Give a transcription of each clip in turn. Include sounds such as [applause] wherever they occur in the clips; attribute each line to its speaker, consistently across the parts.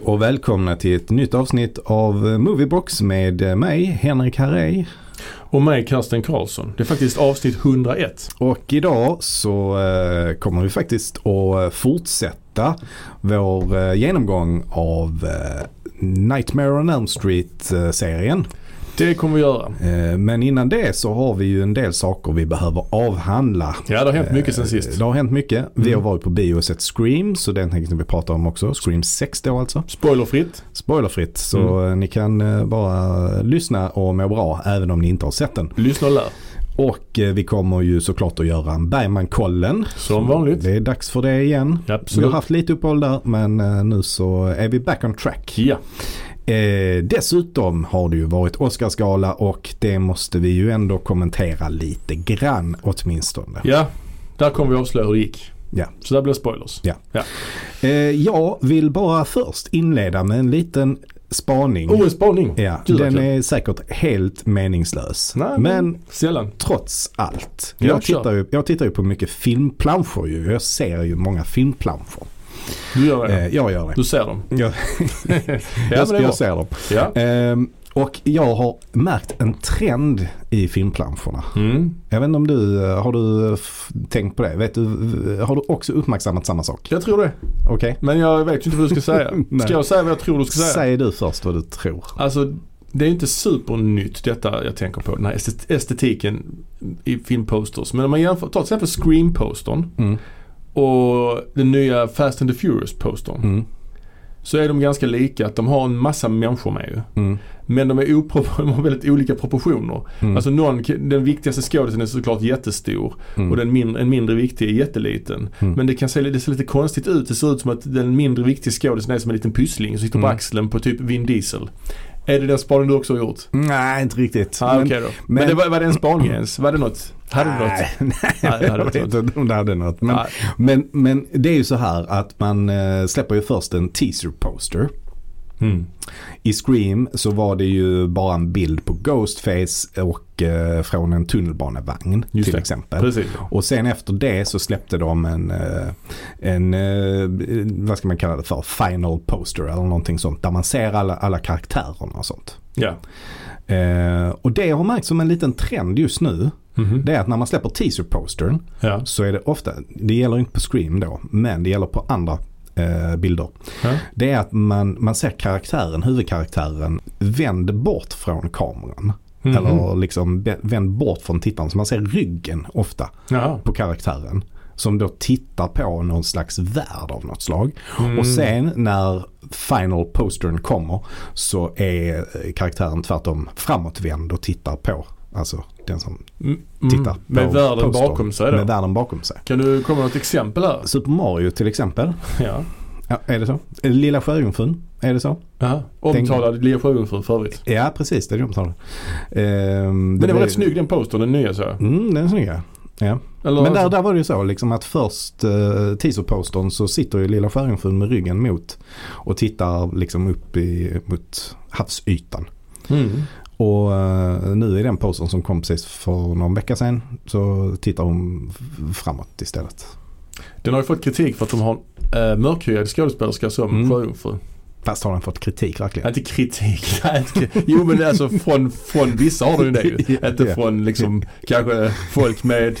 Speaker 1: och välkomna till ett nytt avsnitt av eh, Moviebox med mig, Henrik Harrey.
Speaker 2: Och mig Karsten Karlsson. Det är faktiskt avsnitt 101.
Speaker 1: Och idag så eh, kommer vi faktiskt att fortsätta vår eh, genomgång av eh, Nightmare on Elm Street-serien.
Speaker 2: Det kommer vi göra.
Speaker 1: Eh, men innan det så har vi ju en del saker vi behöver avhandla.
Speaker 2: Ja, det har hänt mycket sen
Speaker 1: Eh,
Speaker 2: sist.
Speaker 1: Det har hänt mycket. Vi har
Speaker 2: Mm.
Speaker 1: varit på bio och sett Scream, så den tänkte vi prata om också. Scream 6 då alltså.
Speaker 2: Spoilerfritt.
Speaker 1: Spoilerfritt, så
Speaker 2: Mm.
Speaker 1: eh, ni kan eh, bara lyssna och må bra även om ni inte har sett den.
Speaker 2: Lyssna och lär.
Speaker 1: Och eh, vi kommer ju såklart att göra en Bergmankollen.
Speaker 2: Som vanligt.
Speaker 1: Det är dags för det igen.
Speaker 2: Ja,
Speaker 1: Vi
Speaker 2: absolut.
Speaker 1: har haft lite uppehåll där men eh, nu så är vi back on track.
Speaker 2: Ja.
Speaker 1: Eh, dessutom har det ju varit Oscarsgala och det måste vi ju ändå kommentera lite grann åtminstone.
Speaker 2: ja, där kommer vi avslöja hur det gick.
Speaker 1: Ja.
Speaker 2: Så där blir spoilers.
Speaker 1: Ja. Eh, jag vill bara först inleda med en liten spaning.
Speaker 2: Oh, en spaning.
Speaker 1: Ja,
Speaker 2: Gud, vad
Speaker 1: den
Speaker 2: kul.
Speaker 1: är säkert helt meningslös.
Speaker 2: Nej,
Speaker 1: men
Speaker 2: men sällan.
Speaker 1: trots allt.
Speaker 2: Ja,
Speaker 1: Jag
Speaker 2: kör.
Speaker 1: tittar, ju, jag tittar ju på mycket filmplanscher ju. Jag ser ju många filmplanscher.
Speaker 2: Du gör det.
Speaker 1: Eh, jag gör det.
Speaker 2: Du ser dem.
Speaker 1: Jag,
Speaker 2: Ja, men det
Speaker 1: jag,
Speaker 2: är bra.
Speaker 1: jag ser dem.
Speaker 2: Ja.
Speaker 1: Ehm, och jag har märkt en trend i filmplanscherna.
Speaker 2: Mm.
Speaker 1: Jag vet inte om du, eh, har du eh, f- tänkt på det? Vet du, v- har du också uppmärksammat samma sak?
Speaker 2: Jag tror det.
Speaker 1: Okej?
Speaker 2: Men jag vet ju inte vad du ska säga.
Speaker 1: [laughs] Nej.
Speaker 2: Ska jag säga vad jag tror du ska säga?
Speaker 1: Säg du först vad du tror.
Speaker 2: Alltså, det är inte supernytt detta jag tänker på. Den här estet- estetiken i filmposters. Men om man jämför, ta till exempel Scream-postern
Speaker 1: Mm.
Speaker 2: och den nya Fast and the Furious-postern.
Speaker 1: Mm.
Speaker 2: Så är de ganska lika, att de har en massa människor med ju.
Speaker 1: Mm.
Speaker 2: Men de, är opro- [laughs] de har väldigt olika proportioner.
Speaker 1: Mm.
Speaker 2: Alltså någon, den viktigaste skådisen är såklart jättestor
Speaker 1: Mm.
Speaker 2: och den mindre, en mindre viktig är jätteliten.
Speaker 1: Mm.
Speaker 2: Men det kan se, det ser lite konstigt ut. Det ser ut som att den mindre viktiga skådisen är som en liten pyssling som sitter på
Speaker 1: Mm.
Speaker 2: axeln på typ Vin Diesel. Är det den spaning du också har gjort?
Speaker 1: Nej, inte riktigt.
Speaker 2: Ah,
Speaker 1: Men-
Speaker 2: okej då. Men,
Speaker 1: men-
Speaker 2: det var, var det en spaning ens? Var det något? Hade du något?
Speaker 1: Nej, nej,
Speaker 2: Nej, det hade
Speaker 1: jag
Speaker 2: inte
Speaker 1: vet inte om det hade något. [laughs] Men,
Speaker 2: Nej.
Speaker 1: men, men det är ju så här att man eh, släpper ju först en teaser poster.
Speaker 2: Mm.
Speaker 1: I Scream så var det ju bara en bild på Ghostface och eh, från en tunnelbanevagn
Speaker 2: Just
Speaker 1: till
Speaker 2: det.
Speaker 1: exempel.
Speaker 2: Precis.
Speaker 1: Och sen efter det så släppte de en, eh, en eh, vad ska man kalla det för, final poster eller någonting sånt. Där man ser alla, alla karaktärerna och sånt.
Speaker 2: Ja.
Speaker 1: Eh, och det har märkts som en liten trend just nu.
Speaker 2: Mhm.
Speaker 1: Det är att när man släpper teaser-postern
Speaker 2: ja.
Speaker 1: så är det ofta, det gäller inte på Scream då, men det gäller på andra eh, bilder.
Speaker 2: Ja.
Speaker 1: Det är att man, man ser karaktären, huvudkaraktären vänd bort från kameran.
Speaker 2: Mhm.
Speaker 1: Eller liksom be- vänd bort från tittaren. Så man ser ryggen ofta
Speaker 2: Jaha.
Speaker 1: på karaktären. Som då tittar på någon slags värld av något slag.
Speaker 2: Mm.
Speaker 1: Och sen när final postern kommer så är eh, karaktären tvärtom framåtvänd och tittar på. Alltså den som
Speaker 2: Mm.
Speaker 1: tittar på
Speaker 2: Med världen
Speaker 1: postern.
Speaker 2: bakom sig då.
Speaker 1: Med världen bakom sig.
Speaker 2: Kan du komma med något exempel här?
Speaker 1: Super Mario till exempel.
Speaker 2: Ja.
Speaker 1: [laughs] Ja, är det så? Lilla Sjöjungfrun, är det så?
Speaker 2: Jaha. Omtalad Lea Sjöjungfru för övrigt.
Speaker 1: Ja, precis. Det är de som har det. Ehm,
Speaker 2: Men den var
Speaker 1: blir-
Speaker 2: rätt snygg den postern, den nya så jag.
Speaker 1: Mm, den är snygg ja. ja.
Speaker 2: Eller, alltså-
Speaker 1: Men där, där var det ju så liksom att först eh, teaserpostern så sitter ju Lilla Sjöjungfrun med ryggen mot och tittar liksom upp i, mot havsytan.
Speaker 2: Mm.
Speaker 1: Och eh, nu i den postern som kom precis för någon vecka sedan så tittar hon f- framåt istället.
Speaker 2: Den har ju fått kritik för att de har en äh, mörkhyad skådespelerska som
Speaker 1: Mm.
Speaker 2: sjöjungfru.
Speaker 1: Fast har den fått kritik verkligen?
Speaker 2: Inte
Speaker 1: [laughs]
Speaker 2: kritik, nej, inte kri- jo men alltså från, från vissa har de ju det ju.
Speaker 1: [laughs] Ja,
Speaker 2: Inte
Speaker 1: ja.
Speaker 2: från liksom kanske folk med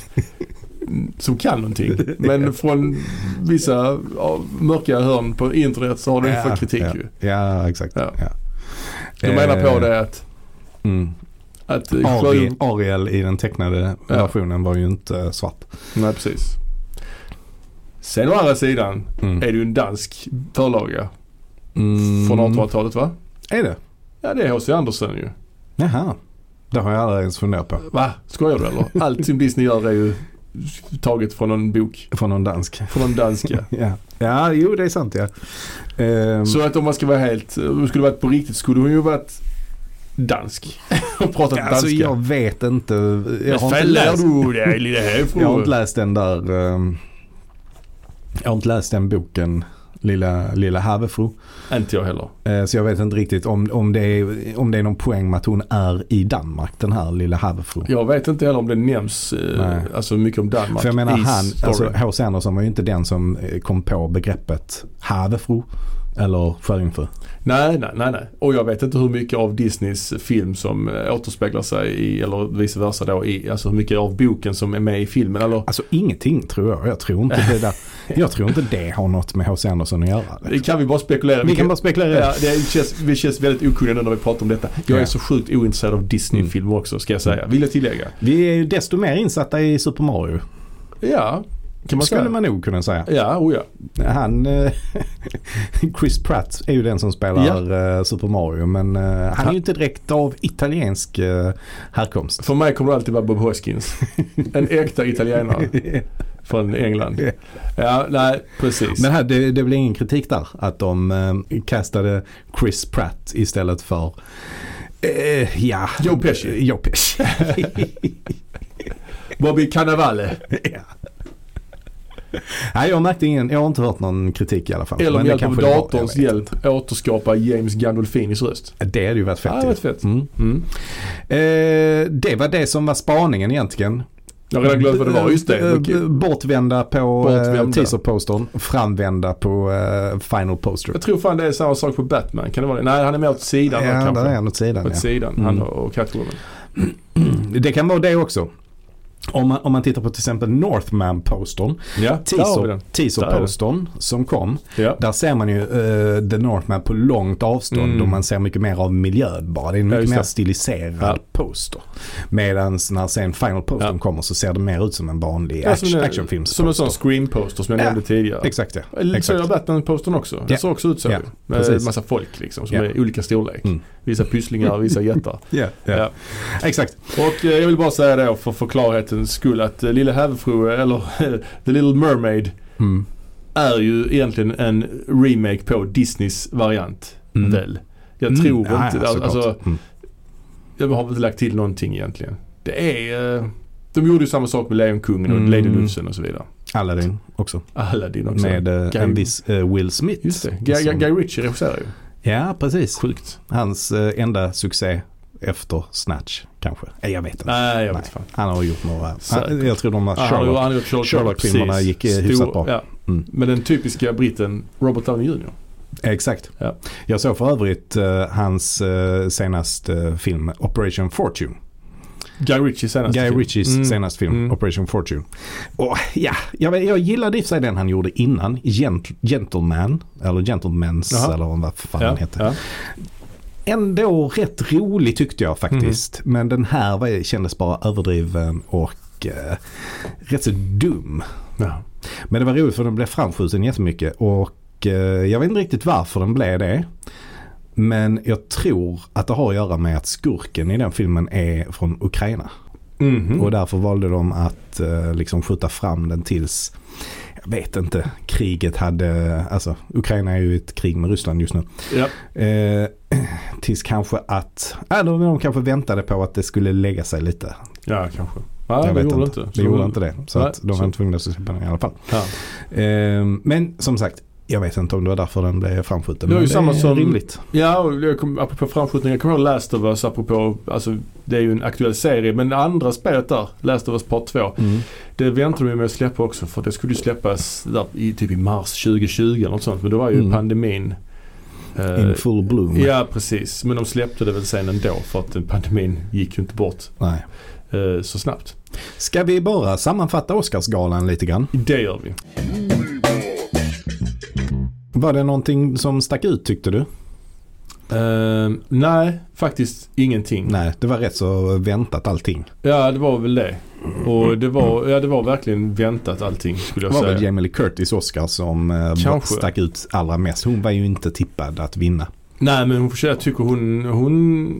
Speaker 2: som kan någonting. Men från vissa ja, mörka hörn på internet så har de ju
Speaker 1: Ja,
Speaker 2: fått kritik
Speaker 1: ja.
Speaker 2: ju.
Speaker 1: Ja, exakt.
Speaker 2: Ja.
Speaker 1: Ja.
Speaker 2: De menar på
Speaker 1: Eh,
Speaker 2: det att,
Speaker 1: Mm.
Speaker 2: att eh,
Speaker 1: Ari,
Speaker 2: sjöjungfrun...
Speaker 1: Ariel i den tecknade
Speaker 2: Ja.
Speaker 1: versionen var ju inte svart.
Speaker 2: Nej precis. Sen å andra sidan
Speaker 1: Mm.
Speaker 2: är det ju en dansk förlaga
Speaker 1: Mm.
Speaker 2: från 1800-talet va?
Speaker 1: Är det?
Speaker 2: Ja det är H.C. Andersen ju.
Speaker 1: Jaha. Det har jag aldrig ens funderat på.
Speaker 2: Va? Skojar
Speaker 1: [laughs]
Speaker 2: du eller? Allt som Disney gör är ju taget från en bok.
Speaker 1: Från någon dansk.
Speaker 2: Från en danska.
Speaker 1: Ja, ja jo det är sant ja. Ehm,
Speaker 2: Så att om man ska vara helt, eh, om hon skulle varit på riktigt skulle hon ju varit dansk. [laughs] Och pratat
Speaker 1: alltså
Speaker 2: danska.
Speaker 1: jag vet inte. Jag har
Speaker 2: Men
Speaker 1: inte,
Speaker 2: fäller
Speaker 1: läst,
Speaker 2: du dig lite
Speaker 1: [laughs] jag har inte
Speaker 2: härifrån?
Speaker 1: läst den där. ehm, jag har inte läst den boken. Lilla, lilla havefru.
Speaker 2: Inte jag heller.
Speaker 1: Eh, Så jag vet inte riktigt om, om, det är, om det är någon poäng med att hon är i Danmark den här lilla havefru.
Speaker 2: Jag vet inte heller om det nämns eh,
Speaker 1: Nej.
Speaker 2: alltså mycket om Danmark
Speaker 1: För jag menar
Speaker 2: i
Speaker 1: han,
Speaker 2: storyn.
Speaker 1: alltså H.C. Andersen var ju inte den som eh, kom på begreppet havefru. Eller sjöjungfru.
Speaker 2: Nej, nej, nej, nej. Och jag vet inte hur mycket av Disneys film som eh, återspeglar sig i, eller vice versa då, i, alltså hur mycket av boken som är med i filmen. Eller,
Speaker 1: Alltså ingenting tror jag. Jag tror inte det, där. Jag tror inte det har något med H.C. Andersen att göra.
Speaker 2: det kan vi bara spekulera
Speaker 1: Vi kan
Speaker 2: Vilket-
Speaker 1: bara spekulera.
Speaker 2: Ja, det känns, vi känns väldigt okunniga nu när vi pratar om detta. Jag är
Speaker 1: Ja. Mm.
Speaker 2: så sjukt ointresserad av Disney-filmer också ska jag säga. Vill jag tillägga.
Speaker 1: Vi är ju desto mer insatta i Super Mario.
Speaker 2: Ja, kan man
Speaker 1: skulle
Speaker 2: säga.
Speaker 1: man nog kunna säga.
Speaker 2: Ja, oh ja.
Speaker 1: Han, eh, [laughs] Chris Pratt är ju den som spelar eh, Super Mario men eh, han är ju inte direkt av italiensk eh, härkomst.
Speaker 2: För mig kommer det alltid vara Bob Hoskins. En äkta italienare
Speaker 1: [laughs]
Speaker 2: från England. Ja, nej, precis.
Speaker 1: Men här, det, det blir ingen kritik där att de eh, kastade Chris Pratt istället för eh, ja,
Speaker 2: Joe Pesci.
Speaker 1: Joe Pesci. [laughs]
Speaker 2: Bobby Cannavale.
Speaker 1: ja. Nej, jag märkte ingen, jag har inte hört någon kritik i alla fall.
Speaker 2: Eller
Speaker 1: Men
Speaker 2: med
Speaker 1: det
Speaker 2: hjälp av
Speaker 1: kanske det var, jag
Speaker 2: datorns
Speaker 1: vet.
Speaker 2: hjälp återskapa James Gandolfinis röst.
Speaker 1: Det hade ju varit fett.
Speaker 2: Ja, det
Speaker 1: ju.
Speaker 2: var fett.
Speaker 1: Mm.
Speaker 2: Mm.
Speaker 1: Eh, det var det som var spaningen egentligen.
Speaker 2: Jag har redan glömt vad det var. Just det.
Speaker 1: B- b- Bortvända på
Speaker 2: Bortvända.
Speaker 1: eh, teaserpostern, framvända på eh, final poster.
Speaker 2: Jag tror fan det är samma sak på Batman. Kan det vara det? Nej, han är mer åt sidan då,
Speaker 1: Ja,
Speaker 2: kanske.
Speaker 1: där är han åt sidan.
Speaker 2: Åt
Speaker 1: Ja. Mm.
Speaker 2: sidan, han och Catwoman.
Speaker 1: Det kan vara det också. Om man, om man tittar på till exempel Northman-postern,
Speaker 2: Ja, där har vi den.
Speaker 1: teaser, teaser-postern som kom.
Speaker 2: Ja.
Speaker 1: Där ser man ju eh, The Northman på långt avstånd
Speaker 2: Mm.
Speaker 1: och man ser mycket mer av miljön bara. Det är en
Speaker 2: Ja,
Speaker 1: mycket
Speaker 2: just
Speaker 1: mer
Speaker 2: det.
Speaker 1: stiliserad
Speaker 2: Ja.
Speaker 1: poster. Medan när sen final postern
Speaker 2: Ja.
Speaker 1: kommer så ser det mer ut som en vanlig
Speaker 2: Ja,
Speaker 1: action,
Speaker 2: som en-
Speaker 1: actionfilms
Speaker 2: Alltså, Som en sån screen-poster som jag
Speaker 1: Ja,
Speaker 2: nämnde tidigare.
Speaker 1: Exakt ja.
Speaker 2: Eller Så
Speaker 1: Exakt.
Speaker 2: gör Batman-postern också.
Speaker 1: Ja.
Speaker 2: Det såg också ut så.
Speaker 1: Ja,
Speaker 2: Med
Speaker 1: precis.
Speaker 2: en massa folk liksom som
Speaker 1: Ja.
Speaker 2: är i olika storlek.
Speaker 1: Mm.
Speaker 2: Vissa pysslingar, vissa jättar.
Speaker 1: Ja, ja.
Speaker 2: Ja.
Speaker 1: Exakt.
Speaker 2: Och eh, jag vill bara säga då för, för klarhetens skull att eh, Lilla Häverfru, eh, eller [laughs] The Little Mermaid
Speaker 1: Mm.
Speaker 2: är ju egentligen en remake på Disneys variant.
Speaker 1: Mm.
Speaker 2: Väl? Jag
Speaker 1: Mm,
Speaker 2: tror
Speaker 1: ja,
Speaker 2: inte...
Speaker 1: ja, såklart.
Speaker 2: alltså,
Speaker 1: Mm.
Speaker 2: Jag har väl inte lagt till någonting egentligen. Det är... eh, De gjorde ju samma sak med Lejonkungen och
Speaker 1: Mm.
Speaker 2: Ladylufsen och så vidare.
Speaker 1: Aladdin också.
Speaker 2: Aladdin också.
Speaker 1: Med eh,
Speaker 2: Guy-
Speaker 1: en viss eh, Will Smith.
Speaker 2: Just det. Guy,
Speaker 1: som-
Speaker 2: Guy Ritchie regisserar ju.
Speaker 1: Ja, precis.
Speaker 2: Sjukt.
Speaker 1: Hans eh, enda succé efter Snatch kanske. Nej, jag vet inte.
Speaker 2: Nej, jag
Speaker 1: Nej.
Speaker 2: vet fan.
Speaker 1: Han har gjort några.
Speaker 2: Säkert.
Speaker 1: Han, jag tror de har
Speaker 2: Ah, han,
Speaker 1: Sherlock.
Speaker 2: han har gjort Sherlock,
Speaker 1: Sherlock-filmerna
Speaker 2: precis.
Speaker 1: gick, eh, hyfsat bra.
Speaker 2: Ja.
Speaker 1: Mm.
Speaker 2: Men den typiska britten Robert Downey Jr.
Speaker 1: Exakt.
Speaker 2: Ja.
Speaker 1: Jag såg för övrigt eh, hans eh, senaste eh, film Operation Fortune.
Speaker 2: Guy Ritchie senast.
Speaker 1: Guy Ritchies
Speaker 2: Mm.
Speaker 1: senaste film
Speaker 2: Mm.
Speaker 1: Operation Fortune. Och ja, jag, vet- jag gillade i och för sig den han gjorde innan. Gent- Gentleman. Eller Gentlemans
Speaker 2: Jaha.
Speaker 1: eller vad fan
Speaker 2: Ja,
Speaker 1: den hette.
Speaker 2: ja.
Speaker 1: ändå rätt rolig tyckte jag faktiskt.
Speaker 2: Mm.
Speaker 1: Men den här var, kändes bara överdriven och eh, rätt så dum.
Speaker 2: Ja.
Speaker 1: Men det var roligt för den blev framskjuten jättemycket och eh, jag vet inte riktigt varför den blev det. Men jag tror att det har att göra med att skurken i den filmen är från Ukraina.
Speaker 2: Mhm.
Speaker 1: Och därför valde de att eh, liksom skjuta fram den tills, jag vet inte, kriget hade, alltså Ukraina är ju ett krig med Ryssland just nu.
Speaker 2: ja.
Speaker 1: Eh, [clears throat] tills kanske att, äh, de, de kanske väntade på att det skulle lägga sig lite.
Speaker 2: ja, kanske. Nej,
Speaker 1: jag
Speaker 2: det
Speaker 1: vet
Speaker 2: gjorde
Speaker 1: inte.
Speaker 2: inte.
Speaker 1: Det gjorde inte det. Så
Speaker 2: Nej,
Speaker 1: att de var
Speaker 2: så-
Speaker 1: tvungna att släppa den i alla fall.
Speaker 2: Ja.
Speaker 1: Eh, men som sagt, jag vet inte om det var därför den blev framskjuten.
Speaker 2: Det var
Speaker 1: men
Speaker 2: ju samma
Speaker 1: är
Speaker 2: som-
Speaker 1: Rimligt.
Speaker 2: Ja, och jag kom, apropå framskjutningar, jag kommer ihåg Last of Us, apropå, alltså det är ju en aktuell serie, men det andra spelet där, Last of Us Part 2, det väntade de ju med att släppa också för det skulle ju släppas där i, typ i mars 2020 eller något sånt, men då var ju
Speaker 1: Mm.
Speaker 2: pandemin. eh,
Speaker 1: In full bloom.
Speaker 2: Ja, precis. Men de släppte det väl sen ändå för att eh, pandemin gick ju inte bort
Speaker 1: Nej.
Speaker 2: eh, så snabbt.
Speaker 1: Ska vi bara sammanfatta Oscarsgalan lite grann?
Speaker 2: Det gör vi.
Speaker 1: Var det någonting som stack ut tyckte du?
Speaker 2: Mm. Eh, nej, faktiskt ingenting.
Speaker 1: Nej, det var rätt så väntat allting.
Speaker 2: Ja, det var väl det. Och det var, ja, det var verkligen väntat allting skulle
Speaker 1: Mm. Det
Speaker 2: jag
Speaker 1: var
Speaker 2: säga.
Speaker 1: väl Jamie Lee Curtis Oscar som eh,
Speaker 2: Kanske.
Speaker 1: stack ut allra mest. Hon var ju inte tippad att vinna.
Speaker 2: Nej men hon förtjänar, jag tycker hon, hon,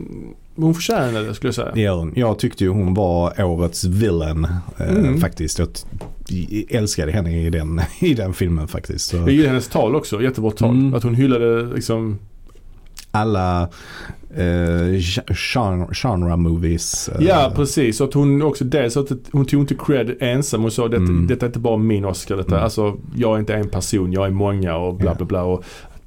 Speaker 2: hon förtjänar det skulle jag säga.
Speaker 1: Det gör hon. Jag tyckte ju hon var årets villain eh,
Speaker 2: Mm.
Speaker 1: faktiskt. Jag t- älskade henne i den, [laughs] i den filmen faktiskt.
Speaker 2: Jag
Speaker 1: Så
Speaker 2: gillar hennes tal också, jättebra tal.
Speaker 1: Mm.
Speaker 2: Att hon hyllade liksom,
Speaker 1: alla eh, gen- genre-movies. eh,
Speaker 2: ja precis. Och att hon också dels att hon tog inte cred ensam. Hon sa det,
Speaker 1: Mm.
Speaker 2: detta är inte bara min Oscar. Detta.
Speaker 1: Mm.
Speaker 2: Alltså jag är inte en person, jag är många och bla
Speaker 1: Ja.
Speaker 2: bla bla. Och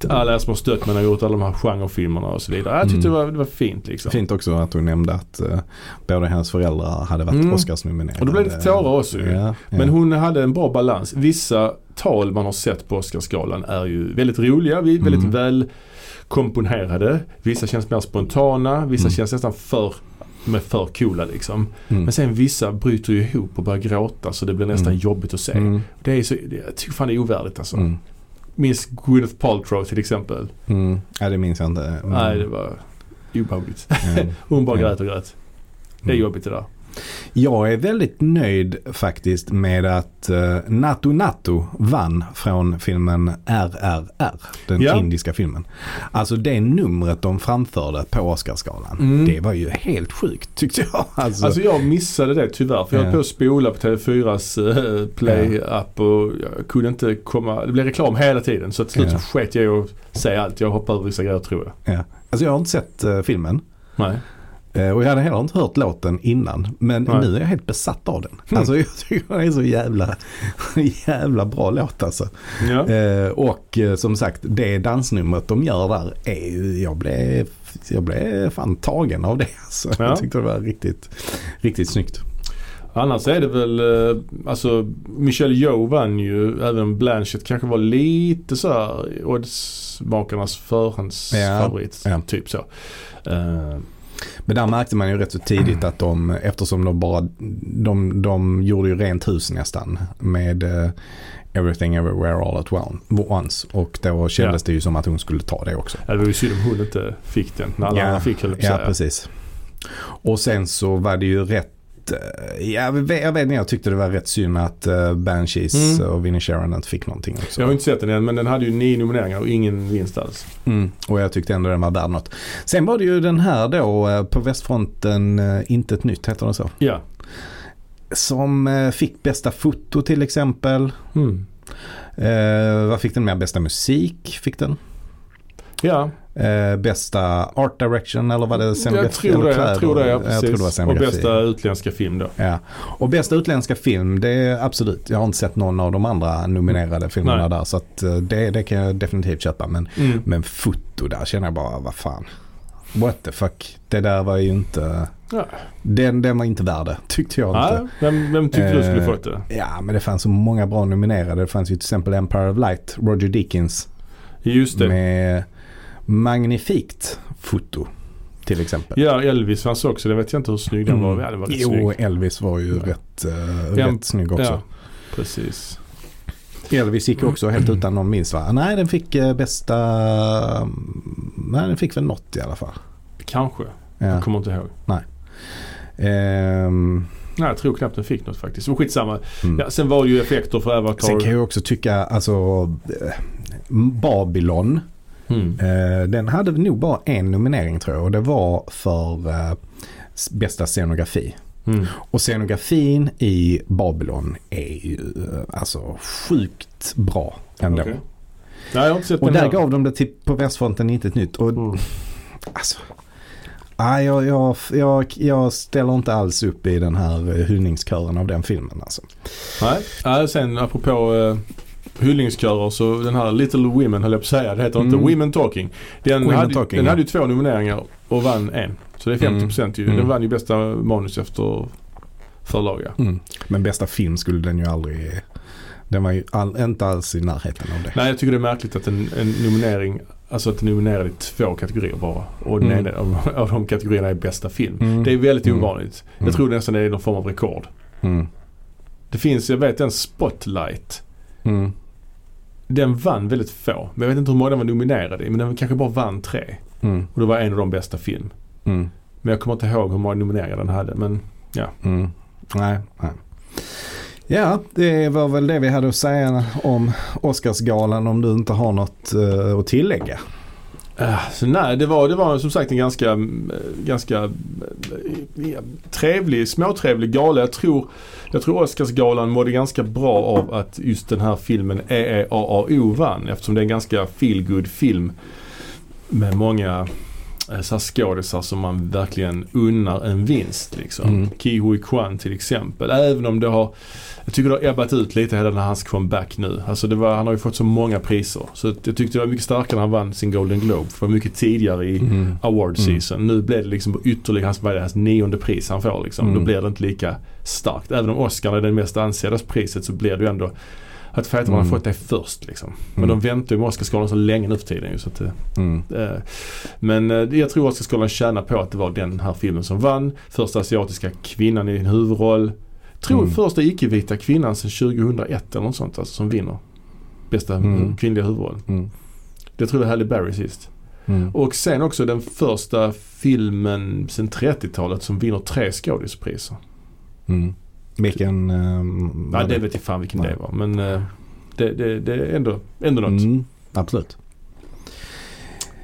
Speaker 2: alla som har stött mig när jag gjort alla de här genrefilmerna och så vidare. Jag tyckte
Speaker 1: Mm.
Speaker 2: det, var, det var fint liksom.
Speaker 1: Fint också att du nämnde att eh, båda hennes föräldrar hade varit
Speaker 2: Mm.
Speaker 1: Oscarsnominerade.
Speaker 2: Och då blev det lite tårar också ju.
Speaker 1: Ja,
Speaker 2: Men hon hade en bra balans. Vissa tal man har sett på Oscarsgalan är ju väldigt roliga, vi- väldigt
Speaker 1: Mm.
Speaker 2: väl komponerade. Vissa känns mer spontana, vissa
Speaker 1: Mm.
Speaker 2: känns nästan för med för coola liksom.
Speaker 1: mm.
Speaker 2: Men sen vissa bryter ju ihop och börjar gråta så det blir nästan
Speaker 1: Mm.
Speaker 2: jobbigt att se.
Speaker 1: Mm.
Speaker 2: Det är så, det, jag tycker fan det är ovärdigt alltså.
Speaker 1: Mm.
Speaker 2: Minns Gwyneth Paltrow till exempel.
Speaker 1: Mm. Ja, det minns jag inte. Mm.
Speaker 2: Nej, det var
Speaker 1: [laughs]
Speaker 2: obehagligt.
Speaker 1: Mm.
Speaker 2: Hon bara
Speaker 1: Mm.
Speaker 2: grät och grät. Det är jobbigt det där.
Speaker 1: Jag är väldigt nöjd faktiskt med att uh, Natu Natu vann från filmen RRR. Den
Speaker 2: Ja.
Speaker 1: indiska filmen. Alltså det numret de framförde på Oscarsgalan.
Speaker 2: Mm.
Speaker 1: Det var ju helt sjukt tyckte jag. [laughs] Alltså,
Speaker 2: Alltså jag missade det tyvärr för jag
Speaker 1: Ja.
Speaker 2: höll på att spola på TV4s eh, play-app och jag kunde inte komma. Det blev reklam hela tiden så till slut
Speaker 1: Ja.
Speaker 2: så sket jag i att säga allt. Jag hoppade över vissa grejer tror jag.
Speaker 1: alltså jag har inte sett eh, filmen.
Speaker 2: Nej.
Speaker 1: Eh, Och jag hade heller inte hört låten innan. Men
Speaker 2: Nej.
Speaker 1: nu är jag helt besatt av den.
Speaker 2: Mm.
Speaker 1: Alltså [laughs] jag tycker den är så jävla, [laughs] jävla bra låt alltså.
Speaker 2: Ja.
Speaker 1: Eh, Och eh, som sagt, det dansnumret de gör där är ju, jag blev, jag blev fan tagen av det. [laughs] Alltså.
Speaker 2: Ja.
Speaker 1: Jag tyckte det var riktigt, riktigt snyggt.
Speaker 2: Annars är det väl, eh, alltså Michelle Yeoh vann ju, även om Blanchett kanske var lite så här oddsmakarnas förhandsfavorit.
Speaker 1: Ja. Ja.
Speaker 2: Typ så. Eh,
Speaker 1: Men där märkte man ju rätt så tidigt att de, eftersom de bara, de, de gjorde ju rent hus nästan med eh, Everything Everywhere All At One- Once. Och då kändes det ju som att hon skulle ta det också.
Speaker 2: det var ju synd om hon inte fick den när alla
Speaker 1: Ja.
Speaker 2: andra fick höll jag på att
Speaker 1: Ja,
Speaker 2: säga.
Speaker 1: precis. Och sen så var det ju rätt, eh, jag vet, jag vet inte, jag tyckte det var rätt synd att eh, Banshees
Speaker 2: Mm.
Speaker 1: och Vinnie Sharon inte fick någonting också.
Speaker 2: Jag har inte sett den än men den hade ju nio nomineringar och ingen vinst alls.
Speaker 1: Mm. Och jag tyckte ändå den var värd något. Sen var det ju den här då eh, på västfronten, eh, inte ett nytt heter den så.
Speaker 2: Ja.
Speaker 1: Som eh, fick bästa foto till exempel.
Speaker 2: Mm.
Speaker 1: Eh, vad fick den med? Bästa musik fick den.
Speaker 2: Ja,
Speaker 1: Eh, bästa art direction eller vad det är?
Speaker 2: jag
Speaker 1: scenografi
Speaker 2: tror
Speaker 1: eller
Speaker 2: det.
Speaker 1: kläder?
Speaker 2: Jag tror det, ja,
Speaker 1: jag
Speaker 2: precis.
Speaker 1: tror det var
Speaker 2: och
Speaker 1: scenografi.
Speaker 2: bästa utländska film då.
Speaker 1: Ja. Och bästa utländska film, det är absolut. Jag har inte sett någon av de andra nominerade filmerna
Speaker 2: Nej.
Speaker 1: där. Så att eh, det, det kan jag definitivt köpa. Men,
Speaker 2: Mm.
Speaker 1: men foto där känner jag bara, vad fan. What the fuck. Det där var ju inte...
Speaker 2: Ja.
Speaker 1: Den, den var inte värd det, tyckte jag
Speaker 2: Nej,
Speaker 1: inte.
Speaker 2: vem, vem tyckte du skulle
Speaker 1: Eh,
Speaker 2: fått det?
Speaker 1: Ja, men det fanns så många bra nominerade. Det fanns ju till exempel Empire of Light, Roger Dickens.
Speaker 2: Just det.
Speaker 1: Med magnifikt foto, till exempel.
Speaker 2: Ja, Elvis fanns också. Det vet jag inte hur snygg den var.
Speaker 1: Mm.
Speaker 2: Ja, det var rätt
Speaker 1: Jo,
Speaker 2: snygg.
Speaker 1: Elvis var ju
Speaker 2: Ja.
Speaker 1: rätt, eh,
Speaker 2: Ja,
Speaker 1: rätt snygg också.
Speaker 2: Ja, precis.
Speaker 1: Elvis gick också helt utan någon minst va? Nej den fick eh, bästa... mm, Nej den fick väl något i alla fall.
Speaker 2: Kanske.
Speaker 1: Ja.
Speaker 2: Jag kommer inte ihåg.
Speaker 1: Ehm,
Speaker 2: Nej, jag tror knappt den fick något faktiskt. Men skitsamma.
Speaker 1: mm.
Speaker 2: Ja, sen var det ju effekter för
Speaker 1: Sen kan
Speaker 2: Avatar.
Speaker 1: jag också tycka alltså eh, Babylon.
Speaker 2: Mm.
Speaker 1: eh, Den hade nog bara en nominering tror jag och det var för eh, s- bästa scenografi.
Speaker 2: Mm.
Speaker 1: Och scenografin i Babylon är ju eh, alltså sjukt bra ändå.
Speaker 2: Okej. Nej, jag har inte sett
Speaker 1: Och
Speaker 2: den
Speaker 1: där
Speaker 2: här.
Speaker 1: gav de det till På Västfronten inte ett nytt. Och
Speaker 2: Mm.
Speaker 1: Alltså. Nej, jag, jag, jag, jag ställer inte alls upp i den här eh, hyllningskören av den filmen. Alltså.
Speaker 2: Nej, Nej, sen apropå uh, hyllningskörer så den här Little Women höll jag på att säga. Det heter
Speaker 1: Mm.
Speaker 2: inte Women Talking. Den,
Speaker 1: Women
Speaker 2: hade,
Speaker 1: Talking,
Speaker 2: den
Speaker 1: ja.
Speaker 2: hade ju två nomineringar och vann en. Så det är 50% ju.
Speaker 1: Mm.
Speaker 2: Den vann ju bästa manus efter förlag ja.
Speaker 1: Men bästa film skulle den ju aldrig... Den var ju all, inte alls i närheten av det.
Speaker 2: Nej jag tycker det är märkligt att en, en nominering, alltså att den nominerade i två kategorier bara. Och den
Speaker 1: Mm.
Speaker 2: ena av, av de kategorierna är bästa film.
Speaker 1: Mm.
Speaker 2: Det är väldigt
Speaker 1: Mm.
Speaker 2: ovanligt.
Speaker 1: Mm.
Speaker 2: Jag tror nästan det är någon form av rekord.
Speaker 1: Mm.
Speaker 2: Det finns, jag vet en Spotlight.
Speaker 1: Mm.
Speaker 2: Den vann väldigt få. Men jag vet inte hur många den var nominerad i. Men den kanske bara vann tre.
Speaker 1: Mm.
Speaker 2: Och det var en av de bästa film.
Speaker 1: Mm.
Speaker 2: Men jag kommer inte ihåg hur många nomineringar den hade. Men
Speaker 1: Mm. Nej. Nej. Ja, det var väl det vi hade att säga om Oscarsgalan om du inte har något eh, att tillägga.
Speaker 2: eh, så nej, det var, det var som sagt en ganska, eh, ganska eh, ja, trevlig, småtrevlig gala. Jag tror, jag tror Oscarsgalan mådde ganska bra av att just den här filmen E EEAAO vann. Eftersom det är en ganska feel good film med många eh, så här skådisar som man verkligen unnar en vinst. Liksom.
Speaker 1: Mm.
Speaker 2: Kiwi Kwan till exempel. Även om det har, jag tycker det har ebbat ut lite hela den här hans comeback nu. Alltså det var, han har ju fått så många priser. Så att jag tyckte det var mycket starkare när han vann sin Golden Globe. För det var mycket tidigare i
Speaker 1: Mm.
Speaker 2: award
Speaker 1: Mm.
Speaker 2: season. Nu blev det liksom ytterligare hans, vad är det, hans nionde pris han får. Liksom.
Speaker 1: Mm.
Speaker 2: Då blir det inte lika starkt. Även om Oscar är det mest ansedda priset så blir det ju ändå att fäderna har
Speaker 1: Mm.
Speaker 2: fått det först. Liksom. Men
Speaker 1: Mm.
Speaker 2: de väntar ju med Oscarsgalan så länge nu för tiden. ju, Så att, det-
Speaker 1: Mm.
Speaker 2: Eh, Men eh, jag tror Oscarsgalan tjänar på att det var den här filmen som vann. Första asiatiska kvinnan i en huvudroll. Tror
Speaker 1: Mm.
Speaker 2: första icke-vita kvinnan sedan 2001 eller något sånt alltså, som vinner. Bästa
Speaker 1: Mm.
Speaker 2: kvinnliga huvudroll.
Speaker 1: Mm.
Speaker 2: Det tror jag Halle Berry sist.
Speaker 1: Mm.
Speaker 2: Och sen också den första filmen sedan 30-talet som vinner tre skådispriser.
Speaker 1: Mm. Vilken... ehm,
Speaker 2: Nej,
Speaker 1: var
Speaker 2: det vet jag fan vilken
Speaker 1: Nej.
Speaker 2: det var. Men eh, det, det, det är ändå, ändå något.
Speaker 1: Mm. Absolut.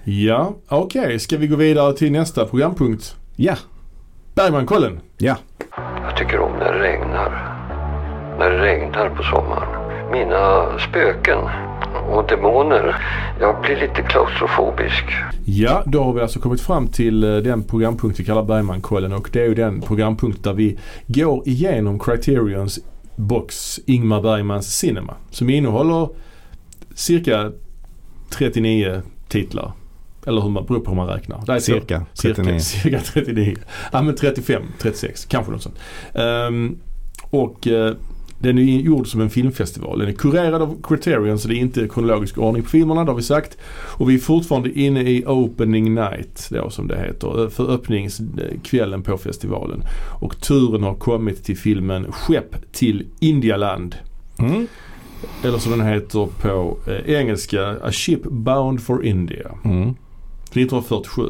Speaker 2: Ja, okej. Ska vi gå vidare till nästa programpunkt?
Speaker 1: Ja,
Speaker 2: Bergmankollen!
Speaker 1: ja.
Speaker 3: Jag tycker om när det regnar. När det regnar på sommaren. Mina spöken och demoner. Jag blir lite klaustrofobisk.
Speaker 2: Ja, då har vi alltså kommit fram till eh, den programpunkt vi kallar Bergmankollen och det är ju den programpunkt där vi går igenom Criterions box Ingmar Bergmans Cinema som innehåller cirka 39 titlar. Eller hur man, beror på hur man räknar. Det är så-
Speaker 1: Cirka 39.
Speaker 2: Cirka, cirka 39. Ja men 35, 36, kanske något sånt. Ehm, och eh, den är ju gjord som en filmfestival. Den är kurerad av Criterion så det är inte kronologisk ordning på filmerna, det har vi sagt. Och vi är fortfarande inne i opening night då som det heter. eh, För öppningskvällen på festivalen. Och turen har kommit till filmen Skepp till Indialand.
Speaker 1: Mm.
Speaker 2: Eller som den heter på eh, engelska A Ship Bound for India.
Speaker 1: Mm.
Speaker 2: 1947.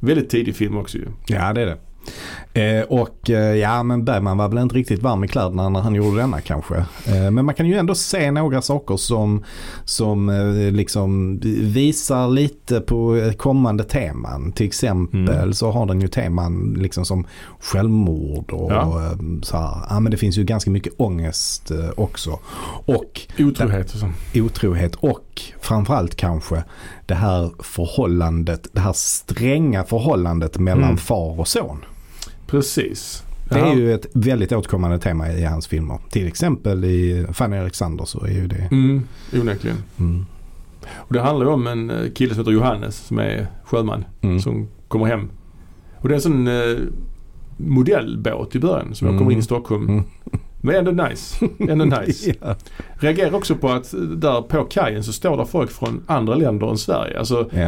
Speaker 2: Väldigt tidig film också ju.
Speaker 1: Ja, det är det. Eh, och eh, ja, men Bergman var väl inte riktigt varm i kläderna när han gjorde denna kanske. Eh, men man kan ju ändå se några saker som, som eh, liksom visar lite på eh, kommande teman. Till exempel
Speaker 2: Mm.
Speaker 1: så har den ju teman liksom som självmord och
Speaker 2: Ja.
Speaker 1: eh, så här. Ja, men det finns ju ganska mycket ångest eh, också. Och
Speaker 2: Otrohet och så.
Speaker 1: otrohet och framförallt kanske det här förhållandet, det här stränga förhållandet mellan
Speaker 2: Mm.
Speaker 1: far och son.
Speaker 2: Precis.
Speaker 1: Det är
Speaker 2: Ja.
Speaker 1: ju ett väldigt återkommande tema i hans filmer. Till exempel i Fanny Alexander så är ju det.
Speaker 2: Mm, onekligen.
Speaker 1: Mm.
Speaker 2: Och det handlar ju om en eh, kille som heter Johannes som är sjöman
Speaker 1: Mm.
Speaker 2: som kommer hem. Och det är en sån eh, modellbåt i början som
Speaker 1: Mm.
Speaker 2: åker in i Stockholm.
Speaker 1: Mm.
Speaker 2: Men ändå nice.
Speaker 1: [laughs]
Speaker 2: Ändå nice.
Speaker 1: Ja.
Speaker 2: Reagerar också på att eh, där på kajen så står där folk från andra länder än Sverige. Alltså
Speaker 1: Ja.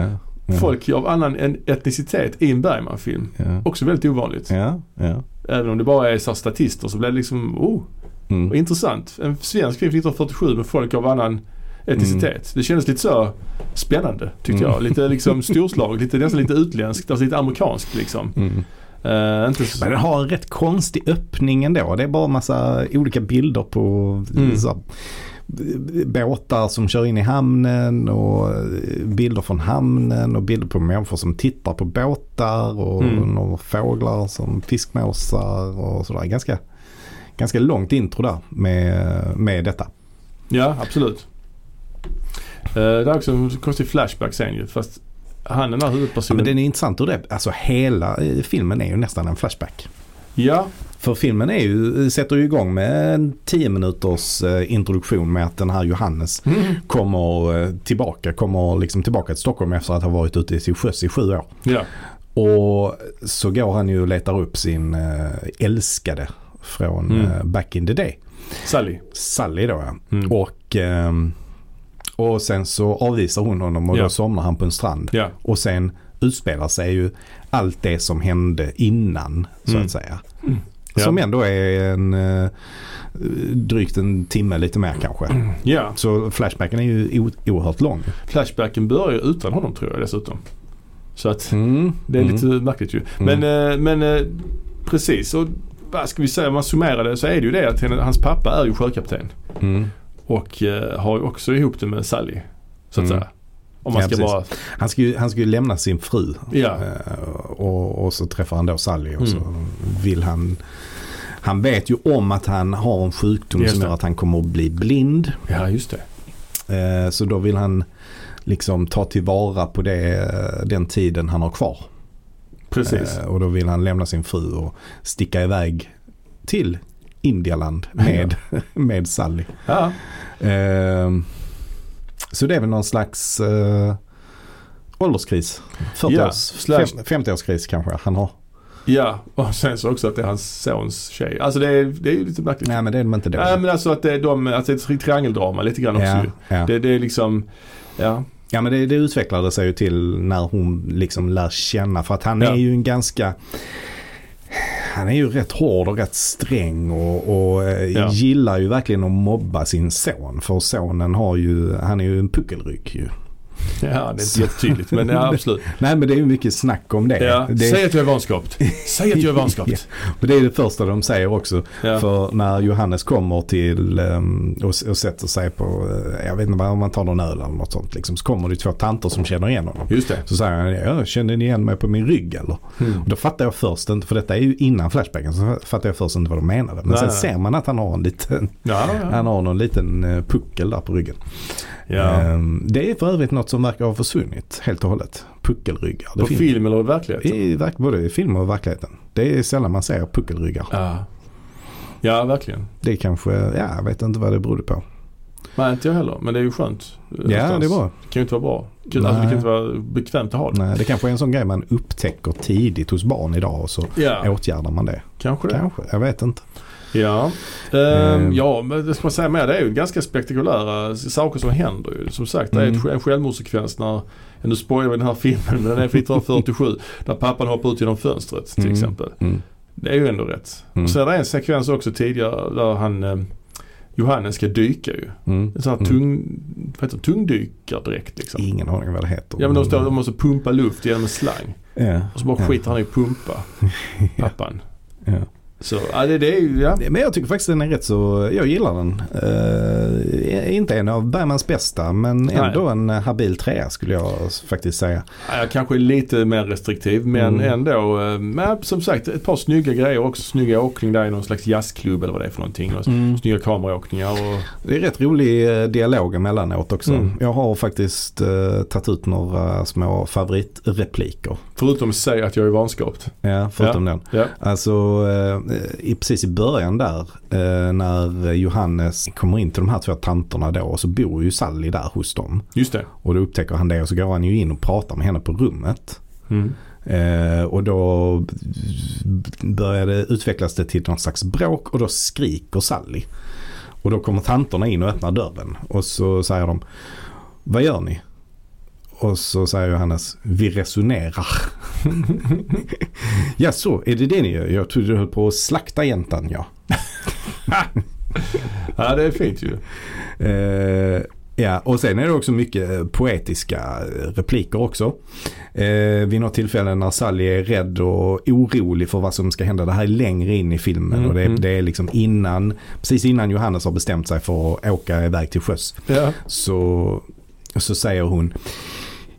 Speaker 1: Ja.
Speaker 2: folk av annan en- etnicitet i en Bergman-film.
Speaker 1: Ja.
Speaker 2: Också väldigt ovanligt.
Speaker 1: Ja. Ja.
Speaker 2: Även om det bara är så här statister så blir det liksom, oh,
Speaker 1: Mm.
Speaker 2: vad intressant. En svensk film från 1947 med folk av annan etnicitet. Det kändes lite så spännande tyckte
Speaker 1: Mm.
Speaker 2: jag.
Speaker 1: [laughs]
Speaker 2: Lite liksom storslag, lite, nästan lite utländskt, alltså lite amerikanskt liksom.
Speaker 1: Mm.
Speaker 2: Eh, inte så,
Speaker 1: Men den har en rätt konstig öppning ändå. Det är bara massa olika bilder på
Speaker 2: Mm.
Speaker 1: så, här, båtar som kör in i hamnen och bilder från hamnen och bilder på människor som tittar på båtar och
Speaker 2: Mm.
Speaker 1: några fåglar som fiskmåsar och sådär. Ganska, ganska långt intro där med, med detta.
Speaker 2: ja, absolut. Eh, det är också en konstig flashback sen ju. Fast han den här
Speaker 1: Ja, men
Speaker 2: huvudpersonen.
Speaker 1: den är intressant ur det. Alltså hela eh, filmen är ju nästan en flashback.
Speaker 2: Ja,
Speaker 1: För filmen är ju, eh, sätter ju igång med en 10 minuters eh, introduktion med att den här Johannes kommer eh, tillbaka, kommer liksom tillbaka till Stockholm efter att ha varit ute till sjöss i sju år.
Speaker 2: ja.
Speaker 1: Och så går han ju och letar upp sin eh, älskade från
Speaker 2: Mm.
Speaker 1: eh, back in the day.
Speaker 2: Sally.
Speaker 1: Sally då ja.
Speaker 2: Mm.
Speaker 1: Och, ehm, och sen så avvisar hon honom och
Speaker 2: Ja.
Speaker 1: då somnar han på en strand.
Speaker 2: Ja.
Speaker 1: Och sen utspelar sig ju allt det som hände innan så
Speaker 2: Mm.
Speaker 1: att säga.
Speaker 2: Ja.
Speaker 1: Som ändå är en eh, drygt en timme lite mer kanske.
Speaker 2: ja,
Speaker 1: Så flashbacken är ju o- oerhört lång.
Speaker 2: flashbacken börjar utan honom tror jag dessutom. Så att Det är
Speaker 1: Mm.
Speaker 2: lite märkligt ju. Men, eh, men eh, precis. Och vad ska vi säga om man summerar det så är det ju det att henne- hans pappa är ju sjökapten.
Speaker 1: Mm.
Speaker 2: Och eh, har ju också ihop det med Sally. Så att
Speaker 1: Mm.
Speaker 2: säga. Om man
Speaker 1: Ja,
Speaker 2: ska
Speaker 1: precis.
Speaker 2: vara...
Speaker 1: Han ska ju han ska ju lämna sin fru.
Speaker 2: Ja.
Speaker 1: Eh, och, och så träffar han då Sally och så
Speaker 2: Mm.
Speaker 1: vill han han vet ju om att han har en sjukdom
Speaker 2: Just
Speaker 1: som
Speaker 2: det.
Speaker 1: gör att han kommer att bli blind.
Speaker 2: Ja, just det.
Speaker 1: Eh, Så då vill han liksom ta tillvara på det, den tiden han har kvar.
Speaker 2: Precis.
Speaker 1: Eh, Och då vill han lämna sin fru och sticka iväg till Indialand med, [laughs] med Sally.
Speaker 2: Ja.
Speaker 1: Ehm, så det är väl någon slags eh, ålderskris. 40
Speaker 2: Ja,
Speaker 1: års,
Speaker 2: slash-
Speaker 1: fem, 50-årskris kanske han har.
Speaker 2: ja, och sen så också att det är hans sons tjej. Alltså det är, det är ju lite märkligt.
Speaker 1: Nej men det är de inte då.
Speaker 2: Nej men alltså att det är, de, att det är ett triangeldrama lite grann också
Speaker 1: ja,
Speaker 2: ju.
Speaker 1: ja.
Speaker 2: Det, det är liksom, ja.
Speaker 1: ja men det, det utvecklade sig ju till när hon liksom lär känna. För att han
Speaker 2: Ja.
Speaker 1: är ju en ganska han är ju rätt hård och rätt sträng och, och eh,
Speaker 2: Ja.
Speaker 1: gillar ju verkligen att mobba sin son. För sonen har ju, han är ju en puckelryck ju.
Speaker 2: Ja, det är inte
Speaker 1: Så-
Speaker 2: jättetydligt men ja,
Speaker 1: [laughs]
Speaker 2: absolut.
Speaker 1: Nej men det är ju mycket snack om det.
Speaker 2: Ja.
Speaker 1: det
Speaker 2: Säg att jag är vanskapt. Säg att jag är vanskapt.
Speaker 1: Och det är det första de säger också.
Speaker 2: Ja.
Speaker 1: För när Johannes kommer till ehm, och, och sätter sig på, eh, jag vet inte vad, om man tar någon öl eller något sånt. Liksom, så kommer det två tanter som känner igen honom.
Speaker 2: Just det.
Speaker 1: Så säger han, "Ja, kände ni igen mig på min rygg eller? Och då fattar jag först inte, för detta är ju innan Flashbacken, så fattar jag först inte vad de menade. Men
Speaker 2: Nej,
Speaker 1: sen
Speaker 2: nej.
Speaker 1: ser man att han har en liten,
Speaker 2: Ja, ja.
Speaker 1: han har någon liten eh, puckel där på ryggen.
Speaker 2: ja.
Speaker 1: Ehm, Det är för övrigt något som verkar ha försvunnit helt och hållet. Puckelryggar. Det
Speaker 2: På
Speaker 1: finns-
Speaker 2: film eller i verkligheten?
Speaker 1: i, verk- både i film och verkligheten. Det är sällan man ser puckelryggar.
Speaker 2: Ja. ja, verkligen.
Speaker 1: Det kanske, ja, jag vet inte vad det berodde på.
Speaker 2: Nej, inte jag heller. Men det är ju skönt. eh,
Speaker 1: Ja,
Speaker 2: någonstans.
Speaker 1: det var.
Speaker 2: Det kan ju inte vara bra. Kul- Alltså,
Speaker 1: Nej.
Speaker 2: det kan inte vara bekvämt att ha det.
Speaker 1: Nej, det kanske är en sån grej man upptäcker tidigt hos barn idag och så
Speaker 2: Ja,
Speaker 1: åtgärdar man det.
Speaker 2: kanske det.
Speaker 1: Kanske, jag vet inte.
Speaker 2: Ja.
Speaker 1: Ehm.
Speaker 2: Ehm, ja, men det ska man säga mer. Det är ju ganska spektakulära saker som händer ju. Som sagt, det är ett,
Speaker 1: Mm.
Speaker 2: en självmordssekvens när, nu spoilar vi den här filmen, men den är från
Speaker 1: [laughs]
Speaker 2: 1947. när pappan hoppar ut genom fönstret till
Speaker 1: Mm.
Speaker 2: exempel.
Speaker 1: Mm.
Speaker 2: Det är ju ändå rätt.
Speaker 1: Mm.
Speaker 2: Och sen är det en sekvens också tidigare där han eh, Johannes ska dyka ju.
Speaker 1: Mm.
Speaker 2: En sån här
Speaker 1: Mm.
Speaker 2: tung, vad heter det, tungdykardirekt liksom.
Speaker 1: Ingen aning vad det heter.
Speaker 2: Ja men de står de måste pumpa luft genom en slang.
Speaker 1: Ja.
Speaker 2: Och så bara
Speaker 1: Ja.
Speaker 2: skiter han i
Speaker 1: [laughs]
Speaker 2: att pumpa. Pappan.
Speaker 1: Ja.
Speaker 2: Så ja, det, det är ju, ja.
Speaker 1: Men jag tycker faktiskt den är rätt så, jag gillar den. Eh, inte en av Bergmans bästa men
Speaker 2: Nej.
Speaker 1: ändå en habil trea skulle jag faktiskt säga.
Speaker 2: Ja, Jag kanske är lite mer restriktiv men
Speaker 1: Mm.
Speaker 2: ändå. eh, Men som sagt ett par snygga grejer också. Snygga åkning där i någon slags jazzklubb eller vad det är för någonting. Och Snygga kameraåkningar och
Speaker 1: Det är rätt rolig eh, dialog emellanåt också.
Speaker 2: Mm.
Speaker 1: Jag har faktiskt eh, tagit ut några små favoritrepliker.
Speaker 2: förutom att säga att jag är vanskapt.
Speaker 1: Ja, förutom den.
Speaker 2: Ja.
Speaker 1: Alltså eh, i, precis i början där eh, när Johannes kommer in till de här två tanterna då och så bor ju Sally där hos dem.
Speaker 2: Just det.
Speaker 1: Och då upptäcker han det och så går han ju in och pratar med henne på rummet.
Speaker 2: Mm.
Speaker 1: Eh, och då började utvecklas det till någon slags bråk och då skriker Sally. Och då kommer tanterna in och öppnar dörren och så säger de Vad gör ni? Och så säger Johannes Vi resonerar. [laughs] ja så, är det det ni gör? Jag trodde du höll på att slakta jäntan ja.
Speaker 2: Ja det är fint ju.
Speaker 1: Eh, ja, och sen är det också mycket eh, poetiska eh, repliker också. Eh, vid något tillfälle när Sally är rädd och orolig för vad som ska hända. Det här är längre in i filmen
Speaker 2: Mm,
Speaker 1: och det,
Speaker 2: mm.
Speaker 1: det är liksom innan, precis innan Johannes har bestämt sig för att åka iväg till sjöss.
Speaker 2: Ja.
Speaker 1: Så, så säger hon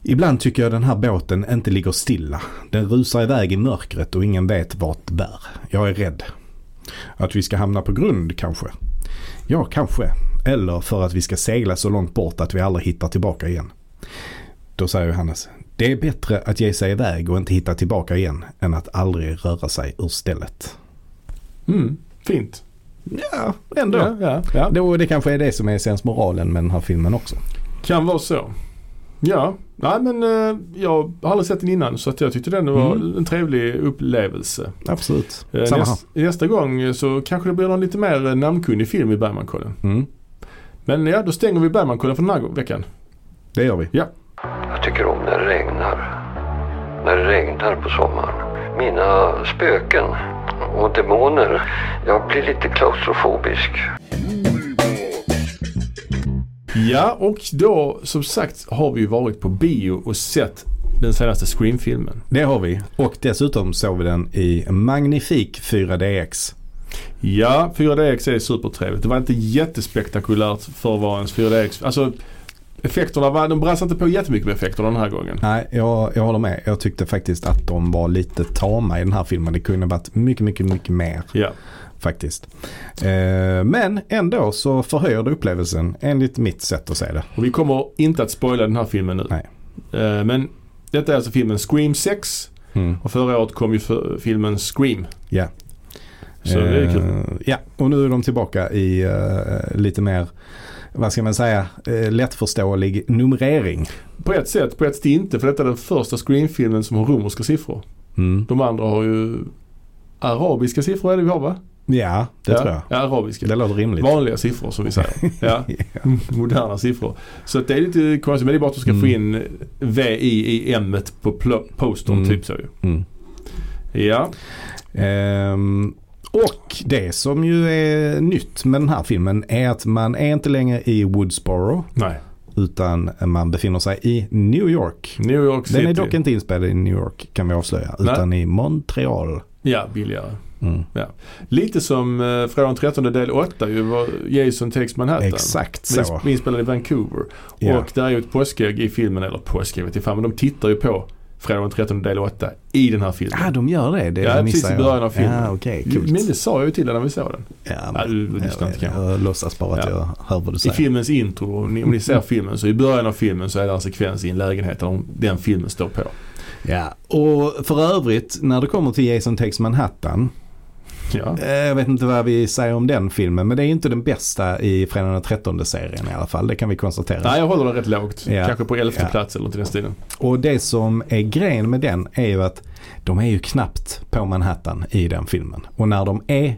Speaker 1: Ibland tycker jag den här båten inte ligger stilla. Den rusar iväg i mörkret och ingen vet vart det bär. Jag är rädd. Att vi ska hamna på grund kanske. Ja, kanske. Eller för att vi ska segla så långt bort att vi aldrig hittar tillbaka igen. Då säger Johannes. Det är bättre att ge sig iväg och inte hitta tillbaka igen än att aldrig röra sig ur stället.
Speaker 2: Mm. Fint.
Speaker 1: Ja, ändå.
Speaker 2: Ja, ja, ja.
Speaker 1: Då, det kanske är det som är sensmoralen med den här filmen också.
Speaker 2: Kan vara så. Ja, nej men eh, jag har aldrig sett den innan så att jag tyckte den var
Speaker 1: Mm.
Speaker 2: en trevlig upplevelse.
Speaker 1: Absolut.
Speaker 2: Eh,
Speaker 1: Samma här.
Speaker 2: näs- nästa gång eh, så kanske det blir någon lite mer eh, namnkunnig film i Bergmankollen.
Speaker 1: Mm.
Speaker 2: Men ja, då stänger vi Bergmankollen för den här veckan.
Speaker 1: Det gör vi.
Speaker 3: Jag tycker om när det regnar. När det regnar på sommaren. Mina spöken och demoner. Jag blir lite klaustrofobisk.
Speaker 2: Ja, och då som sagt har vi ju varit på bio och sett den senaste Scream-filmen.
Speaker 1: Det har vi. Och dessutom såg vi den i magnifik 4DX.
Speaker 2: Ja, 4DX är supertrevligt. Det var inte jättespektakulärt för att vara ens 4DX. Alltså, Effekterna var, de brassade inte på jättemycket med effekterna den här gången.
Speaker 1: Nej, jag, jag håller med. Jag tyckte faktiskt att de var lite tama i den här filmen. Det kunde varit mycket, mycket, mycket mer
Speaker 2: Ja.
Speaker 1: faktiskt. Eh, men ändå så förhöjer det upplevelsen enligt mitt sätt att se det.
Speaker 2: Och vi kommer inte att spoila den här filmen nu.
Speaker 1: Nej.
Speaker 2: Eh, Men detta är alltså filmen Scream 6
Speaker 1: Mm.
Speaker 2: och förra året kom ju för- filmen Scream.
Speaker 1: Ja.
Speaker 2: Så det är kul.
Speaker 1: Eh, Ja, och nu är de tillbaka i eh, lite mer, vad ska man säga, eh, lättförståelig numrering.
Speaker 2: På ett sätt, på ett sätt inte för detta är den första Scream-filmen som har romerska siffror.
Speaker 1: Mm.
Speaker 2: De andra har ju arabiska siffror är det vi har va?
Speaker 1: Ja, det
Speaker 2: ja.
Speaker 1: tror jag.
Speaker 2: Ja, arabiska.
Speaker 1: Det låter rimligt.
Speaker 2: Vanliga siffror som
Speaker 1: [laughs]
Speaker 2: vi säger. Ja. Mm, Moderna siffror. Så att det är lite konstigt men det är bara att du ska få
Speaker 1: Mm.
Speaker 2: in V i M på pl- postern
Speaker 1: Mm.
Speaker 2: typ så ju.
Speaker 1: Mm.
Speaker 2: Ja.
Speaker 1: Ehm, och det som ju är nytt med den här filmen är att man är inte längre i Woodsboro
Speaker 2: Nej.
Speaker 1: utan man befinner sig i New York.
Speaker 2: New York City.
Speaker 1: Den är dock inte inspelad i New York kan vi avslöja
Speaker 2: Nej.
Speaker 1: utan i Montreal.
Speaker 2: Ja, billigare.
Speaker 1: Mm.
Speaker 2: Lite som eh, från 13 del 8 ju var Jason Takes Manhattan.
Speaker 1: Exakt
Speaker 2: Men
Speaker 1: så.
Speaker 2: ins- Inspelad i Vancouver.
Speaker 1: Ja.
Speaker 2: Och där är ju ett påskägg i filmen, eller påskägg vet jag fan, men de tittar ju på Fredag den 13 del 8 i den här filmen.
Speaker 1: Ah, de gör det. det
Speaker 2: Ja,
Speaker 1: missar
Speaker 2: precis i
Speaker 1: jag.
Speaker 2: början av filmen.
Speaker 1: Ja, okej.
Speaker 2: men
Speaker 1: coolt.
Speaker 2: det sa jag ju till dig när vi såg den.
Speaker 1: Ja,
Speaker 2: Ja,
Speaker 1: men,
Speaker 2: du lyssnar inte
Speaker 1: jag,
Speaker 2: kanske.
Speaker 1: jag, låtsas bara att jag hör vad du
Speaker 2: I
Speaker 1: säger.
Speaker 2: filmens intro, om ni, om ni ser filmen, så i början av filmen så är det en sekvens i en lägenhet där de- den filmen står på.
Speaker 1: Ja. Och för övrigt när det kommer till Jason Takes Manhattan.
Speaker 2: Ja.
Speaker 1: eh, Jag vet inte vad vi säger om den filmen men det är inte den bästa i Fredagen den 13 serien i alla fall. Det kan vi konstatera.
Speaker 2: Nej, jag håller den rätt lågt.
Speaker 1: Ja.
Speaker 2: Kanske på elfte
Speaker 1: Ja.
Speaker 2: plats eller något i den stilen.
Speaker 1: Och det som är grejen med den är ju att de är ju knappt på Manhattan i den filmen. Och när de är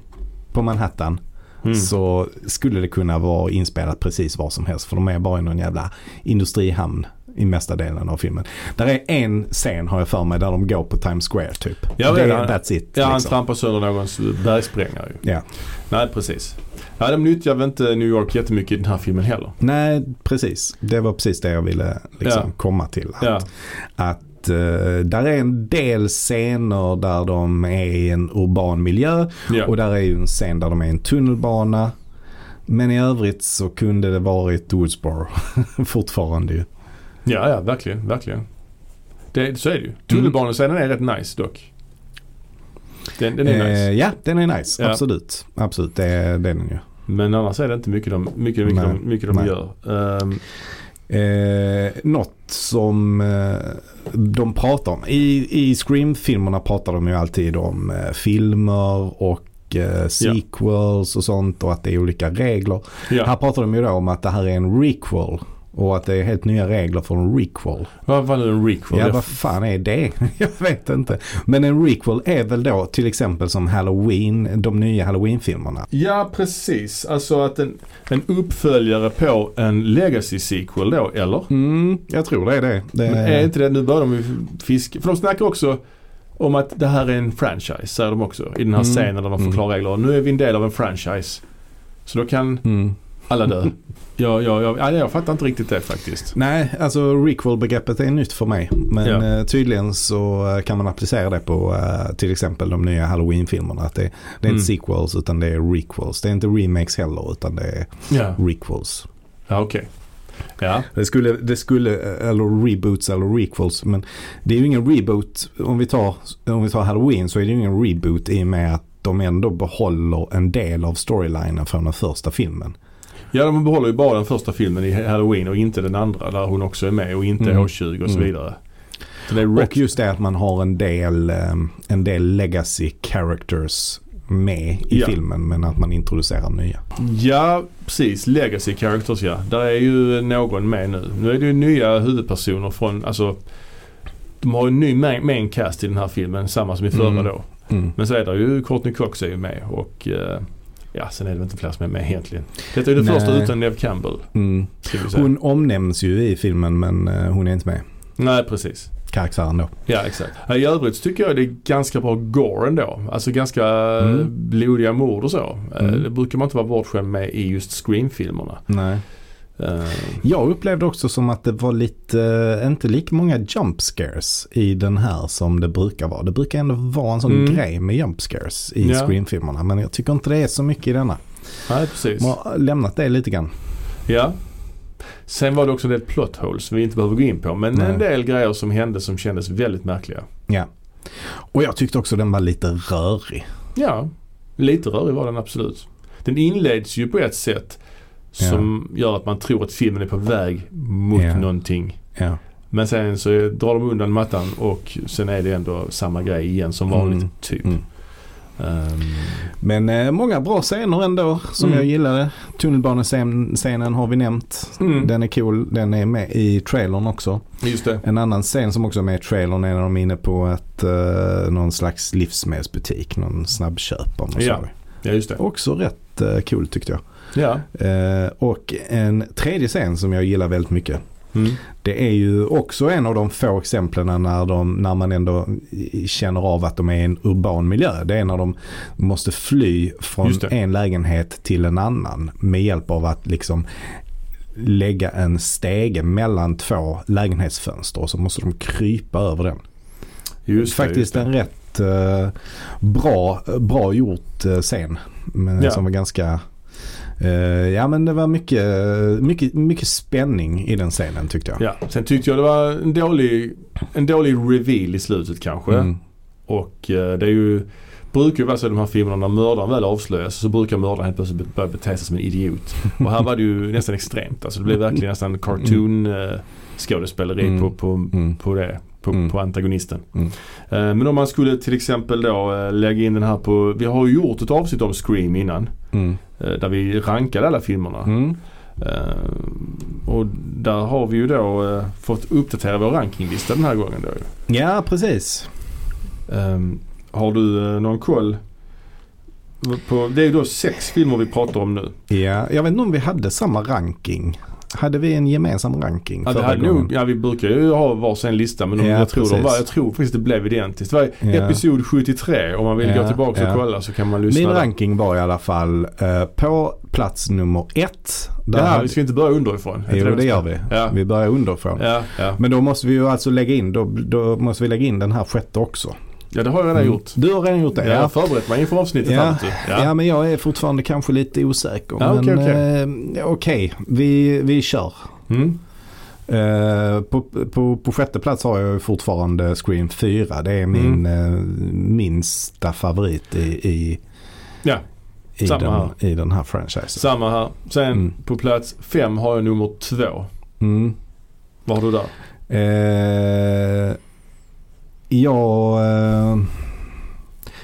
Speaker 1: på Manhattan
Speaker 2: Mm.
Speaker 1: så skulle det kunna vara inspelat precis var som helst. För de är bara i någon jävla industrihamn i mesta delen av filmen. Där är en scen har jag för mig där de går på Times Square typ.
Speaker 2: Ja,
Speaker 1: det,
Speaker 2: det-
Speaker 1: that's it.
Speaker 2: Ja, han
Speaker 1: liksom.
Speaker 2: trampar sönder någons bergsprängare ju.
Speaker 1: ja.
Speaker 2: Nej, precis. Nej, de nyttjar väl inte New York jättemycket i den här filmen heller.
Speaker 1: Nej, precis. Det var precis det jag ville liksom,
Speaker 2: Ja.
Speaker 1: komma till. Att,
Speaker 2: Ja.
Speaker 1: att eh, där är en del scener där de är i en urban miljö.
Speaker 2: Ja.
Speaker 1: Och där är ju en scen där de är i en tunnelbana. Men i övrigt så kunde det varit Woodsboro [laughs] fortfarande ju.
Speaker 2: Ja, ja, verkligen, verkligen. Det, så är det ju.
Speaker 1: Mm.
Speaker 2: Tunnelbanescenen är rätt nice dock. Den, den är nice.
Speaker 1: Eh, ja, den är nice.
Speaker 2: Ja.
Speaker 1: Absolut. Absolut, det, är- det är den ju.
Speaker 2: Men annars är det inte mycket de, mycket, mycket
Speaker 1: Nej,
Speaker 2: de, mycket de
Speaker 1: nej.
Speaker 2: gör. Ehm,
Speaker 1: Eh, något som eh, de pratar om. I, i Scream-filmerna pratar de ju alltid om eh, filmer och eh, sequels och sånt och att det är olika regler. Här
Speaker 2: ja.
Speaker 1: pratar de ju då om att det här är en requel och att det är helt nya regler för en requel.
Speaker 2: Vad var nu en requel?
Speaker 1: Ja,
Speaker 2: Jag-
Speaker 1: vad fan är det? [laughs] Jag vet inte. Men en requel är väl då till exempel som Halloween, de nya Halloween-filmerna.
Speaker 2: ja, precis. Alltså att en, en uppföljare på en legacy sequel då, eller?
Speaker 1: Mm, jag tror det är det. det
Speaker 2: Men är inte det, nu börjar de ju fiska. För de snackar också om att det här är en franchise, säger de också. I den här
Speaker 1: Mm.
Speaker 2: scenen där de
Speaker 1: Mm.
Speaker 2: förklarar regler. Nu är vi en del av en franchise. Så då kan
Speaker 1: Mm.
Speaker 2: alla dö. jag, jag, jag, nej, jag fattar inte riktigt det faktiskt.
Speaker 1: Nej, alltså requel-begreppet är nytt för mig. Men
Speaker 2: Ja.
Speaker 1: eh, tydligen så eh, kan man applicera det på eh, till exempel de nya Halloween-filmerna. Att det, det är
Speaker 2: Mm.
Speaker 1: inte sequels utan det är requels. Det är inte remakes heller utan det är
Speaker 2: Ja,
Speaker 1: requels.
Speaker 2: ja okej. Ja.
Speaker 1: Det skulle, det skulle, eh, eller reboots eller requels. Men det är ju ingen reboot. Om vi tar, om vi tar Halloween så är det ju ingen reboot i och med att de ändå behåller en del av storylinen från den första filmen.
Speaker 2: ja, de behåller ju bara den första filmen i Halloween och inte den andra där hon också är med och inte
Speaker 1: Mm.
Speaker 2: H20 och så
Speaker 1: Mm.
Speaker 2: vidare. Så det är rätt.
Speaker 1: Och just det att man har en del, eh, en del legacy characters med i
Speaker 2: Ja.
Speaker 1: filmen men att man introducerar nya.
Speaker 2: Ja, precis. Legacy characters ja. Där är ju någon med nu. Nu är det ju nya huvudpersoner från, alltså de har ju en ny main, main cast i den här filmen, samma som i förra
Speaker 1: Mm.
Speaker 2: då.
Speaker 1: Mm.
Speaker 2: Men så är det ju Courtney Cox är ju med och eh, ja, sen är det väl inte fler som är med egentligen. Detta är ju det
Speaker 1: Nej.
Speaker 2: första utan Nev Campbell,
Speaker 1: Mm.
Speaker 2: ska vi säga.
Speaker 1: Hon omnämns ju i filmen men eh, hon är inte med.
Speaker 2: Nej, precis.
Speaker 1: Karaktären då.
Speaker 2: Ja exakt. Ja, I övrigt så tycker jag det är ganska bra gore ändå. Alltså ganska
Speaker 1: Mm.
Speaker 2: eh, blodiga mord och så. Eh,
Speaker 1: Mm.
Speaker 2: Det brukar man inte vara bortskämd med i just Scream-filmerna.
Speaker 1: Nej.
Speaker 2: Eh,
Speaker 1: Jag upplevde också som att det var lite, eh, inte lika många jump scares i den här som det brukar vara. Det brukar ändå vara en sån
Speaker 2: Mm.
Speaker 1: grej med jump scares i
Speaker 2: Ja.
Speaker 1: Scream-filmerna. Men jag tycker inte det är så mycket i denna.
Speaker 2: nej precis.
Speaker 1: Man har lämnat det lite grann.
Speaker 2: Ja. Sen var det också en del plot holes som vi inte behöver gå in på. Men
Speaker 1: Nej.
Speaker 2: en del grejer som hände som kändes väldigt märkliga.
Speaker 1: Ja. Och jag tyckte också den var lite rörig.
Speaker 2: Ja, lite rörig var den absolut. Den inleds ju på ett sätt som gör att man tror att filmen är på väg mot
Speaker 1: Ja.
Speaker 2: någonting.
Speaker 1: Ja.
Speaker 2: Men sen så drar de undan mattan och sen är det ändå samma grej igen som vanligt
Speaker 1: Mm.
Speaker 2: typ.
Speaker 1: Mm.
Speaker 2: Ehm,
Speaker 1: Men eh, många bra scener ändå som
Speaker 2: Mm.
Speaker 1: jag gillade. Tunnelbanescenen har vi nämnt.
Speaker 2: Mm.
Speaker 1: Den är cool. Den är med i trailern också.
Speaker 2: just det.
Speaker 1: En annan scen som också är med i trailern är när de är inne på att, eh, någon slags livsmedelsbutik. Någon snabbköp om man
Speaker 2: Ja.
Speaker 1: säger.
Speaker 2: Ja, just det.
Speaker 1: Också rätt eh, cool tyckte jag.
Speaker 2: Ja.
Speaker 1: Eh, och en tredje scen som jag gillar väldigt mycket.
Speaker 2: Mm.
Speaker 1: Det är ju också en av de få exemplen när, de, när man ändå i- känner av att de är i en urban miljö. Det är när de måste fly från
Speaker 2: Just det.
Speaker 1: en lägenhet till en annan med hjälp av att liksom lägga en stege mellan två lägenhetsfönster och så måste de krypa över den.
Speaker 2: Just det, just
Speaker 1: Faktiskt
Speaker 2: det.
Speaker 1: en rätt eh, bra, bra gjort eh, scen. Men,
Speaker 2: Ja.
Speaker 1: Som var ganska eh, Ja men det var mycket, mycket, mycket spänning i den scenen tyckte jag.
Speaker 2: Ja, sen tyckte jag det var en dålig, en dålig reveal i slutet kanske.
Speaker 1: Mm.
Speaker 2: Och eh, det är ju, brukar ju vara så i de här filmerna när mördaren väl avslöjas så brukar mördaren helt plötsligt be- börja bete sig som en idiot. Och här var det ju nästan extremt. Alltså det blev verkligen nästan cartoon eh, skådespeleri
Speaker 1: Mm.
Speaker 2: på, på,
Speaker 1: Mm.
Speaker 2: på det. På,
Speaker 1: Mm.
Speaker 2: på antagonisten.
Speaker 1: Mm.
Speaker 2: Eh, Men om man skulle till exempel då eh, lägga in den här på, vi har ju gjort ett avsnitt om Scream innan.
Speaker 1: Mm.
Speaker 2: eh, Där vi rankade alla filmerna.
Speaker 1: Mm.
Speaker 2: Eh, och där har vi ju då eh, fått uppdatera vår rankinglista den här gången då ju.
Speaker 1: Ja, precis.
Speaker 2: Ehm, har du eh, någon koll? På, det är ju då sex filmer vi pratar om nu.
Speaker 1: Ja, jag vet inte om vi hade samma ranking. Hade vi en gemensam ranking
Speaker 2: Ja, det
Speaker 1: förra
Speaker 2: hade
Speaker 1: gången?
Speaker 2: nog, ja, vi brukar ju ha varsin lista men de,
Speaker 1: Ja,
Speaker 2: jag, tror de
Speaker 1: precis.
Speaker 2: var, jag tror faktiskt det blev identiskt. Det var
Speaker 1: Ja.
Speaker 2: episod 73 om man vill
Speaker 1: Ja,
Speaker 2: gå tillbaka
Speaker 1: ja.
Speaker 2: och kolla så kan man lyssna.
Speaker 1: Min
Speaker 2: där.
Speaker 1: ranking var i alla fall eh, på plats nummer ett. Där
Speaker 2: det här,
Speaker 1: hade-
Speaker 2: vi ska inte börja underifrån. Är
Speaker 1: Jo,
Speaker 2: vi
Speaker 1: det
Speaker 2: ska-
Speaker 1: gör vi.
Speaker 2: Ja.
Speaker 1: Vi börjar underifrån.
Speaker 2: Ja, ja.
Speaker 1: Men då måste vi ju alltså lägga in, då, då måste vi lägga in den här sjätte också.
Speaker 2: ja, det har jag redan gjort.
Speaker 1: Du har redan gjort Mm. det?
Speaker 2: Jag har förberett mig inför avsnittet
Speaker 1: Ja.
Speaker 2: här. vet du.
Speaker 1: Ja. men jag är fortfarande kanske lite osäker.
Speaker 2: Ja, okej,
Speaker 1: men eh, okej, vi, vi kör.
Speaker 2: Mm.
Speaker 1: Eh, på, på, på sjätte plats har jag ju fortfarande Scream 4. Det är min
Speaker 2: Mm.
Speaker 1: eh, minsta favorit i, i,
Speaker 2: ja.
Speaker 1: i,
Speaker 2: Samma
Speaker 1: den, i den här franchisen.
Speaker 2: Samma här. Sen
Speaker 1: Mm.
Speaker 2: på plats fem har jag nummer två.
Speaker 1: Mm.
Speaker 2: Vad har du där?
Speaker 1: Eh, jag eh,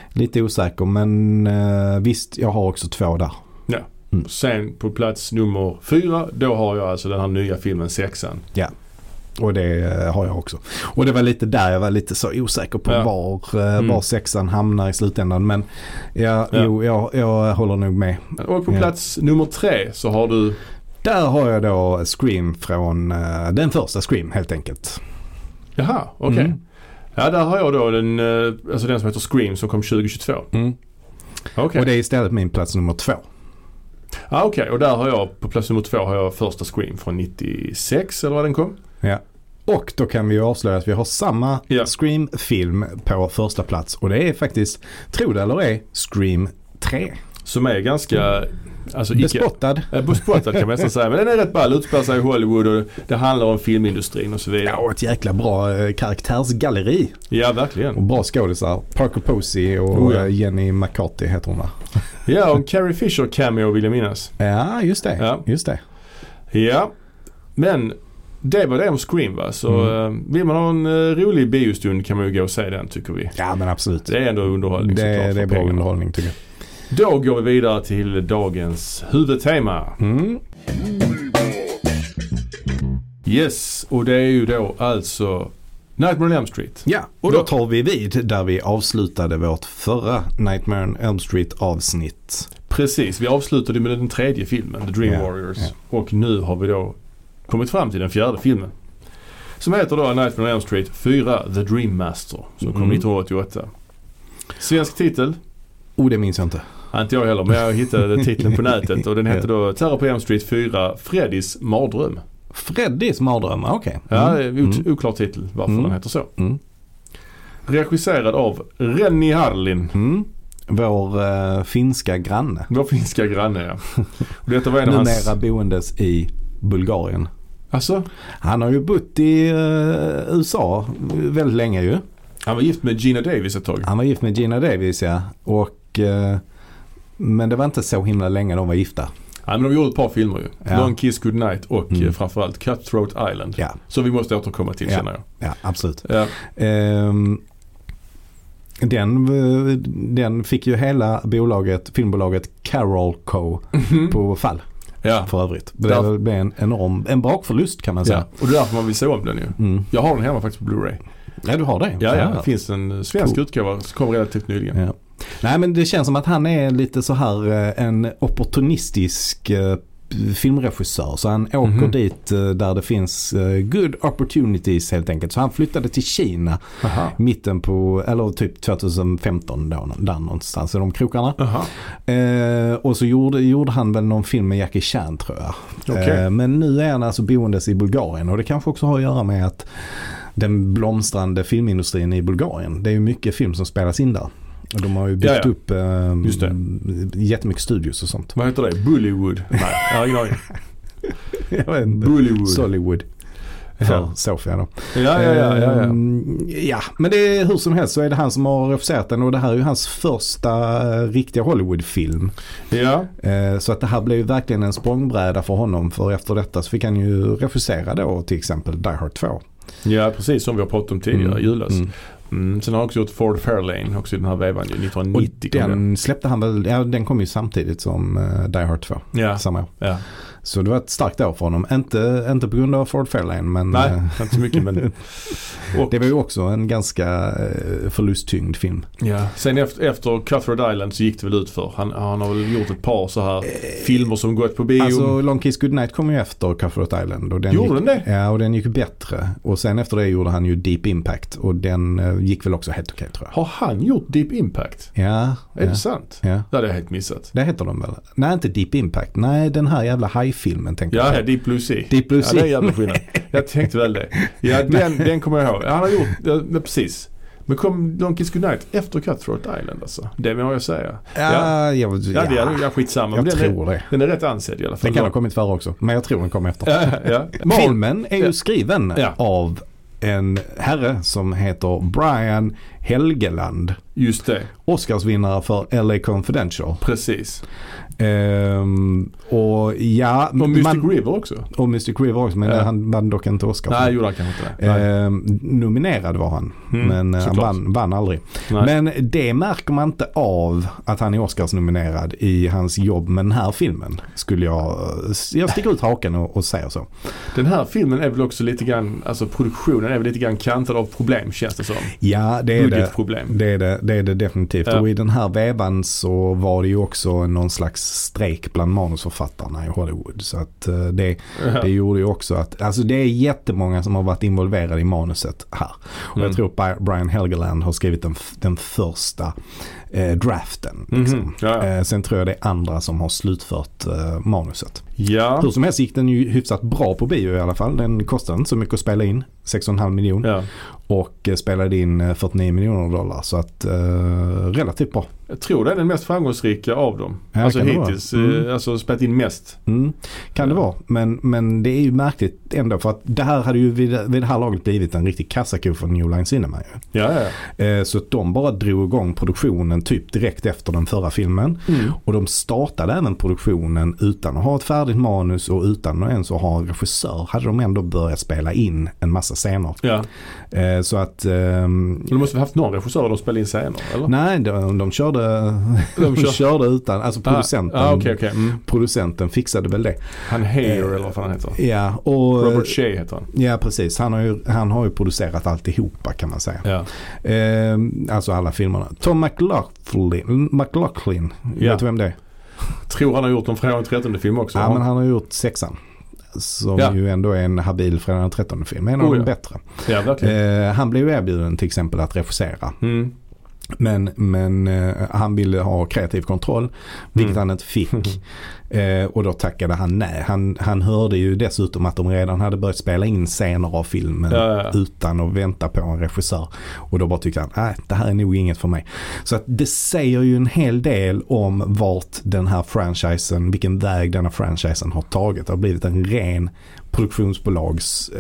Speaker 1: lite osäker men eh, visst jag har också två där.
Speaker 2: Sen på plats nummer fyra, då har jag alltså den här nya filmen Sexan.
Speaker 1: Och det eh, har jag också. Och det var lite där jag var lite så osäker på
Speaker 2: Ja.
Speaker 1: var, eh,
Speaker 2: Mm.
Speaker 1: var sexan hamnar i slutändan. Men ja,
Speaker 2: Ja.
Speaker 1: Jo, jag, jag håller nog med.
Speaker 2: Och på
Speaker 1: Ja.
Speaker 2: plats nummer tre så har du,
Speaker 1: Där har jag då Scream från eh, den första Scream helt enkelt.
Speaker 2: jaha, okej.
Speaker 1: Mm.
Speaker 2: Ja, där har jag då den, eh, alltså den som heter Scream som kom 2022. Okej.
Speaker 1: Mm. Och det är istället min plats nummer två.
Speaker 2: Ja, okej. Och där har jag, på plats nummer två har jag första Scream från 96 eller vad den kom.
Speaker 1: Och då kan vi ju avslöja att vi har samma
Speaker 2: Ja.
Speaker 1: Scream-film på första plats. Och det är faktiskt, tro det eller ej, Scream 3.
Speaker 2: Som är ganska, alltså icke...
Speaker 1: Bespottad.
Speaker 2: eh, Bespottad kan man nästan säga. Men den är rätt ball, utspelar sig i Hollywood och det handlar om filmindustrin och så
Speaker 1: Ja,
Speaker 2: vidare.
Speaker 1: och ett jäkla bra eh, karaktärsgalleri.
Speaker 2: Ja,
Speaker 1: Och
Speaker 2: verkligen.
Speaker 1: bra skådisar. Parker Posey och
Speaker 2: Oh, ja.
Speaker 1: eh, Jenny McCarthy heter hon va?
Speaker 2: Ja, och Carrie Fisher cameo vill jag minnas.
Speaker 1: Ja, just det.
Speaker 2: Ja.
Speaker 1: Just det.
Speaker 2: Ja, men det var det om Scream va. Så
Speaker 1: Mm.
Speaker 2: eh, vill man ha en eh, rolig biostund kan man ju gå och se den tycker vi.
Speaker 1: Ja, men absolut.
Speaker 2: Det är ändå underhållning
Speaker 1: det,
Speaker 2: såklart
Speaker 1: det
Speaker 2: för
Speaker 1: är bra
Speaker 2: pengarna.
Speaker 1: underhållning tycker jag.
Speaker 2: Då går vi vidare till dagens huvudtema.
Speaker 1: Mm.
Speaker 2: Yes, och det är ju då alltså Nightmare on Elm Street.
Speaker 1: Ja, och då tar vi vid där vi avslutade vårt förra Nightmare on Elm Street avsnitt.
Speaker 2: Precis, vi avslutade med den tredje filmen, The Dream
Speaker 1: Ja,
Speaker 2: Warriors. Och nu har vi då kommit fram till den fjärde filmen. Som heter då Nightmare on Elm Street 4, The Dream Master. Som kom
Speaker 1: Mm.
Speaker 2: 1988. Svensk titel,
Speaker 1: Oh, det minns jag inte.
Speaker 2: Ja, Inte jag heller, men jag
Speaker 1: [laughs]
Speaker 2: hittade titeln på nätet och den hette då Terror på Elm Street 4, Freddys mardröm.
Speaker 1: Freddys mardröm, okej.
Speaker 2: Ja, det är
Speaker 1: Mm.
Speaker 2: ot- oklar titel varför
Speaker 1: Mm.
Speaker 2: den heter så.
Speaker 1: Mm.
Speaker 2: Regisserad av Renny Harlin,
Speaker 1: Mm. Vår eh, finska granne. [laughs]
Speaker 2: vår finska granne. Ja. Och detta var en av
Speaker 1: Numera
Speaker 2: hans...
Speaker 1: boendes i Bulgarien.
Speaker 2: Alltså,
Speaker 1: Han har ju bott i eh, USA väldigt länge ju.
Speaker 2: han var gift med Gina Davis ett tag.
Speaker 1: Han var gift med Gina Davis ja. Och, eh, men det var inte så himla länge de var gifta.
Speaker 2: Ja, men de gjorde ett par filmer ju.
Speaker 1: Ja.
Speaker 2: Long Kiss Goodnight och
Speaker 1: Mm.
Speaker 2: eh, framförallt Cutthroat Island.
Speaker 1: Ja,
Speaker 2: Så vi måste återkomma till känner jag.
Speaker 1: ja absolut.
Speaker 2: Ja. [laughs]
Speaker 1: Ehm, den, eh, den fick ju hela bolaget, filmbolaget Carol Co på fall
Speaker 2: Mm. Ja.
Speaker 1: för övrigt.
Speaker 2: Där-
Speaker 1: Det blev en enorm, en bakförlust kan man säga.
Speaker 2: ja. Och det är därför man vill se om den ju.
Speaker 1: Mm.
Speaker 2: Jag har den hemma faktiskt på Blu-ray.
Speaker 1: Ja, du har det.
Speaker 2: Ja, ja. Det finns en eh, svensk utgåva som kom relativt nyligen.
Speaker 1: Ja. Nej men det känns som att han är lite så här eh, en opportunistisk eh, filmregissör. Så han åker
Speaker 2: Mhm.
Speaker 1: dit eh, där det finns eh, good opportunities helt enkelt. Så han flyttade till Kina
Speaker 2: Aha.
Speaker 1: mitten på, eller typ 2015 då, där någonstans i de krokarna.
Speaker 2: Aha.
Speaker 1: Eh, och så gjorde, gjorde han väl någon film med Jackie Chan tror jag.
Speaker 2: Okej.
Speaker 1: Eh, men nu är han alltså boendes i Bulgarien och det kanske också har att göra med att den blomstrande filmindustrin i Bulgarien. Det är ju mycket film som spelas in där. Och de har ju byggt
Speaker 2: Ja, ja.
Speaker 1: upp eh,
Speaker 2: Just det.
Speaker 1: jättemycket studios och
Speaker 2: [laughs]
Speaker 1: sånt.
Speaker 2: Vad heter det? Bullywood? Nej, jag har ingen aning.
Speaker 1: [laughs] Jag vet inte.
Speaker 2: Bullywood.
Speaker 1: Sollywood. För
Speaker 2: Ja.
Speaker 1: Sofia då.
Speaker 2: Ja, ja, ja. ja, ja.
Speaker 1: Ehm, ja, men det är hur som helst så är det han som har regisserat den och det här är ju hans första eh, riktiga Hollywoodfilm.
Speaker 2: ja.
Speaker 1: Eh, Så att det här blev ju verkligen en språngbräda för honom för efter detta så fick han ju regissera då till exempel Die Hard 2.
Speaker 2: ja precis som vi har pratat om tidigare
Speaker 1: Mm.
Speaker 2: i julas.
Speaker 1: Mm.
Speaker 2: Mm. Sen har han också gjort Ford Fairlane också i den här vevan ju,
Speaker 1: Och
Speaker 2: 1990. kom den.
Speaker 1: den släppte han väl, ja den kom ju samtidigt som eh, Die Hard 2
Speaker 2: Ja,
Speaker 1: samma år.
Speaker 2: ja.
Speaker 1: Så det var ett starkt år för honom. Inte, inte på grund av Ford Fairlane men
Speaker 2: Nej,
Speaker 1: eh,
Speaker 2: inte så
Speaker 1: [laughs]
Speaker 2: mycket men... Och,
Speaker 1: det var ju också en ganska eh, förlusttyngd film.
Speaker 2: ja. Sen efter, efter Cutthroat Island så gick det väl ut för Han, han har väl gjort ett par så här filmer som gått på bio.
Speaker 1: Eh, Alltså Long Kiss Goodnight kom ju efter Cutthroat Island. Och den
Speaker 2: Gjorde
Speaker 1: gick,
Speaker 2: den det?
Speaker 1: Ja och den gick bättre. Och sen efter det gjorde han ju Deep Impact och den eh, gick väl också helt okej tror jag.
Speaker 2: Har han gjort Deep Impact?
Speaker 1: Ja,
Speaker 2: Är
Speaker 1: ja,
Speaker 2: det sant?
Speaker 1: ja.
Speaker 2: Det hade jag helt missat.
Speaker 1: Det heter de väl? Nej, inte Deep Impact. Nej, den här jävla hajfilmen tänker
Speaker 2: Ja,
Speaker 1: jag
Speaker 2: ja,
Speaker 1: på.
Speaker 2: Deep Blue Sea.
Speaker 1: Deep Blue Sea.
Speaker 2: Ja, det är
Speaker 1: [laughs]
Speaker 2: jävla skillnad. Jag tänkte väl det. Ja, den, den kommer jag ihåg. Han har gjort, ja, men precis. Men kom Donkey's Goodnight efter Cutthroat Island alltså? Det må jag säga.
Speaker 1: Ja, jag,
Speaker 2: Ja, det är
Speaker 1: ja,
Speaker 2: ja, skitsamma.
Speaker 1: jag
Speaker 2: men den,
Speaker 1: tror
Speaker 2: är,
Speaker 1: det.
Speaker 2: den är rätt ansedd i alla fall.
Speaker 1: Den kan ha kommit före också, men jag tror den kom efter.
Speaker 2: ja, ja. Mal,
Speaker 1: Filmen är ju
Speaker 2: Ja.
Speaker 1: skriven
Speaker 2: Ja.
Speaker 1: av en herre som heter Brian Helgeland.
Speaker 2: just det,
Speaker 1: Oscarsvinnare för LA Confidential.
Speaker 2: precis.
Speaker 1: Ehm, och ja,
Speaker 2: Och Mystic
Speaker 1: man-
Speaker 2: River också?
Speaker 1: och Mystic River också, men
Speaker 2: Ja.
Speaker 1: han vann dock inte Oscar.
Speaker 2: Nej, gjorde han kanske inte det. Nej.
Speaker 1: Ehm, nominerad var han,
Speaker 2: Mm,
Speaker 1: men eh, han
Speaker 2: såklart.
Speaker 1: vann, vann aldrig.
Speaker 2: Nej.
Speaker 1: Men det märker man inte av att han är Oscarsnominerad i hans jobb med den här filmen. Skulle jag, eh, jag sticker ut haken och, och säger så.
Speaker 2: Den här filmen är väl också lite grann, alltså produktionen är väl lite grann kantad av problem känns det som.
Speaker 1: Ja, det är det.
Speaker 2: Budgetproblem.
Speaker 1: Det är det, det, är det definitivt.
Speaker 2: Ja.
Speaker 1: Och i den här vevan så var det ju också någon slags strejk bland manusförfattarna i Hollywood. Så att eh, det, det gjorde ju också att, alltså det är jättemånga som har varit involverade i manuset här. Och jag
Speaker 2: Mm.
Speaker 1: tror Bi- Brian Helgeland har skrivit den, f- den första eh, draften. Liksom.
Speaker 2: Mhm, ja, ja.
Speaker 1: Eh, sen tror jag det är andra som har slutfört eh, manuset.
Speaker 2: Ja.
Speaker 1: Hur som helst gick den ju hyfsat bra på bio i alla fall. Den kostade inte så mycket att spela in, 6,5 miljoner.
Speaker 2: ja.
Speaker 1: Och eh, spelade in eh, 49 miljoner dollar. Så att eh, relativt bra.
Speaker 2: Jag tror det är den mest framgångsrika av dem.
Speaker 1: Ja,
Speaker 2: alltså
Speaker 1: kan det vara.
Speaker 2: hittills.
Speaker 1: Mm.
Speaker 2: Mm. Alltså spelat in mest.
Speaker 1: Mm. Kan det
Speaker 2: Ja.
Speaker 1: vara. Men, men det är ju märkligt ändå. För att det här hade ju vid, vid det här laget blivit en riktig kassako för New Line Cinema. Ju.
Speaker 2: Ja, ja.
Speaker 1: Eh, Så att de bara drog igång produktionen typ direkt efter den förra filmen.
Speaker 2: Mm.
Speaker 1: Och de startade även produktionen utan att ha ett färdigt manus och utan att ens att ha en regissör hade de ändå börjat spela in en massa scener.
Speaker 2: ja.
Speaker 1: Eh, Så att... ehm,
Speaker 2: Men de måste ha haft någon regissör de spelade in scener,
Speaker 1: [laughs]
Speaker 2: eller?
Speaker 1: Nej, de, de, körde, [laughs] de
Speaker 2: De kör-
Speaker 1: körde utan, alltså producenten,
Speaker 2: Ah, ah, okej, okej. Mm.
Speaker 1: producenten fixade väl det.
Speaker 2: Han Hayer,
Speaker 1: Eh,
Speaker 2: eller vad fan han heter.
Speaker 1: Ja, och,
Speaker 2: Robert Shea heter han.
Speaker 1: ja precis. Han har, ju, han har ju producerat alltihopa kan man säga.
Speaker 2: Ja.
Speaker 1: Eh, alltså alla filmerna. Tom McLaughlin, McLaughlin
Speaker 2: Ja.
Speaker 1: vet du vem det är?
Speaker 2: Tror han har gjort en Fredag den 13 film också.
Speaker 1: Ja, men han har gjort sexan. Som
Speaker 2: Ja.
Speaker 1: ju ändå är en habil Fredag den 13 film. En av
Speaker 2: Oh,
Speaker 1: de
Speaker 2: ja.
Speaker 1: bättre. Ehm,
Speaker 2: ja verkligen.
Speaker 1: Eh, han blev ju erbjuden till exempel att regissera.
Speaker 2: Mm.
Speaker 1: Men, men eh, han ville ha kreativ kontroll, vilket
Speaker 2: Mm.
Speaker 1: han inte
Speaker 2: [laughs]
Speaker 1: fick. Eh, och då tackade han nej. Han, han hörde ju dessutom att de redan hade börjat spela in scener av filmen
Speaker 2: Ja, ja, ja.
Speaker 1: utan att vänta på en regissör. Och då bara tyckte han, nej det här är nog inget för mig. Så att det säger ju en hel del om vart den här franchisen, vilken väg denna franchisen har tagit. Det har blivit en ren produktionsbolagsfilm.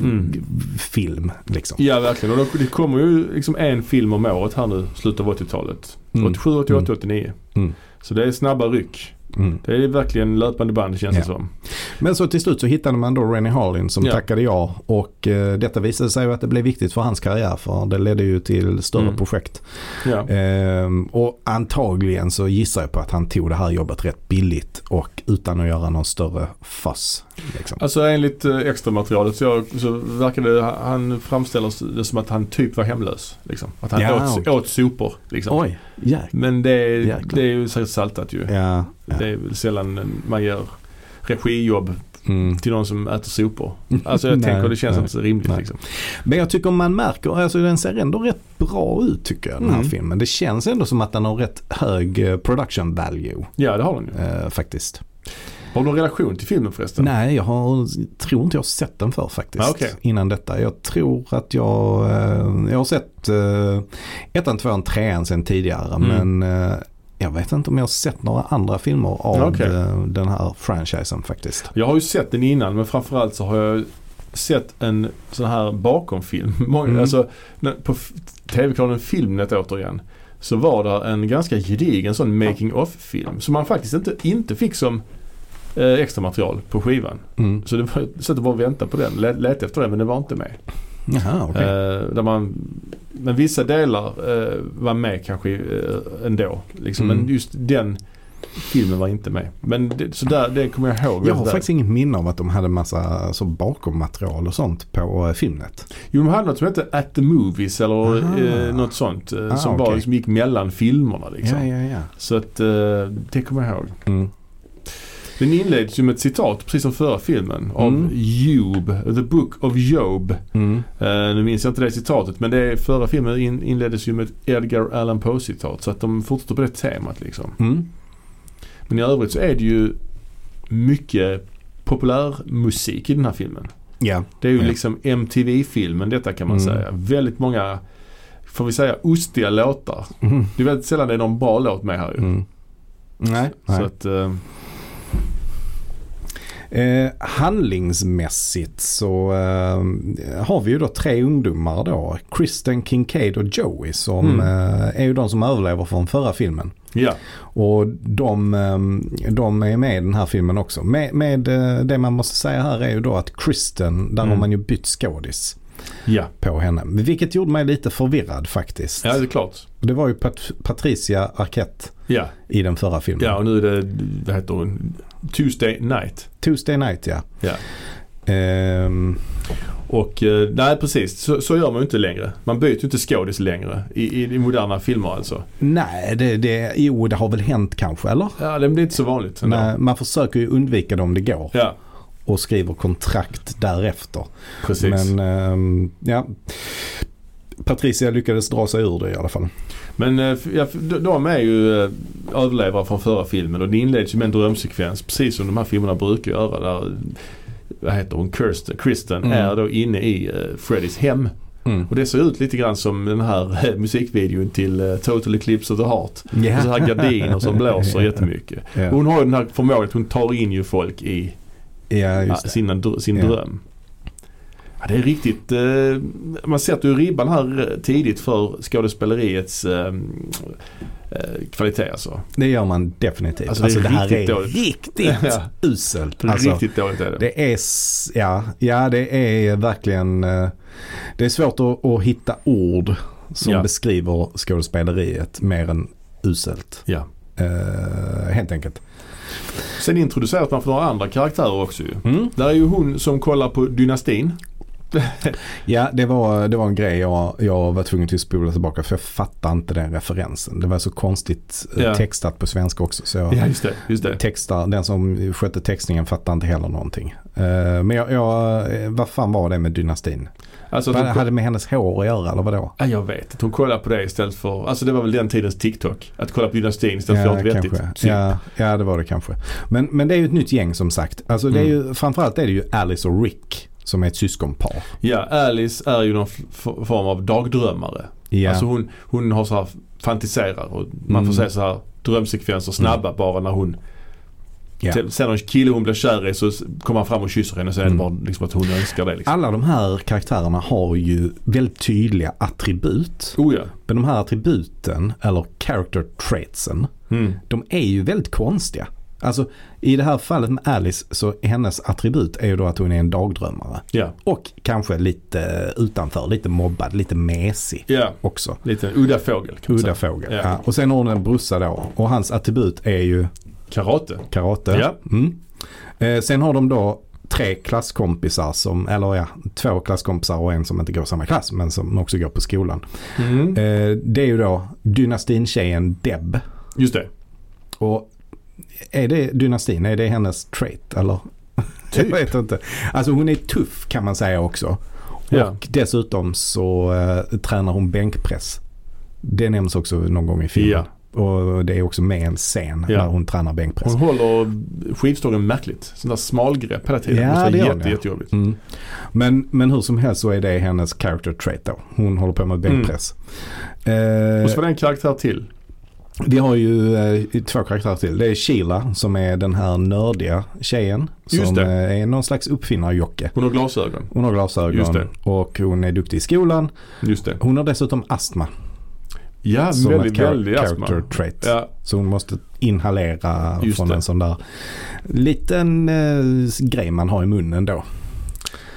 Speaker 2: Mm.
Speaker 1: Eh, film, liksom.
Speaker 2: Ja, verkligen. Och då- det kommer ju liksom en film om året här nu, slutet av 80-talet.
Speaker 1: Mm.
Speaker 2: 87, 88, 89.
Speaker 1: Mm.
Speaker 2: Så det är snabba ryck.
Speaker 1: Mm.
Speaker 2: Det är verkligen löpande band känns det
Speaker 1: Ja.
Speaker 2: som.
Speaker 1: Men så till slut så hittade man då Rennie Harlin som
Speaker 2: Ja.
Speaker 1: tackade ja. Och eh, detta visade sig ju att det blev viktigt för hans karriär för det ledde ju till större
Speaker 2: Mm.
Speaker 1: projekt.
Speaker 2: Ja.
Speaker 1: Ehm, och antagligen så gissar jag på att han tog det här jobbet rätt billigt och utan att göra någon större fuss. Liksom.
Speaker 2: Alltså enligt eh, extramaterialet så, jag, så verkade han framställer det som att han typ var hemlös. Liksom. Att han
Speaker 1: Ja,
Speaker 2: åt,
Speaker 1: okej.
Speaker 2: åt sopor. Liksom.
Speaker 1: Oj, jäklar.
Speaker 2: Men det är,
Speaker 1: Jäklar.
Speaker 2: det är ju säkert saltat ju.
Speaker 1: Ja, ja.
Speaker 2: Det är väl sällan man gör regijobb
Speaker 1: Mm.
Speaker 2: till någon som äter sopor. Alltså jag
Speaker 1: Nej,
Speaker 2: tänker det känns
Speaker 1: nej,
Speaker 2: inte så rimligt
Speaker 1: nej.
Speaker 2: liksom.
Speaker 1: Men jag tycker man märker, alltså den ser ändå rätt bra ut tycker jag den här
Speaker 2: Mm.
Speaker 1: filmen. Det känns ändå som att den har rätt hög eh, production value
Speaker 2: Ja det har den ju.
Speaker 1: eh, faktiskt.
Speaker 2: Har du någon relation till filmen förresten?
Speaker 1: Nej, jag har, tror inte jag har sett den för faktiskt.
Speaker 2: Alltså. Ah, okej.
Speaker 1: Innan detta. Jag tror att jag, eh, jag har sett eh, ettan, tvåan, trean sen tidigare.
Speaker 2: Mm.
Speaker 1: Men eh, jag vet inte om jag har sett några andra filmer av
Speaker 2: Ah, Okej.
Speaker 1: eh, den här franchisen faktiskt.
Speaker 2: Jag har ju sett den innan men framförallt så har jag sett en sån här bakomfilm. [laughs] Många,
Speaker 1: Mm.
Speaker 2: Alltså när- på f- TV-kanalen Filmnet återigen. Så var det en ganska gedigen sån making of-film som man faktiskt inte, inte fick som eh, extra material på skivan.
Speaker 1: Mm.
Speaker 2: Så det var så att det bara att vänta på den. Lät, lät efter den men den var inte med.
Speaker 1: Jaha, okej.
Speaker 2: Eh, där man, men vissa delar eh, var med kanske eh, ändå. Liksom.
Speaker 1: Mm.
Speaker 2: Men just den filmen var inte med. Men det, så där, det kommer jag ihåg.
Speaker 1: jag har
Speaker 2: Där-
Speaker 1: faktiskt inget minne av att de hade massa så bakommaterial och sånt på eh, Filmnet.
Speaker 2: Jo, de hade något som hette At the Movies eller
Speaker 1: Aha.
Speaker 2: eh, något sånt. Eh,
Speaker 1: Ah,
Speaker 2: som var,
Speaker 1: okej.
Speaker 2: liksom, gick mellan filmerna liksom.
Speaker 1: Ja, ja, ja.
Speaker 2: Så att eh, det kommer jag ihåg.
Speaker 1: Mm.
Speaker 2: Den inleds ju med ett citat, precis som förra filmen, av
Speaker 1: Mm.
Speaker 2: Job. The Book of Job.
Speaker 1: Mm.
Speaker 2: Eh, nu minns jag inte det citatet men det förra filmen in, inleddes ju med ett Edgar Allan Poe-citat. Så att de fortsätter på det temat liksom.
Speaker 1: Mm.
Speaker 2: Men i övrigt så är det ju mycket populärmusik i den här filmen.
Speaker 1: Ja.
Speaker 2: Det är ju
Speaker 1: Ja.
Speaker 2: liksom MTV-filmen detta kan man
Speaker 1: Mm.
Speaker 2: säga. Väldigt många, får vi säga, ostiga låtar.
Speaker 1: Mm.
Speaker 2: Det är väldigt sällan det är någon bra låt med här ju.
Speaker 1: Mm. Nej.
Speaker 2: Så
Speaker 1: nej.
Speaker 2: att, eh,
Speaker 1: Eh, handlingsmässigt så eh, har vi ju då tre ungdomar då. Kristen, Kincaid och Joey som
Speaker 2: Mm.
Speaker 1: eh, är ju de som överlever från förra filmen.
Speaker 2: ja.
Speaker 1: Och de, eh, de är med i den här filmen också. Med, med eh, det man måste säga här är ju då att Kristen, där har
Speaker 2: Mm.
Speaker 1: man ju bytt skådis
Speaker 2: ja.
Speaker 1: på henne. Vilket gjorde mig lite förvirrad faktiskt.
Speaker 2: Ja, det är klart.
Speaker 1: Det var ju Pat- Patricia Arquette
Speaker 2: Ja.
Speaker 1: i den förra filmen.
Speaker 2: ja, och nu är det, vad heter hon? Tuesday Night.
Speaker 1: Tuesday Night ja.
Speaker 2: Ja.
Speaker 1: Ehm,
Speaker 2: Och eh, nej precis, så, så gör man ju inte längre. Man byter ju inte skådis längre i, i, i moderna filmer alltså.
Speaker 1: nej, det, det, jo det har väl hänt kanske eller?
Speaker 2: Ja, det blir inte så vanligt ändå.
Speaker 1: Nej, eh, man försöker ju undvika det om det går
Speaker 2: Ja,
Speaker 1: och skriver kontrakt därefter.
Speaker 2: precis.
Speaker 1: Men ehm, ja, Patricia lyckades dra sig ur det i alla fall.
Speaker 2: Men eh, f- ja, f- de- de är ju eh, överlevare från förra filmen och det inleds ju med en drömsekvens precis som de här filmerna brukar göra. Där, eh, vad heter hon? Kirsten, Kristen
Speaker 1: Mm.
Speaker 2: är då inne i eh, Freddys hem. Och det ser ut lite grann som den här eh, musikvideon till eh, Total Eclipse of the Heart.
Speaker 1: Ja.
Speaker 2: Och så här gardiner som blåser jättemycket.
Speaker 1: [laughs] Ja.
Speaker 2: Hon har ju den här förmågan att hon tar in ju folk i
Speaker 1: ja,
Speaker 2: ja,
Speaker 1: just det.
Speaker 2: sina, dr- sin
Speaker 1: Ja.
Speaker 2: dröm. Ja, det är riktigt, eh, man sätter ju ribban här eh, tidigt för skådespeleriets eh, eh, kvalitet alltså.
Speaker 1: Det gör man definitivt.
Speaker 2: Alltså,
Speaker 1: Alltså,
Speaker 2: det är
Speaker 1: det, här
Speaker 2: riktigt
Speaker 1: är
Speaker 2: dåligt.
Speaker 1: riktigt
Speaker 2: Ja.
Speaker 1: uselt. Alltså,
Speaker 2: riktigt dåligt är det.
Speaker 1: Det är, s- ja, ja det är verkligen, eh, det är svårt att, att hitta ord som
Speaker 2: Ja.
Speaker 1: beskriver skådespeleriet mer än uselt.
Speaker 2: Ja.
Speaker 1: Eh, helt enkelt.
Speaker 2: Mm. Sen introduceras man för några andra karaktärer också ju. Där är ju hon som kollar på Dynastin.
Speaker 1: Ja, det var, det var en grej jag, jag var tvungen till att spola tillbaka för jag fattade inte den referensen. Det var så konstigt eh,
Speaker 2: Ja.
Speaker 1: textat på svenska också. Så jag
Speaker 2: Ja, just det. Just det.
Speaker 1: textar, den som skötte textningen fattade inte heller någonting. Eh, men jag, jag, eh, vad fan var det med dynastin?
Speaker 2: Alltså,
Speaker 1: Vad
Speaker 2: att hon,
Speaker 1: hade det med hennes hår att göra eller vadå?
Speaker 2: ja, jag vet att hon kollade på det istället för, alltså det var väl den tidens TikTok. Att kolla på dynastin istället för något vettigt.
Speaker 1: kanske.
Speaker 2: Typ.
Speaker 1: Ja, ja, det var det kanske. Men, men det är ju ett nytt gäng som sagt. Alltså, det är
Speaker 2: Mm.
Speaker 1: ju, framförallt är det ju Alice och Rick som är ett syskonpar.
Speaker 2: Ja, Alice är ju någon f- f- form av dagdrömmare.
Speaker 1: Ja.
Speaker 2: Alltså hon, hon har så här fantiserar och man
Speaker 1: Mm.
Speaker 2: får se så här drömsekvenser snabba bara när hon
Speaker 1: Ja.
Speaker 2: Sen- Sen någon kille hon blir kär i så s- kommer han fram och kysser henne och säger
Speaker 1: Mm.
Speaker 2: bara liksom att hon önskar det. Liksom.
Speaker 1: Alla de här karaktärerna har ju väldigt tydliga attribut.
Speaker 2: Oh ja.
Speaker 1: Men de här attributen, eller character traitsen,
Speaker 2: Mm.
Speaker 1: de är ju väldigt konstiga. Alltså i det här fallet med Alice så hennes attribut är ju då att hon är en dagdrömmare.
Speaker 2: Ja.
Speaker 1: Och kanske lite utanför, lite mobbad, lite mesig
Speaker 2: ja,
Speaker 1: också.
Speaker 2: lite udda fågel kan man
Speaker 1: Udda
Speaker 2: säga.
Speaker 1: fågel.
Speaker 2: Ja.
Speaker 1: Ja. Och sen har hon en brorsa då. Och hans attribut är ju
Speaker 2: Karate.
Speaker 1: karate.
Speaker 2: Ja.
Speaker 1: Mm. Eh, sen har de då tre klasskompisar som, eller ja, två klasskompisar och en som inte går i samma klass men som också går på skolan.
Speaker 2: Mm.
Speaker 1: Eh, det är ju då dynastintjejen Deb.
Speaker 2: Just det.
Speaker 1: Och är det dynastin, är det hennes trait eller? [laughs]
Speaker 2: Typ.
Speaker 1: Jag vet inte. Alltså hon är tuff kan man säga också.
Speaker 2: Ja.
Speaker 1: Och dessutom så eh, tränar hon bänkpress. Det nämns också någon gång i filmen. Och det är också med en scen
Speaker 2: Ja.
Speaker 1: när hon tränar bänkpress.
Speaker 2: Hon håller skivstången märkligt. Sån där smalgrepp hela tiden.
Speaker 1: Ja,
Speaker 2: det måste
Speaker 1: det
Speaker 2: vara
Speaker 1: gör
Speaker 2: jätte,
Speaker 1: hon, ja.
Speaker 2: jättejobbigt.
Speaker 1: Mm. Men, men hur som helst så är det hennes character trait då. Hon håller på med bänkpress. Eh,
Speaker 2: Mm. Och så var det en karaktär till.
Speaker 1: vi har ju eh, två karaktärer till. Det är Sheila som är den här nördiga tjejen.
Speaker 2: Just
Speaker 1: Som
Speaker 2: det.
Speaker 1: eh, är någon slags uppfinnarjocke.
Speaker 2: Hon har glasögon.
Speaker 1: Hon har glasögon
Speaker 2: Just det.
Speaker 1: och hon är duktig i skolan.
Speaker 2: Just det.
Speaker 1: Hon har dessutom astma
Speaker 2: Ja,
Speaker 1: som
Speaker 2: väldigt,
Speaker 1: ett char-
Speaker 2: väldigt
Speaker 1: character
Speaker 2: astma.
Speaker 1: trait.
Speaker 2: Ja,
Speaker 1: Så hon måste inhalera
Speaker 2: Just
Speaker 1: från
Speaker 2: det.
Speaker 1: en sån där liten eh, grej man har i munnen då.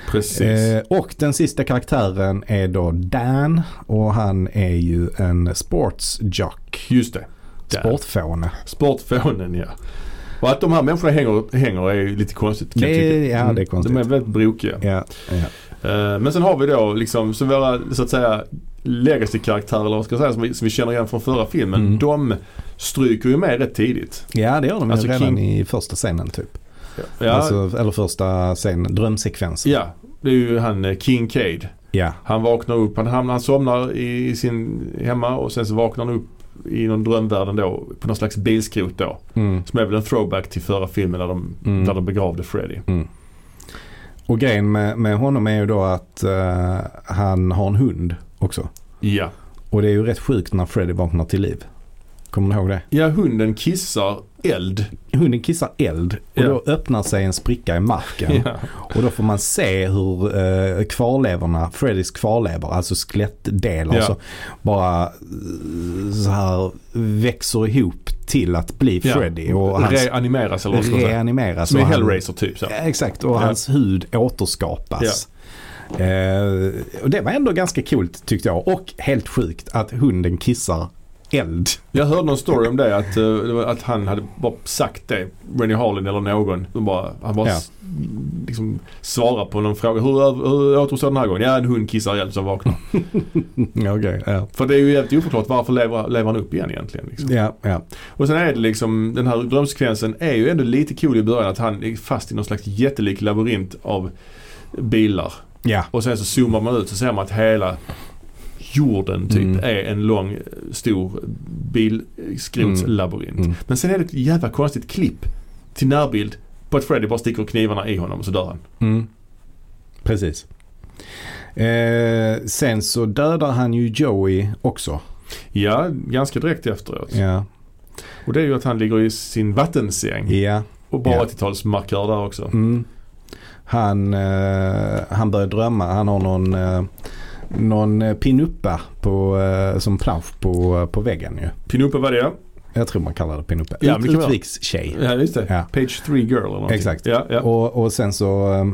Speaker 2: precis.
Speaker 1: Eh, och den sista karaktären är då Dan och han är ju en sportsjock.
Speaker 2: Just det. Där.
Speaker 1: Sportfåne.
Speaker 2: Sportfånen ja. Och att de här människorna hänger, hänger är ju lite konstigt kan
Speaker 1: Det
Speaker 2: jag
Speaker 1: är-
Speaker 2: tycka.
Speaker 1: ja, det är konstigt.
Speaker 2: De är väldigt brokiga.
Speaker 1: Ja, ja.
Speaker 2: Eh, Men sen har vi då liksom, så våra så att säga legacy-karaktärer eller vad ska jag säga, som vi, som vi känner igen från förra filmen.
Speaker 1: Mm.
Speaker 2: De stryker ju med rätt tidigt.
Speaker 1: ja det gör de
Speaker 2: Alltså,
Speaker 1: ju redan
Speaker 2: King-
Speaker 1: i första scenen typ.
Speaker 2: Ja,
Speaker 1: Alltså, eller första scenen, drömsekvensen.
Speaker 2: ja det är ju han eh, King Cade.
Speaker 1: Ja.
Speaker 2: Han vaknar upp, han, hamnar, han somnar i, i sin hemma och sen så vaknar han upp i någon drömvärld då på någon slags bilskrot då.
Speaker 1: Mm.
Speaker 2: Som är väl en throwback till förra filmen där de,
Speaker 1: Mm.
Speaker 2: där de begravde Freddy.
Speaker 1: Och grejen med, med honom är ju då att eh, han har en hund också.
Speaker 2: Ja.
Speaker 1: Och det är ju rätt sjukt när Freddy vaknar till liv. Kommer du ihåg det?
Speaker 2: ja, hunden kissar eld.
Speaker 1: Hunden kissar eld och
Speaker 2: Ja.
Speaker 1: då öppnar sig en spricka i marken.
Speaker 2: [laughs] Ja.
Speaker 1: Och då får man se hur eh, kvarlevorna, Freddys kvarlevor, alltså skelettdelar,
Speaker 2: Ja.
Speaker 1: så bara eh, så här växer ihop till att bli
Speaker 2: Ja.
Speaker 1: Freddy. Och hans
Speaker 2: Reanimeras eller vad ska man säga.
Speaker 1: reanimeras.
Speaker 2: Som i
Speaker 1: och han-
Speaker 2: Hellraiser typ så.
Speaker 1: Ja, Exakt, och
Speaker 2: Ja.
Speaker 1: hans hud återskapas. Eh, och det var ändå ganska coolt tyckte jag. Och helt sjukt att hunden kissar eld. [laughs]
Speaker 2: Jag hörde någon story om det att, eh, det var att han hade bara sagt det, Rennie Harlin eller någon. De bara, han bara
Speaker 1: Ja.
Speaker 2: s- liksom svarar på någon fråga. Hur, över- hur återuppstår den här gången? Ja, en hund kissar ihjäl som vaknar.
Speaker 1: Ja, Okej, ja.
Speaker 2: För det är ju helt oförklart varför lever, lever han upp igen egentligen. Liksom.
Speaker 1: Ja, ja.
Speaker 2: Och sen är det liksom, den här drömsekvensen är ju ändå lite cool i början att han är fast i någon slags jättelik labyrint av bilar.
Speaker 1: ja.
Speaker 2: Och sen så zoomar man ut så ser man att hela jorden typ
Speaker 1: Mm.
Speaker 2: är en lång stor bilskrotslabyrint.
Speaker 1: Mm.
Speaker 2: Men sen är det ett jävla konstigt klipp till närbild på att Freddy bara sticker knivarna i honom och så dör han.
Speaker 1: Mm. Precis. Eh, sen så dödar han ju Joey också.
Speaker 2: Ja, ganska direkt efteråt.
Speaker 1: Ja,
Speaker 2: Och det är ju att han ligger i sin vattensäng.
Speaker 1: ja.
Speaker 2: Och bara
Speaker 1: Ja.
Speaker 2: 80-talsmarkör där också.
Speaker 1: Mm. Han, eh, han börjar drömma. Han har någon, eh, någon eh, pinuppa på, eh, som plansch på, på väggen ju.
Speaker 2: Pinuppa var det ja.
Speaker 1: Jag tror man kallar det pinuppa.
Speaker 2: Ja, men det kan vara.
Speaker 1: Utrikstjej.
Speaker 2: Ja, just det.
Speaker 1: Ja.
Speaker 2: Page 3 girl eller någonting.
Speaker 1: Exakt.
Speaker 2: Ja, ja.
Speaker 1: Och, och sen så eh,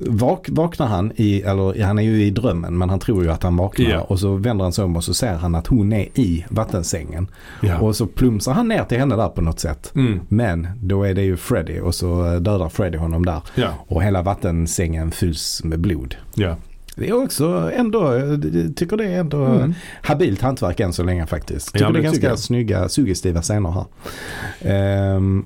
Speaker 1: Vak, vaknar han i, eller han är ju i drömmen men han tror ju att han vaknar
Speaker 2: Ja.
Speaker 1: och så vänder han sig om och så ser han att hon är i vattensängen.
Speaker 2: Ja.
Speaker 1: Och så plumsar han ner till henne där på något sätt.
Speaker 2: Mm.
Speaker 1: Men då är det ju Freddy och så eh, dödar Freddy honom där.
Speaker 2: Ja.
Speaker 1: Och hela vattensängen fylls med blod.
Speaker 2: Ja.
Speaker 1: Det är också ändå, jag tycker det är ändå
Speaker 2: Mm.
Speaker 1: habilt hantverk än så länge faktiskt. Tycker
Speaker 2: men
Speaker 1: det är
Speaker 2: det tycker
Speaker 1: ganska
Speaker 2: jag.
Speaker 1: snygga, suggestiva scener här. Ehm,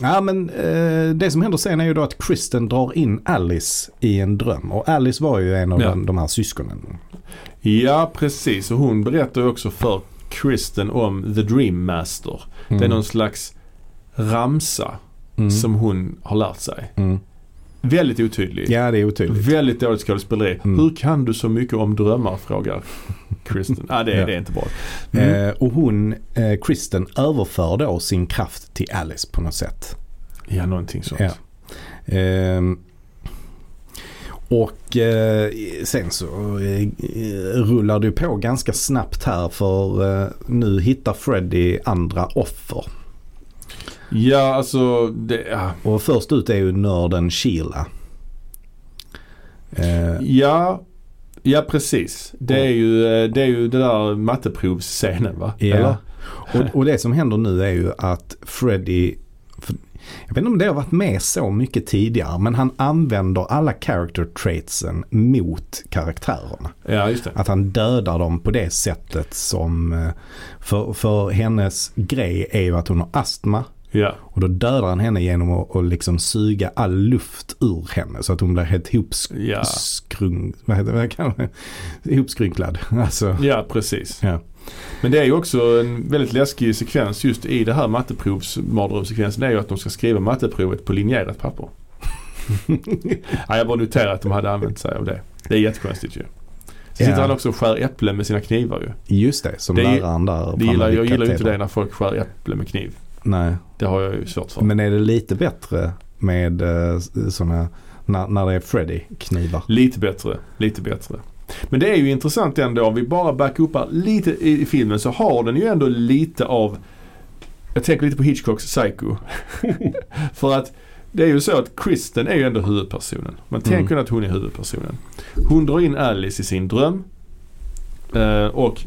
Speaker 1: ja men eh, det som händer sen är ju då att Kristen drar in Alice i en dröm. Och Alice var ju en av
Speaker 2: Ja.
Speaker 1: de, de här syskonen.
Speaker 2: ja, precis. Och hon berättar ju också för Kristen om The Dream Master. Det är någon slags ramsa
Speaker 1: Mm.
Speaker 2: som hon har lärt sig.
Speaker 1: Mm.
Speaker 2: Väldigt otydlig.
Speaker 1: Ja det är otydligt.
Speaker 2: Väldigt dåligt skådespeleri.
Speaker 1: Mm.
Speaker 2: Hur kan du så mycket om drömmar? Frågar Kristen. ah,
Speaker 1: [laughs]
Speaker 2: det,
Speaker 1: Ja.
Speaker 2: det är inte bra. Mm.
Speaker 1: Eh, och hon, eh, Kristen, överför då sin kraft till Alice på något sätt.
Speaker 2: Ja, någonting sånt.
Speaker 1: Ja. Ehm, och eh, sen så eh, rullar det på ganska snabbt här för eh, nu hittar Freddy andra offer.
Speaker 2: Ja, alltså det, ja.
Speaker 1: Och först ut är ju nörden Sheila. Eh,
Speaker 2: ja. Ja precis. Det är ju eh, det, är ju det där matteprovsscenen va?
Speaker 1: Ja. Och, och det som händer nu är ju att Freddy, för- jag vet inte om det har varit med så mycket tidigare, men han använder alla character traitsen mot karaktärerna.
Speaker 2: Ja just det.
Speaker 1: Att han dödar dem på det sättet som... eh, För, för hennes grej är ju att hon har astma.
Speaker 2: Ja.
Speaker 1: Och då dödar han henne genom att, att liksom suga all luft ur henne. Så att hon blir helt ihopsk-
Speaker 2: Ja.
Speaker 1: skrung- vad heter- [laughs] vad kallar man det? ihopskrynklad. [laughs] Alltså,
Speaker 2: ja precis.
Speaker 1: ja.
Speaker 2: Men det är ju också en väldigt läskig sekvens just i det här matteprovsmardrömssekvensen. Det är ju att de ska skriva matteprovet på linjerat papper. ja, jag bara noterar att de hade använt sig av det. Det är jättekonstigt ju. Så
Speaker 1: Ja.
Speaker 2: sitter han också och skär äpplen med sina knivar ju.
Speaker 1: Just det, som
Speaker 2: Det är-
Speaker 1: läraren där.
Speaker 2: Det gillar, jag gillar ju inte
Speaker 1: det.
Speaker 2: det när folk skär äpplen med kniv.
Speaker 1: Nej,
Speaker 2: Det har jag ju svårt för.
Speaker 1: men är det lite bättre med sådana, när, när det är Freddy-knivar?
Speaker 2: Lite bättre, lite bättre. Men det är ju intressant ändå om vi bara backupar lite i i filmen så har den ju ändå lite av, jag tänker lite på Hitchcocks Psycho. [laughs] För att det är ju så att Kristen är ju ändå huvudpersonen. Man
Speaker 1: Mm.
Speaker 2: tänker att hon är huvudpersonen. Hon drar in Alice i sin dröm. Eh, och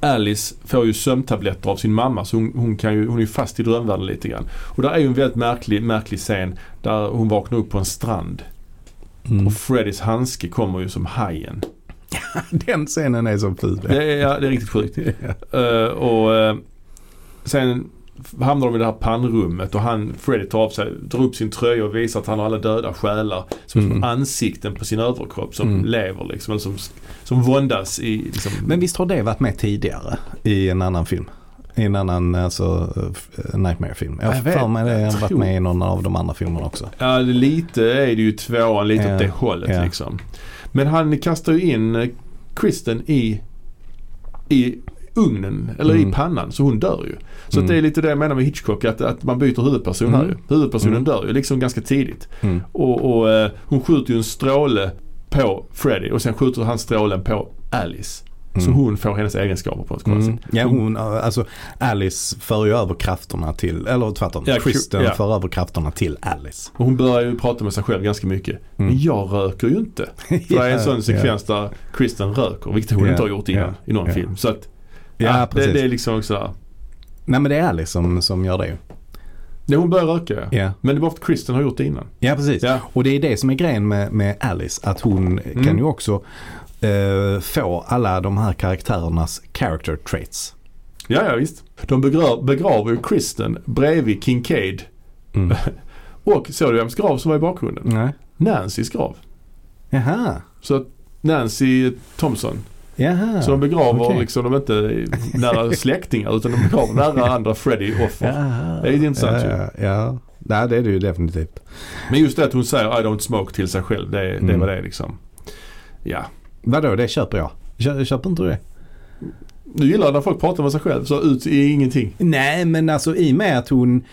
Speaker 2: Alice får ju sömntabletter av sin mamma så hon, hon, kan ju, hon är ju fast i drömvärlden lite grann. Och där är ju en väldigt märklig, märklig scen där hon vaknar upp på en strand.
Speaker 1: Mm. [laughs]
Speaker 2: Och Freddys handske kommer ju som hajen.
Speaker 1: Den scenen är så ful.
Speaker 2: Det är, ja, det är riktigt sjukt. [laughs]
Speaker 1: [laughs]
Speaker 2: Eh, och eh, sen hamnar de i det här pannrummet och han, Freddy tar av sig, drar upp sin tröja och visar att han har alla döda själar. Som
Speaker 1: Mm.
Speaker 2: små ansikten på sin överkropp som
Speaker 1: Mm.
Speaker 2: lever liksom. Eller som, som våndas i liksom.
Speaker 1: Men visst har det varit med tidigare i en annan film? I en annan alltså, eh, Nightmare-film. Jag
Speaker 2: Jag
Speaker 1: har
Speaker 2: vet
Speaker 1: för mig det. Jag har varit
Speaker 2: tror-
Speaker 1: med i någon av de andra filmerna också.
Speaker 2: Ja, lite är det ju tvåan, lite
Speaker 1: Ja,
Speaker 2: åt det hållet
Speaker 1: ja.
Speaker 2: liksom. Men han kastar ju in eh, Kristen i, i ugnen, eller
Speaker 1: Mm.
Speaker 2: i pannan, så hon dör ju. Så
Speaker 1: Mm.
Speaker 2: att det är lite det jag menar med Hitchcock, att, att man byter huvudperson här
Speaker 1: Mm.
Speaker 2: ju. Huvudpersonen
Speaker 1: Mm.
Speaker 2: dör ju liksom ganska tidigt. Och, och eh, hon skjuter ju en stråle på Freddy och sen skjuter han strålen på Alice. Så
Speaker 1: Mm.
Speaker 2: hon får hennes egenskaper på ett konstigt
Speaker 1: Mm. Ja, hon, eh, alltså, Alice för ju över krafterna till, eller tvärtom,
Speaker 2: Ja,
Speaker 1: Kristen
Speaker 2: ja.
Speaker 1: för över krafterna till Alice.
Speaker 2: Och hon börjar ju prata med sig själv ganska mycket.
Speaker 1: Mm.
Speaker 2: Men jag röker
Speaker 1: [laughs]
Speaker 2: ju inte. För det är en sån sekvens där Kristen röker, vilket hon
Speaker 1: Ja,
Speaker 2: inte har gjort innan
Speaker 1: ja,
Speaker 2: i någon
Speaker 1: ja.
Speaker 2: film. Så att,
Speaker 1: Ja,
Speaker 2: ja, det,
Speaker 1: precis.
Speaker 2: det är liksom också där.
Speaker 1: Nej men det är Alice som, som gör det ju.
Speaker 2: Nej, hon börjar röka ja.
Speaker 1: Ja.
Speaker 2: Men det är bara för att Kristen har gjort det innan.
Speaker 1: Ja precis.
Speaker 2: Ja. Mm.
Speaker 1: Och det är det som är grejen med, med Alice. Att hon kan ju också eh, få alla de här karaktärernas character traits.
Speaker 2: Ja, ja visst. De begrav, begraver ju Kristen bredvid Kincaid.
Speaker 1: [laughs] Mm.
Speaker 2: Och såg du vems grav som var i bakgrunden?
Speaker 1: Nej.
Speaker 2: Nancys grav.
Speaker 1: Jaha.
Speaker 2: Så att Nancy Thompson.
Speaker 1: Jaha.
Speaker 2: Så de begraver
Speaker 1: okej.
Speaker 2: liksom, de är inte
Speaker 1: [laughs]
Speaker 2: nära släktingar utan de begraver nära andra Freddy-offer.
Speaker 1: Ja.
Speaker 2: Det är ju intressant ju.
Speaker 1: ja, ja, ja. Nej, det är det ju definitivt.
Speaker 2: Men just det att hon säger I don't smoke till sig själv. Det, det
Speaker 1: Mm.
Speaker 2: var det är liksom. Ja.
Speaker 1: Vadå, det köper jag. Kö, köper inte du det?
Speaker 2: Du gillar när folk pratar med sig själv så ut i ingenting.
Speaker 1: Nej, men alltså i och med att hon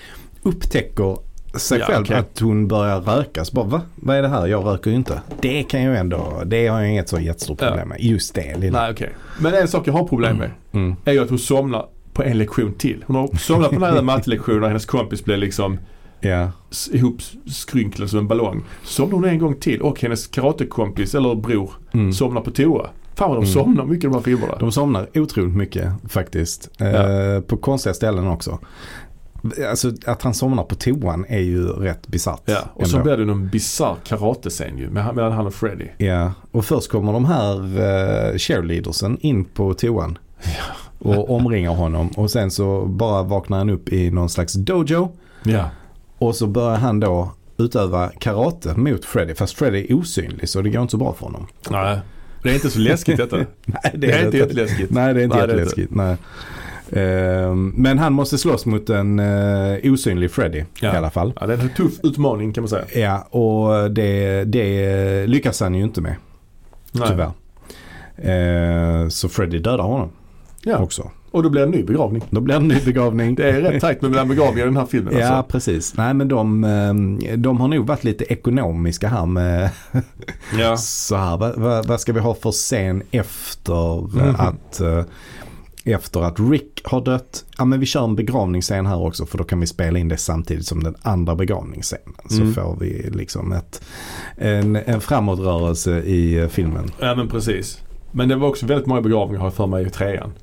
Speaker 1: upptäcker sig
Speaker 2: Ja,
Speaker 1: själv
Speaker 2: okej.
Speaker 1: att hon börjar röka. Så bara, va? Vad är det här? Jag röker ju inte. Det kan jag ändå, det har jag inget så jättestort
Speaker 2: Ja.
Speaker 1: problem med. Just det lilla.
Speaker 2: Nej okej. Men en sak jag har problem med
Speaker 1: Mm. [laughs]
Speaker 2: är ju att hon somnar på en lektion till. Hon har somnat på den här mattelektionen och hennes kompis blev liksom
Speaker 1: Ja,
Speaker 2: s- ihopskrynklad som en ballong. Somnar hon en gång till och hennes karatekompis eller bror
Speaker 1: mm.
Speaker 2: somnar på toa. Fan vad de
Speaker 1: Mm.
Speaker 2: somnar mycket i de här filmerna.
Speaker 1: De somnar otroligt mycket faktiskt. Eh, på konstiga ställen också. Alltså att han somnar på toan är ju rätt besatt.
Speaker 2: ja. Och så
Speaker 1: ändå.
Speaker 2: blir det någon bisarr karatescen ju med- mellan han och Freddy.
Speaker 1: Ja, och först kommer de här eh, cheerleadersen in på toan. Och omringar honom och sen så bara vaknar han upp i någon slags dojo.
Speaker 2: Ja.
Speaker 1: Och så börjar han då utöva karate mot Freddy. Fast Freddy är osynlig så det går inte så bra för honom.
Speaker 2: Nej. Det är inte så läskigt detta.
Speaker 1: Nej,
Speaker 2: Det är inte jätteläskigt.
Speaker 1: Nej, det är inte
Speaker 2: Nej, det är
Speaker 1: jätteläskigt. Nej. Ehm, men han måste slåss mot en eh, osynlig Freddy
Speaker 2: Ja.
Speaker 1: i alla fall.
Speaker 2: Ja, det är en tuff utmaning kan man säga.
Speaker 1: Ja, och det, det lyckas han ju inte med
Speaker 2: Nej.
Speaker 1: tyvärr. Ehm, så Freddy dödar honom
Speaker 2: Ja.
Speaker 1: också.
Speaker 2: Och då blir det en ny begravning.
Speaker 1: Då blir det en ny begravning.
Speaker 2: Det är rätt tajt med mellan begravningar i den här filmen
Speaker 1: Ja,
Speaker 2: alltså.
Speaker 1: precis. Nej, men de, ehm, de har nog varit lite ekonomiska här med
Speaker 2: Ja.
Speaker 1: så här. Vad, vad, vad ska vi ha för scen efter eh,
Speaker 2: Mhm.
Speaker 1: att eh, efter att Rick har dött. Ja men vi kör en begravningsscen här också för då kan vi spela in det samtidigt som den andra begravningsscenen. Så
Speaker 2: Mm.
Speaker 1: får vi liksom ett, en, en framåtrörelse i eh, filmen.
Speaker 2: ja, men precis. Men det var också väldigt många begravningar har jag för mig i
Speaker 1: Mm.
Speaker 2: trean.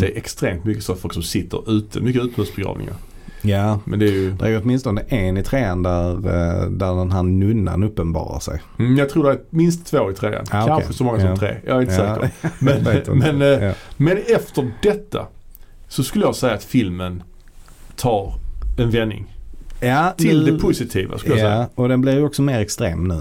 Speaker 2: Det är extremt mycket så folk som sitter ute. Mycket utomhusbegravningar.
Speaker 1: Ja.
Speaker 2: Men det är ju...
Speaker 1: Det är ju åtminstone en i trean där, eh, där den här nunnan uppenbarar sig.
Speaker 2: Mm, jag tror det är minst två i trean.
Speaker 1: Ah, okej.
Speaker 2: Kanske så många som
Speaker 1: Ja.
Speaker 2: tre. Jag är inte
Speaker 1: Ja.
Speaker 2: säker. [laughs] Men,
Speaker 1: Jag vet inte.
Speaker 2: men, eh,
Speaker 1: Ja.
Speaker 2: men efter detta så skulle jag säga att filmen tar en vändning.
Speaker 1: Ja,
Speaker 2: Till
Speaker 1: nu-
Speaker 2: det positiva skulle jag säga.
Speaker 1: Mm. Ja, och den blir ju också mer extrem nu.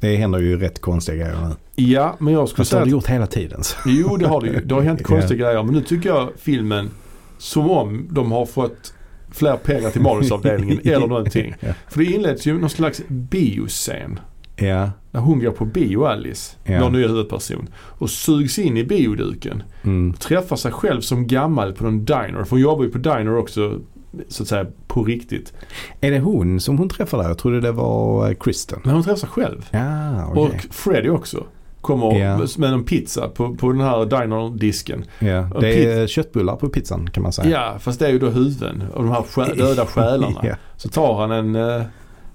Speaker 1: Det händer ju rätt konstiga grejer nu.
Speaker 2: Ja, men jag skulle
Speaker 1: Fast det
Speaker 2: säga
Speaker 1: har
Speaker 2: att
Speaker 1: det gjort hela tiden. så.
Speaker 2: Jo, det har det ju. Det har hänt
Speaker 1: Ja.
Speaker 2: konstiga grejer. Men nu tycker jag filmen, som om de har fått fler pengar
Speaker 1: [laughs]
Speaker 2: till manusavdelningen eller någonting.
Speaker 1: Ja.
Speaker 2: För det inleds ju någon slags bioscen.
Speaker 1: Ja.
Speaker 2: När hon går på bio, Alice,
Speaker 1: Ja.
Speaker 2: vår nya huvudperson, och sugs in i bioduken.
Speaker 1: Mm.
Speaker 2: Träffar sig själv som gammal på någon diner. För hon jobbar ju på diner också, så att säga, på riktigt.
Speaker 1: Är det hon som hon träffar där? Jag trodde det var eh, Kristen.
Speaker 2: Men hon träffar sig själv.
Speaker 1: Ja, okej.
Speaker 2: Och Freddy också. Kommer
Speaker 1: Ja.
Speaker 2: med en pizza på, på den här dinerdisken.
Speaker 1: Ja.
Speaker 2: och
Speaker 1: Det är köttbullar på pizzan kan man säga.
Speaker 2: Ja, fast det är ju då huvuden och de här sjä- döda själarna.
Speaker 1: [laughs] Ja.
Speaker 2: Så tar han en eh,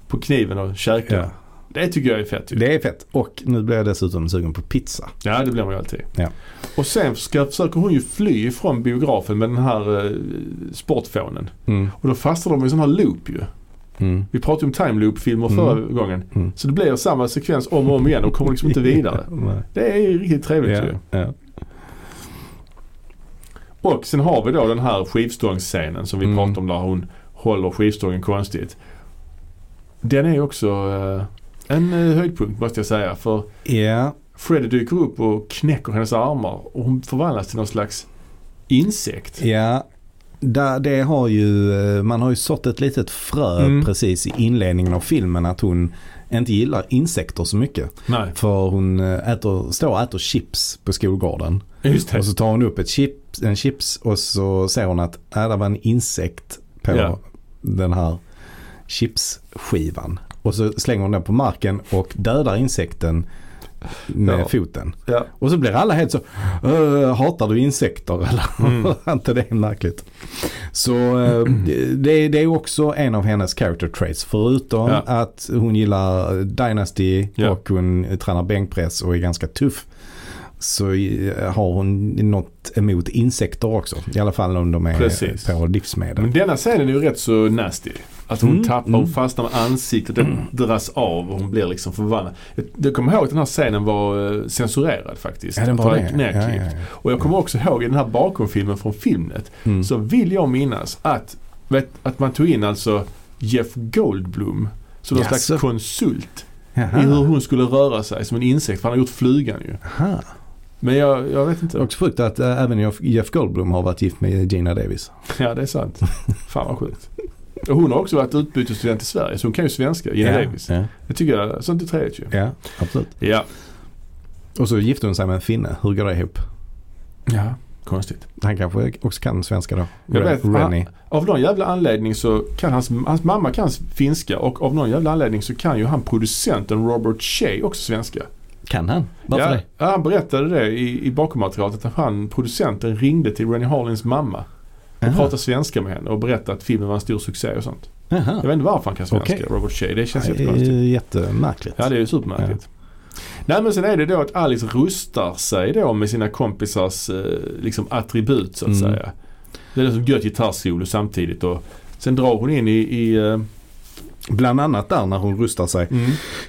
Speaker 2: på kniven och käkar.
Speaker 1: Ja.
Speaker 2: Det tycker jag är fett ju.
Speaker 1: Det är fett. Och nu blir jag dessutom sugen på pizza.
Speaker 2: Ja, det blir man ju alltid.
Speaker 1: Ja.
Speaker 2: Och sen ska, försöker hon ju fly ifrån biografen med den här eh, sportfånen.
Speaker 1: Mm.
Speaker 2: Och då fastnar de i en sån här loop ju.
Speaker 1: Mm.
Speaker 2: Vi pratade om time loop-filmer
Speaker 1: Mm.
Speaker 2: förra gången.
Speaker 1: Mm.
Speaker 2: Så det blir samma sekvens om och om igen och kommer liksom
Speaker 1: [laughs]
Speaker 2: inte vidare.
Speaker 1: Nej.
Speaker 2: Det är ju riktigt trevligt ju.
Speaker 1: Ja. Ja.
Speaker 2: Och sen har vi då den här skivstångsscenen som vi
Speaker 1: Mm.
Speaker 2: pratade om där hon håller skivstången konstigt. Den är ju också eh, en eh, höjdpunkt måste jag säga. För
Speaker 1: ja.
Speaker 2: Freddy dyker upp och knäcker hennes armar och hon förvandlas till någon slags insekt.
Speaker 1: Ja, där, det har ju, eh, man har ju sått ett litet frö
Speaker 2: Mm.
Speaker 1: precis i inledningen av filmen att hon inte gillar insekter så mycket.
Speaker 2: Nej,
Speaker 1: För hon eh, äter, står och äter chips på skolgården.
Speaker 2: just det.
Speaker 1: Och så tar hon upp ett chips, en chips och så ser hon att äh, det var en insekt på
Speaker 2: Ja.
Speaker 1: den här chipsskivan. Och så slänger hon den på marken och dödar insekten med
Speaker 2: Ja.
Speaker 1: foten.
Speaker 2: Ja.
Speaker 1: Och så blir alla helt så, "Öh, hatar du insekter [laughs] eller?
Speaker 2: Mm.
Speaker 1: inte det är märkligt. Så
Speaker 2: [clears throat]
Speaker 1: eh, det, det är också en av hennes character traits. Förutom
Speaker 2: Ja.
Speaker 1: att hon gillar Dynasty
Speaker 2: Ja.
Speaker 1: och hon tränar bänkpress och är ganska tuff. Så eh, har hon något emot insekter också. I alla fall om de är
Speaker 2: Precis. Mm.
Speaker 1: på livsmedel.
Speaker 2: Men denna scenen är ju rätt så nasty. Att hon
Speaker 1: Mm,
Speaker 2: tappar,
Speaker 1: mm.
Speaker 2: hon fastnar med ansiktet, det dras av och hon blir liksom förvandlad. Jag, jag kommer ihåg att den här scenen var eh, censurerad faktiskt.
Speaker 1: Ja, den
Speaker 2: För
Speaker 1: var
Speaker 2: den är
Speaker 1: det. Ja, ja,
Speaker 2: knäklippt.
Speaker 1: ja.
Speaker 2: Och jag kommer också ihåg i den här bakomfilmen från Filmnet
Speaker 1: Mm.
Speaker 2: så vill jag minnas att, vet, att man tog in alltså Jeff Goldblum som någon
Speaker 1: Jaså?
Speaker 2: slags konsult i hur
Speaker 1: Jaha.
Speaker 2: hon skulle röra sig som en insekt för han har gjort flygan ju.
Speaker 1: Aha.
Speaker 2: Men jag, jag vet inte.
Speaker 1: Också sjukt att eh, även Jeff- Jeff Goldblum har varit gift med Gina Davis.
Speaker 2: Ja det är sant. Fan vad sjukt. Och hon har också varit utbytesstudent i Sverige så hon kan ju svenska, Gina Davis.
Speaker 1: Ja.
Speaker 2: Det tycker jag, sånt är trevligt ju.
Speaker 1: ja, absolut.
Speaker 2: Ja.
Speaker 1: Och så gifte hon sig med en finne. Hur går det ihop?
Speaker 2: ja. Konstigt.
Speaker 1: Han kanske också kan svenska då?
Speaker 2: Jag
Speaker 1: Ren-
Speaker 2: vet,
Speaker 1: Rennie.
Speaker 2: Av någon jävla anledning så kan hans, hans mamma kan finska och av någon jävla anledning så kan ju han producenten Robert Shea också svenska.
Speaker 1: Kan han? Varför
Speaker 2: ja,
Speaker 1: det?
Speaker 2: Ja, han berättade det i, i bakommaterialet att han, producenten, ringde till Rennie Harlins mamma och
Speaker 1: Aha.
Speaker 2: pratade svenska med henne och berättade att filmen var en stor succé och sånt. Jag vet inte varför han kan svenska,
Speaker 1: Okej.
Speaker 2: Robert Shea. Det känns
Speaker 1: Det
Speaker 2: jättekonstigt.
Speaker 1: är jättemärkligt.
Speaker 2: Ja, det är ju supermärkligt. Nej, men sen är det då att Alice rustar sig då med sina kompisars eh, liksom attribut så att
Speaker 1: Mm.
Speaker 2: säga. Det är som gött gitarrsolo samtidigt och sen drar hon in i, i eh,
Speaker 1: Bland annat där när hon rustar sig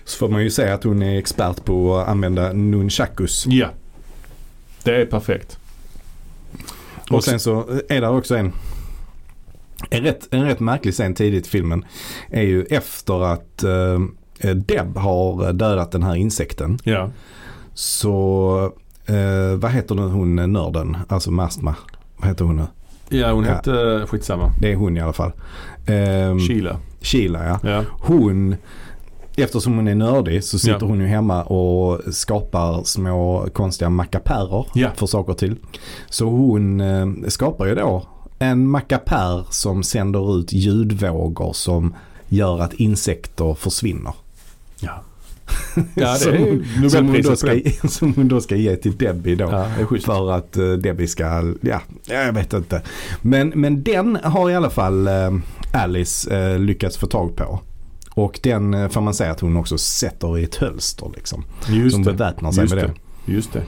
Speaker 1: så får man ju säga att hon är expert på att använda nunchakus.
Speaker 2: ja. Det är perfekt.
Speaker 1: Och sen så är där också en, en, rätt, en rätt märklig scen tidigt i filmen. är ju efter att eh, Deb har dödat den här insekten.
Speaker 2: Ja.
Speaker 1: Så eh, vad heter nu hon nörden, alltså Mastma. Vad heter hon nu?
Speaker 2: Ja, hon
Speaker 1: Ja. Mm.
Speaker 2: hette, skitsamma,
Speaker 1: Det är hon i alla fall. Ehm,
Speaker 2: Sheila.
Speaker 1: Sheila ja.
Speaker 2: Ja.
Speaker 1: Hon, eftersom hon är nördig så sitter
Speaker 2: Ja.
Speaker 1: hon ju hemma och skapar små konstiga mackapärer
Speaker 2: Ja.
Speaker 1: för saker och till. Så hon eh, skapar ju då en mackapär som sänder ut ljudvågor som gör att insekter försvinner.
Speaker 2: Ja. ja, det
Speaker 1: [laughs] Som
Speaker 2: är
Speaker 1: hon-
Speaker 2: ju
Speaker 1: Som hon, då
Speaker 2: Nobelpriset på
Speaker 1: ska, [laughs]
Speaker 2: den.
Speaker 1: som hon då ska ge till Debbie då.
Speaker 2: Ja, det är schysst.
Speaker 1: För att eh, Debbie ska, ja, jag vet inte. Men, men den har i alla fall eh, Alice eh, lyckats få tag på. Och den eh, får man säga att hon också sätter i ett hölster liksom.
Speaker 2: Just
Speaker 1: som
Speaker 2: det.
Speaker 1: beväpnar sig
Speaker 2: Just
Speaker 1: med det.
Speaker 2: det. Just det.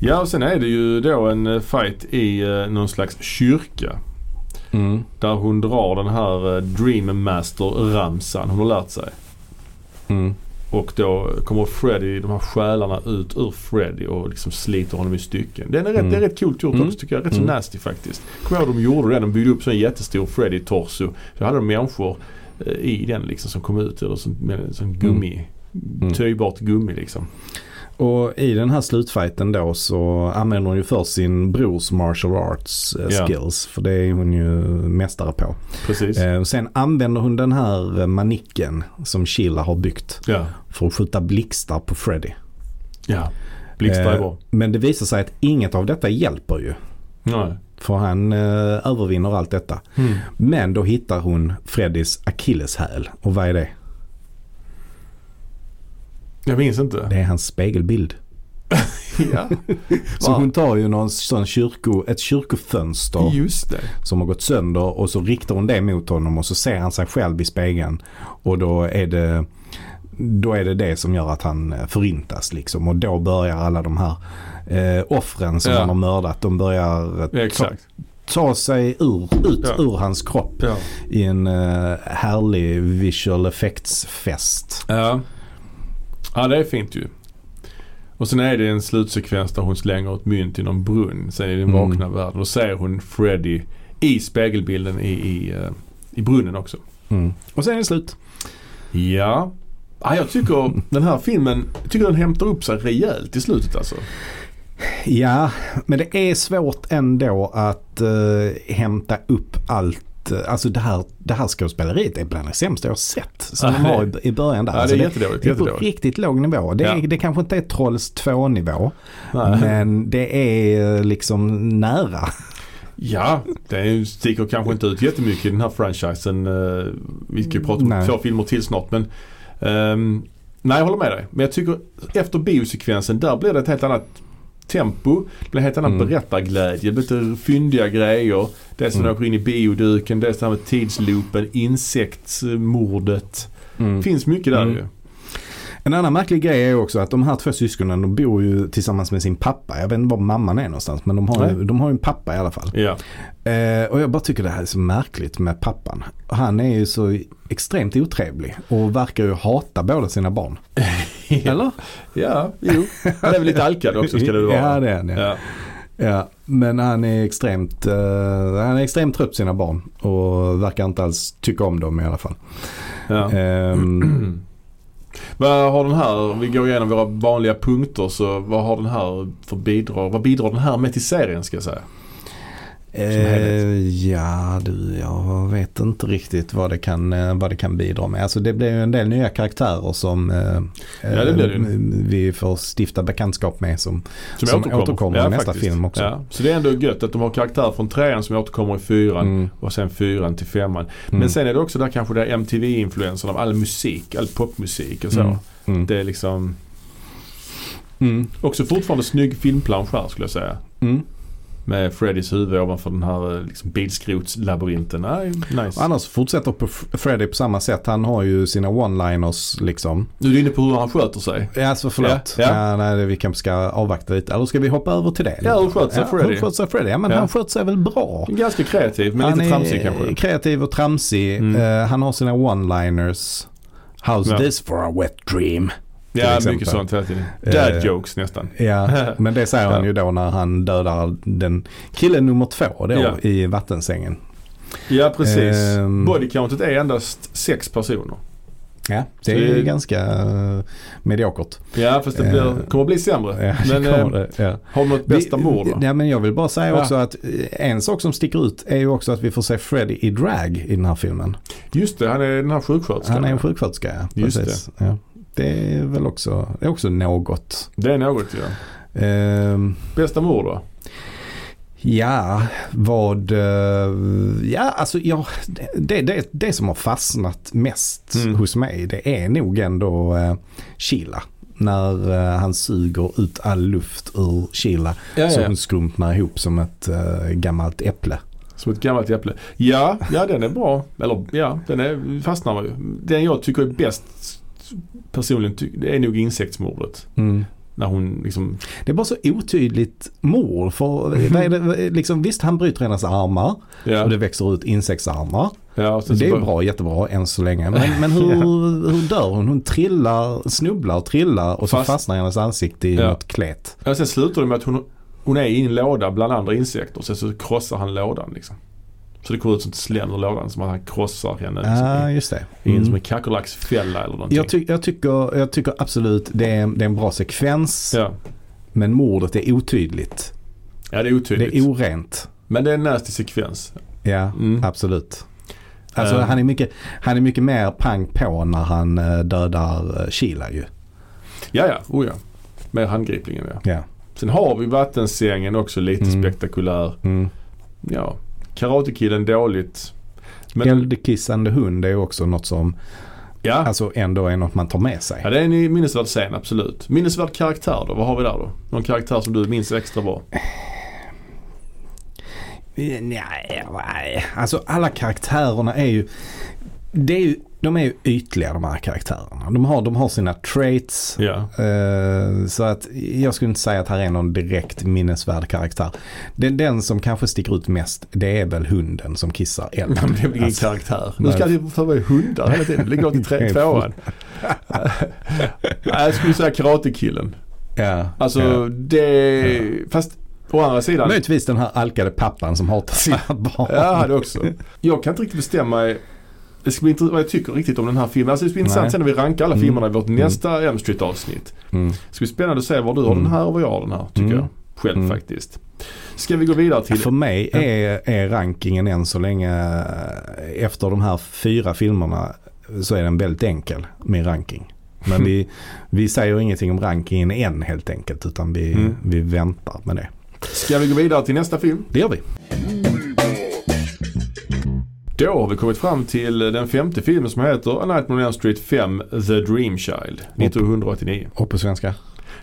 Speaker 2: Ja, och sen är det ju då en eh, fight i eh, någon slags kyrka.
Speaker 1: Mm.
Speaker 2: Där hon drar den här eh, Dream Master-ramsan hon har lärt sig.
Speaker 1: Mm.
Speaker 2: Och då kommer Freddy, de här själarna ut ur Freddy och liksom sliter honom i stycken. Den är rätt,
Speaker 1: Mm.
Speaker 2: Det är rätt coolt gjort
Speaker 1: Mm.
Speaker 2: också tycker jag. Rätt så
Speaker 1: Mm.
Speaker 2: nasty faktiskt. Kommer jag ihåg de gjorde det? De byggde upp så en jättestor Freddy-torso. Så hade de människor eh, i den liksom som kom ut eller som, med, som gummi.
Speaker 1: Mm.
Speaker 2: Töjbart gummi liksom.
Speaker 1: Och i den här slutfighten då så använder hon ju först sin brors martial arts eh,
Speaker 2: Ja.
Speaker 1: skills. För det är hon ju mästare på.
Speaker 2: Precis.
Speaker 1: Eh, och sen använder hon den här eh, manicken som Sheila har byggt.
Speaker 2: Ja.
Speaker 1: För att skjuta blixtar på Freddy.
Speaker 2: Ja. Blixtar är
Speaker 1: Eh,
Speaker 2: bra.
Speaker 1: Men det visar sig att inget av detta hjälper ju.
Speaker 2: Nej.
Speaker 1: För han eh, övervinner allt detta.
Speaker 2: Mm.
Speaker 1: Men då hittar hon Freddys akilleshäl. Och vad är det?
Speaker 2: Jag minns inte.
Speaker 1: Det är hans spegelbild.
Speaker 2: [laughs] Ja,
Speaker 1: Så
Speaker 2: Va?
Speaker 1: hon tar ju någon sån kyrko, ett kyrkofönster
Speaker 2: just det.
Speaker 1: som har gått sönder och så riktar hon det mot honom och så ser han sig själv i spegeln. Och då är det då är det det som gör att han eh, förintas liksom. Och då börjar alla de här eh, offren som
Speaker 2: Ja.
Speaker 1: han har mördat. De börjar eh, ta,
Speaker 2: Exakt.
Speaker 1: ta sig ur, ut
Speaker 2: Ja.
Speaker 1: ur hans kropp.
Speaker 2: Ja.
Speaker 1: i en eh, härlig visual effects-fest.
Speaker 2: Ja. ja, det är fint ju. Och sen är det en slutsekvens där hon slänger ett mynt i någon brunn. Sen i den
Speaker 1: Mm.
Speaker 2: vakna världen. Då ser hon Freddy i spegelbilden i, i, eh, i brunnen också.
Speaker 1: Mm. Och sen är det slut.
Speaker 2: Ja. ja. Jag tycker den här filmen jag tycker den hämtar upp sig rejält i slutet alltså.
Speaker 1: Ja, men det är svårt ändå att eh, hämta upp allt. eh, Alltså det här, det här skådespeleriet är bland det sämsta jag har sett. Som de har i, i början där.
Speaker 2: Ja, det
Speaker 1: Alltså
Speaker 2: är jättedåligt.
Speaker 1: det är på
Speaker 2: jättedåligt.
Speaker 1: riktigt låg nivå. Det, är,
Speaker 2: Ja.
Speaker 1: det kanske inte är Trolls 2-nivå.
Speaker 2: Nej.
Speaker 1: Men det är eh, liksom nära.
Speaker 2: Ja, det sticker kanske inte ut jättemycket i den här franchisen. eh, Vi ska ju prata om
Speaker 1: Nej.
Speaker 2: två filmer till snart men ehm, Nej, jag håller med dig. Men jag tycker efter biosekvensen där blir det ett helt annat tempo. Det blir en helt annan
Speaker 1: Mm.
Speaker 2: berättarglädje. Det blir lite fyndiga grejer. Det som
Speaker 1: Mm.
Speaker 2: åker in i bioduken, det här med tidsloopen, insektsmordet. Det finns mycket där
Speaker 1: Mm.
Speaker 2: ju.
Speaker 1: En annan märklig grej är ju också att de här två syskonen de bor ju tillsammans med sin pappa. Jag vet inte var mamman är någonstans men de har, ju,
Speaker 2: Nej.
Speaker 1: de har ju en pappa i alla fall.
Speaker 2: Ja.
Speaker 1: Eh, och jag bara tycker det här är så märkligt med pappan. Han är ju så extremt otrevlig och verkar ju hata båda sina barn. Eller?
Speaker 2: [laughs] Ja, jo. Han är väl lite alkad också ska det väl vara.
Speaker 1: [laughs] Ja, det är han. Ja.
Speaker 2: Ja.
Speaker 1: Ja, men han är extremt eh, han är extremt trött på sina barn och verkar inte alls tycka om dem i alla fall.
Speaker 2: Ja.
Speaker 1: Ehm,
Speaker 2: Vad har den här, vi går igenom våra vanliga punkter så vad har den här för bidrag, vad bidrar den här med till serien ska jag säga? helhet.
Speaker 1: Eh, ja du, jag vet inte riktigt vad det, kan, eh, vad det kan bidra med. Alltså det blir ju en del nya karaktärer som eh,
Speaker 2: Ja, det blir det ju.
Speaker 1: eh, vi får stifta bekantskap med som, som återkommer, i nästa
Speaker 2: faktiskt.
Speaker 1: film också.
Speaker 2: Ja. Så det är ändå gött att de har karaktär från trean som återkommer i fyran
Speaker 1: Mm.
Speaker 2: och sen fyran till femman.
Speaker 1: Mm.
Speaker 2: Men sen är det också där kanske där MTV-influensen av all musik, all popmusik och så.
Speaker 1: Mm. Mm.
Speaker 2: Det är liksom
Speaker 1: Mm.
Speaker 2: mm, också fortfarande snygg filmplansch här skulle jag säga.
Speaker 1: Mm.
Speaker 2: Med Freddys huvud ovanför den här eh, liksom, bilskrotslabyrinten. Nej, nice.
Speaker 1: Annars fortsätter på F- Freddy på samma sätt. Han har ju sina one-liners liksom.
Speaker 2: Nu är du inne på hur han sköter sig.
Speaker 1: Ja, Alltså förlåt.
Speaker 2: Ja,
Speaker 1: Ja,
Speaker 2: ja.
Speaker 1: nej, det- vi kanske ska avvakta lite. Eller ska vi hoppa över till det?
Speaker 2: Ja, hur sköter sig Freddy?
Speaker 1: Hur sköter sig Freddy? Ja, men
Speaker 2: Ja.
Speaker 1: han sköter sig väl bra.
Speaker 2: Ganska kreativ men
Speaker 1: han
Speaker 2: lite tramsig
Speaker 1: är
Speaker 2: kanske. Mm.
Speaker 1: kreativ och tramsig. Eh, han har sina one-liners. How's
Speaker 2: Ja.
Speaker 1: this for a wet dream?
Speaker 2: Ja,
Speaker 1: exempel.
Speaker 2: mycket sånt hela tiden.
Speaker 1: Eh,
Speaker 2: Dad jokes nästan. [laughs]
Speaker 1: Ja, men det säger han ju då när han dödar den killen nummer två då
Speaker 2: Ja.
Speaker 1: i vattensängen.
Speaker 2: Ja, precis.
Speaker 1: ehm.
Speaker 2: Bodycountet är endast sex personer.
Speaker 1: Ja, det
Speaker 2: Så
Speaker 1: är
Speaker 2: det-
Speaker 1: ganska eh, mediokert.
Speaker 2: Ja, fast det blir,
Speaker 1: Eh.
Speaker 2: kommer bli sämre.
Speaker 1: Ja,
Speaker 2: men
Speaker 1: det kommer
Speaker 2: eh,
Speaker 1: det. Ja.
Speaker 2: har man ett bästa mord då?
Speaker 1: Ja, men jag vill bara säga
Speaker 2: Ja.
Speaker 1: också att eh, en sak som sticker ut är ju också att vi får se Freddy i drag i den här filmen.
Speaker 2: Just det, han är den här sjuksköterskan.
Speaker 1: Han är en sjuksköterska, ja.
Speaker 2: Just
Speaker 1: Precis. Det. Ja. det är väl också, det är också något.
Speaker 2: Det är något ja.
Speaker 1: Ehm,
Speaker 2: Bästa mord då?
Speaker 1: ja, vad... eh, ja, alltså jag, det, det, det som har fastnat mest
Speaker 2: Mm.
Speaker 1: hos mig det är nog ändå uh, Sheila. När eh, han suger ut all luft ur Sheila så hon skrumpnar ihop som ett eh, gammalt äpple.
Speaker 2: Som ett gammalt äpple. Ja, ja den är bra. Eller ja, den är, fastnar man ju. Den jag tycker är bäst personligen ty- det är nog insektsmordet. När hon liksom...
Speaker 1: Det är bara så otydligt mord.
Speaker 2: [laughs]
Speaker 1: För, vad är det, liksom, visst, han bryter hennes armar
Speaker 2: Ja,
Speaker 1: och det växer ut insektsarmar.
Speaker 2: ja, och sen så
Speaker 1: Det är ju
Speaker 2: bara-
Speaker 1: bra, jättebra än så länge. Men, men hur,
Speaker 2: [laughs]
Speaker 1: hur dör hon? Hon trillar, snubblar och trillar och så
Speaker 2: Fast-
Speaker 1: fastnar hennes ansikte i
Speaker 2: Ja.
Speaker 1: något klet.
Speaker 2: Ja, sen slutar det med att hon, hon är i en låda bland andra insekter. Sen så krossar han lådan liksom. Så det kommer ut sånt slem ur lådan som att han krossar henne. Liksom.
Speaker 1: Ja, just det.
Speaker 2: In
Speaker 1: Mm.
Speaker 2: som en kackerlacksfälla eller någonting.
Speaker 1: Jag, ty- jag, tycker, jag tycker absolut det är, det är en bra sekvens.
Speaker 2: ja.
Speaker 1: Men mordet är otydligt.
Speaker 2: ja, det är otydligt.
Speaker 1: Det är orent.
Speaker 2: Men det är en nasty sekvens.
Speaker 1: Ja,
Speaker 2: Mm.
Speaker 1: absolut. Alltså,
Speaker 2: Eh.
Speaker 1: han, är mycket, han är mycket mer pang på när han eh, dödar eh, Sheila ju.
Speaker 2: Ja, ja. Oh, ja. Mer handgripligen ja.
Speaker 1: Ja.
Speaker 2: Sen har vi vattensängen också lite
Speaker 1: Mm.
Speaker 2: spektakulär.
Speaker 1: Mm.
Speaker 2: Ja. Karatekillen dåligt. Men
Speaker 1: Eldkissande hund är ju också något som
Speaker 2: ja.
Speaker 1: alltså ändå är något man tar med sig.
Speaker 2: ja, det är en minnesvärd scen absolut. Minnesvärd karaktär då? Vad har vi där då? Någon karaktär som du minns
Speaker 1: [laughs]
Speaker 2: extra bra?
Speaker 1: Nej, nej. Alltså alla karaktärerna är ju, det är ju de är ju ytliga de här karaktärerna. De har, de har sina traits.
Speaker 2: Ja.
Speaker 1: Eh, Så att jag skulle inte säga att här är någon direkt minnesvärd karaktär. Den, den som kanske sticker ut mest det är väl hunden som kissar eld.
Speaker 2: Men [laughs] det blir ingen
Speaker 1: Alltså,
Speaker 2: karaktär. Nu
Speaker 1: nej.
Speaker 2: ska det få vara hundar hela tiden. Det går
Speaker 1: [laughs]
Speaker 2: till tre, tvåan. [laughs] Nej, jag skulle säga Karatekillen.
Speaker 1: ja,
Speaker 2: Alltså
Speaker 1: ja.
Speaker 2: det... Fast å andra sidan.
Speaker 1: Möjligtvis den här alkade pappan som hatar sina barn.
Speaker 2: Ja, jag hade också. Jag kan inte riktigt bestämma mig. Det ska bli intressant vad jag tycker riktigt om den här filmen. Alltså det ska bli intressant
Speaker 1: Nej.
Speaker 2: sen när vi rankar alla
Speaker 1: Mm.
Speaker 2: filmerna i vårt nästa M Street avsnitt.
Speaker 1: Mm.
Speaker 2: Det ska bli spännande att se var du har
Speaker 1: Mm.
Speaker 2: den här och var jag har den här tycker
Speaker 1: Mm.
Speaker 2: jag. Själv
Speaker 1: Mm.
Speaker 2: faktiskt. Ska vi gå vidare till...
Speaker 1: För mig är, är rankingen än så länge, eh, efter de här fyra filmerna, så är den väldigt enkel, min ranking. Men vi, vi säger ingenting om rankingen än helt enkelt, utan vi,
Speaker 2: Mm.
Speaker 1: vi väntar med det.
Speaker 2: Ska vi gå vidare till nästa film?
Speaker 1: Det gör vi.
Speaker 2: Då har vi kommit fram till den femte filmen som heter A Nightmare on Elm Street 5 The Dream Child 1989.
Speaker 1: Och på svenska?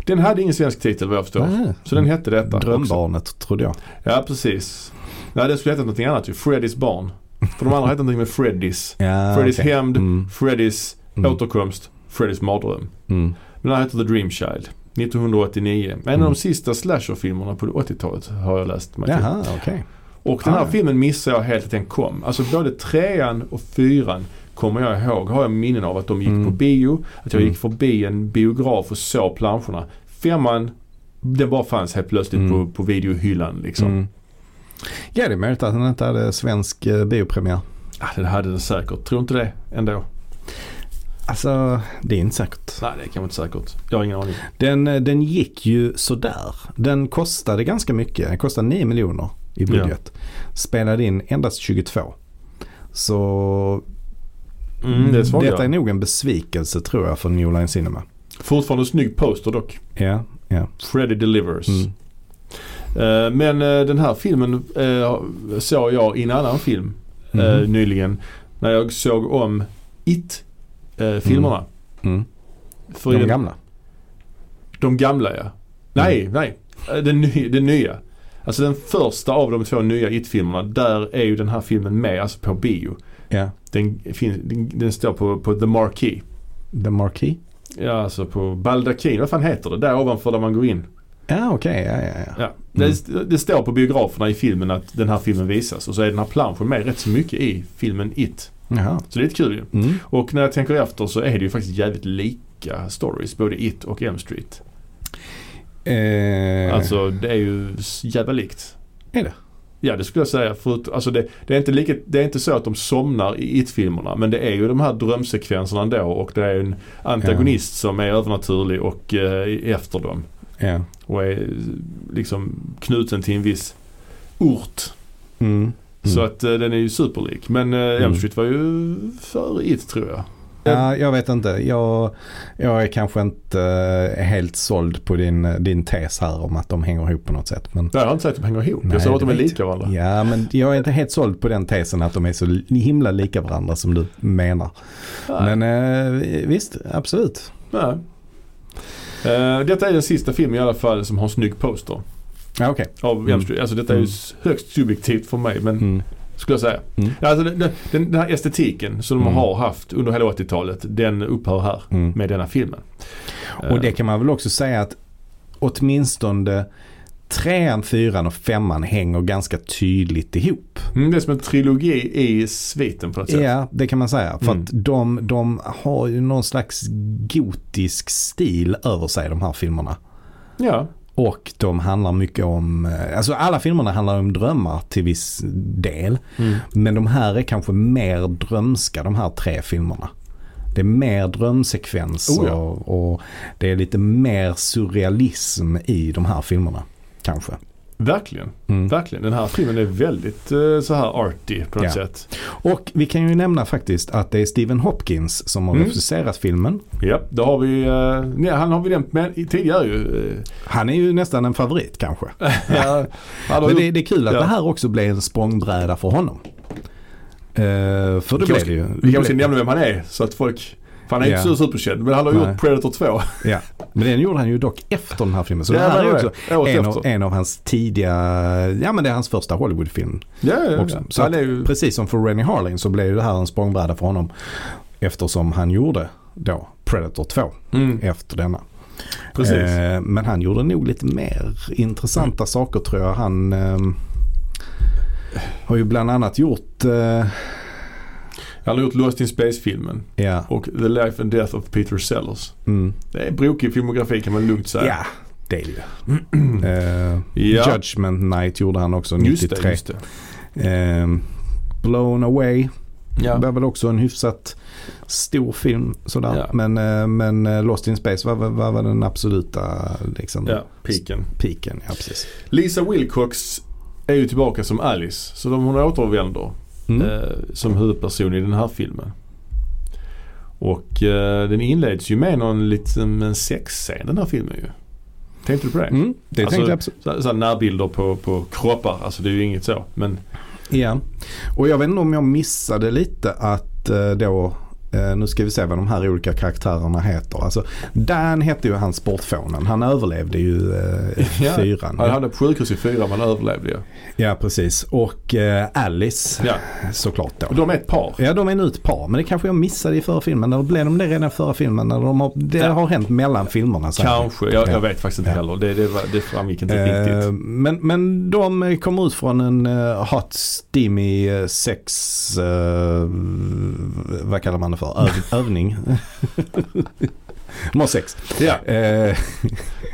Speaker 2: Den hade ingen svensk titel vad jag förstår.
Speaker 1: Nej.
Speaker 2: Så den hette detta. också.
Speaker 1: Drömbarnet, trodde jag.
Speaker 2: Ja precis. Nej den skulle heta någonting annat ju. Freddys barn. För de andra hette någonting med Freddys.
Speaker 1: Ja,
Speaker 2: Freddys
Speaker 1: okej.
Speaker 2: hämnd,
Speaker 1: Mm,
Speaker 2: Freddys
Speaker 1: mm,
Speaker 2: återkomst, Freddys mardröm.
Speaker 1: mm.
Speaker 2: Men den här heter The Dream Child. 1989. En av
Speaker 1: Mm.
Speaker 2: de sista slasherfilmerna på 80-talet har jag läst mig till.
Speaker 1: Jaha, okej.
Speaker 2: Och den här
Speaker 1: Ah.
Speaker 2: filmen missade jag helt att den kom. Alltså både trean och fyran kommer jag ihåg. Har jag minnen av att de gick
Speaker 1: Mm.
Speaker 2: på bio. Att jag
Speaker 1: Mm.
Speaker 2: gick förbi en biograf och såg planscherna. Femman, den bara fanns helt plötsligt
Speaker 1: Mm.
Speaker 2: på, på videohyllan liksom.
Speaker 1: Mm. Ja, det är möjligt att den inte hade svensk eh, biopremiär.
Speaker 2: Ah, den hade den säkert. Tror inte det ändå?
Speaker 1: Alltså, det är inte säkert.
Speaker 2: Nej, det kan man inte säkert. Jag har ingen aning.
Speaker 1: Den, eh, den gick ju sådär. Den kostade ganska mycket. Den kostade 9 miljoner i budget. Spelade in endast 22. Så
Speaker 2: Mm, det är svagt.
Speaker 1: detta är nog en besvikelse tror jag för New Line Cinema.
Speaker 2: Fortfarande snygg poster dock.
Speaker 1: Ja, ja.
Speaker 2: Freddy Delivers.
Speaker 1: Mm.
Speaker 2: Eh, men eh, den här filmen eh, såg jag i en annan film eh,
Speaker 1: Mhm.
Speaker 2: nyligen. När jag såg om It-filmerna.
Speaker 1: Mm.
Speaker 2: För i
Speaker 1: De
Speaker 2: den-
Speaker 1: gamla. Mm.
Speaker 2: de gamla ja. Nej, nej. Eh, Den, ny, den nya. Alltså den första av de två nya It-filmerna, där är ju den här filmen med, alltså på bio.
Speaker 1: Ja.
Speaker 2: Den, fin, den, den står på, på The Marquee.
Speaker 1: The Marquee?
Speaker 2: Ja, alltså på Baldakin, vad fan heter det? Där ovanför där man går in.
Speaker 1: Ja, okej. Ja, ja, ja.
Speaker 2: Ja.
Speaker 1: Mm.
Speaker 2: Det, det står på biograferna i filmen att den här filmen visas och så är den här planschen med rätt så mycket i filmen It.
Speaker 1: Jaha.
Speaker 2: Så det är lite kul ju.
Speaker 1: Mm.
Speaker 2: Och när jag tänker efter så är det ju faktiskt jävligt lika stories, både It och M Street.
Speaker 1: Eh,
Speaker 2: Alltså det är ju s- jävla likt.
Speaker 1: Är det?
Speaker 2: Ja det skulle jag säga. Förut, alltså det, det, är inte lika, det är inte så att de somnar i It-filmerna men det är ju de här drömsekvenserna ändå och det är ju en antagonist som är övernaturlig och eh, efter dem.
Speaker 1: ja.
Speaker 2: Och är eh, liksom knuten till en viss ort.
Speaker 1: Mm.
Speaker 2: Så
Speaker 1: Mm.
Speaker 2: att eh, den är ju superlik. Men eh,
Speaker 1: Mm.
Speaker 2: M Street var ju före It tror jag.
Speaker 1: Ja, jag vet inte. Jag, jag är kanske inte eh, helt såld på din, eh, din tes här om att de hänger ihop på något sätt. Men,
Speaker 2: Nej, jag har inte sagt att de hänger ihop.
Speaker 1: Nej,
Speaker 2: jag sa att de
Speaker 1: det
Speaker 2: är
Speaker 1: vet
Speaker 2: lika varandra.
Speaker 1: ja, men jag är inte helt såld på den tesen att de är så himla lika varandra som du menar.
Speaker 2: Nej.
Speaker 1: Men eh, visst, absolut.
Speaker 2: Nej. Eh, detta är den sista filmen i alla fall som har en snygg poster
Speaker 1: Ja, okej.
Speaker 2: av
Speaker 1: Mm.
Speaker 2: M Street. Alltså detta är ju
Speaker 1: Mm.
Speaker 2: s- högst subjektivt för mig men
Speaker 1: Mm.
Speaker 2: skulle jag säga.
Speaker 1: Mm.
Speaker 2: Ja, Alltså, den, den, den här estetiken som
Speaker 1: Mm.
Speaker 2: de har haft under hela 80-talet den upphör här
Speaker 1: Mm.
Speaker 2: med denna filmen.
Speaker 1: Och det
Speaker 2: Eh,
Speaker 1: kan man väl också säga att åtminstone trean, fyran och femman hänger ganska tydligt ihop.
Speaker 2: mm, det är som en trilogi i sviten på något sätt.
Speaker 1: Ja, det kan man säga. För
Speaker 2: Mm.
Speaker 1: att de, de har ju någon slags gotisk stil över sig de här filmerna.
Speaker 2: Ja.
Speaker 1: Och de handlar mycket om, eh, alltså alla filmerna handlar om drömmar till viss del. Men de här är kanske mer drömska de här tre filmerna. Det är mer drömsekvenser
Speaker 2: Oh ja.
Speaker 1: och det är lite mer surrealism i de här filmerna. Kanske.
Speaker 2: Verkligen.
Speaker 1: Mm.
Speaker 2: Verkligen. Den här filmen är väldigt eh, så här arty på något
Speaker 1: Ja.
Speaker 2: sätt.
Speaker 1: Och vi kan ju nämna faktiskt att det är Stephen Hopkins som har
Speaker 2: Mm.
Speaker 1: regisserat filmen.
Speaker 2: Ja, då har vi, eh, nej, han har vi nämnt men, i- tidigare ju. eh,
Speaker 1: Han är ju nästan en favorit kanske.
Speaker 2: [laughs] ja, han har
Speaker 1: Men
Speaker 2: gjort-
Speaker 1: det, det är kul att
Speaker 2: Ja.
Speaker 1: det här också blev en språngbräda för honom. Eh, för det
Speaker 2: Vi
Speaker 1: blev
Speaker 2: kanske-
Speaker 1: det ju.
Speaker 2: Vi kanske
Speaker 1: Det
Speaker 2: ska
Speaker 1: blev-
Speaker 2: nämna vem han är så att folk, för han är inte
Speaker 1: Ja.
Speaker 2: så superkänd men han har
Speaker 1: Nej.
Speaker 2: gjort Predator 2.
Speaker 1: Ja. Men den gjorde han ju dock efter den här filmen. Så
Speaker 2: [laughs] Ja,
Speaker 1: det här
Speaker 2: det
Speaker 1: är
Speaker 2: var
Speaker 1: också
Speaker 2: det. Året
Speaker 1: en av,
Speaker 2: efter.
Speaker 1: en av hans tidiga, ja men det är hans första Hollywoodfilm.
Speaker 2: Ja, ja, ja.
Speaker 1: också. Så
Speaker 2: han
Speaker 1: att,
Speaker 2: är ju,
Speaker 1: precis som för Rennie Harlin så blev det här en språngbräda för honom. Eftersom han gjorde då Predator 2
Speaker 2: mm,
Speaker 1: efter denna.
Speaker 2: precis. Mm.
Speaker 1: Eh, men han gjorde nog lite mer intressanta saker tror jag. Han ehm, har ju bland annat gjort, eh,
Speaker 2: Han har gjort Lost in Space-filmen
Speaker 1: ja,
Speaker 2: och The Life and Death of Peter Sellers.
Speaker 1: mm,
Speaker 2: Det är brokig filmografi kan man lugnt säga.
Speaker 1: ja det är det ju.
Speaker 2: [clears throat]
Speaker 1: Eh,
Speaker 2: Ja.
Speaker 1: Judgment Night gjorde han också
Speaker 2: Just
Speaker 1: 93.
Speaker 2: det, just det.
Speaker 1: Ehm, Blown Away
Speaker 2: Ja.
Speaker 1: var väl också en hyfsat stor film sådär.
Speaker 2: Ja.
Speaker 1: Men, eh, men eh, Lost in Space var, var, var den absoluta liksom,
Speaker 2: ja, piken.
Speaker 1: piken. Ja, precis.
Speaker 2: Lisa Wilcox är ju tillbaka som Alice så de, hon återvänder
Speaker 1: Mm.
Speaker 2: eh, som huvudperson i den här filmen. Och eh, den inleds ju med någon liten en sexscen den här filmen ju. Tänkte du på det?
Speaker 1: Mm, det
Speaker 2: Alltså-
Speaker 1: tänkte jag absolut.
Speaker 2: Så, så här närbilder på, på kroppar, alltså det är ju inget så. Men
Speaker 1: Ja. Och jag vet inte om jag missade lite att eh, då, eh, nu ska vi se vad de här olika karaktärerna heter. Alltså Dan hette ju han sportfånen. Han överlevde ju eh,
Speaker 2: [laughs] Ja.
Speaker 1: fyran.
Speaker 2: han hade på sjukhus i fyra man överlevde ju.
Speaker 1: Ja, precis. Och eh, Alice
Speaker 2: Ja.
Speaker 1: såklart då.
Speaker 2: Och de är ett par.
Speaker 1: Ja, de är nu ett par. Men det kanske jag missade i förra filmen. Eller blev de det redan i förra filmen? Eller de har, det
Speaker 2: Ja.
Speaker 1: har hänt mellan filmerna. Så här.
Speaker 2: Kanske, jag,
Speaker 1: Ja.
Speaker 2: jag vet faktiskt inte
Speaker 1: Ja.
Speaker 2: heller. Det, det, var, det framgick inte
Speaker 1: Eh,
Speaker 2: riktigt.
Speaker 1: men, men de eh, kommer ut från en eh, hot steamy eh, sex, eh, vad kallar man det för,
Speaker 2: [laughs]
Speaker 1: Öv, övning. [laughs] De har sex.
Speaker 2: Ja,
Speaker 1: Eh,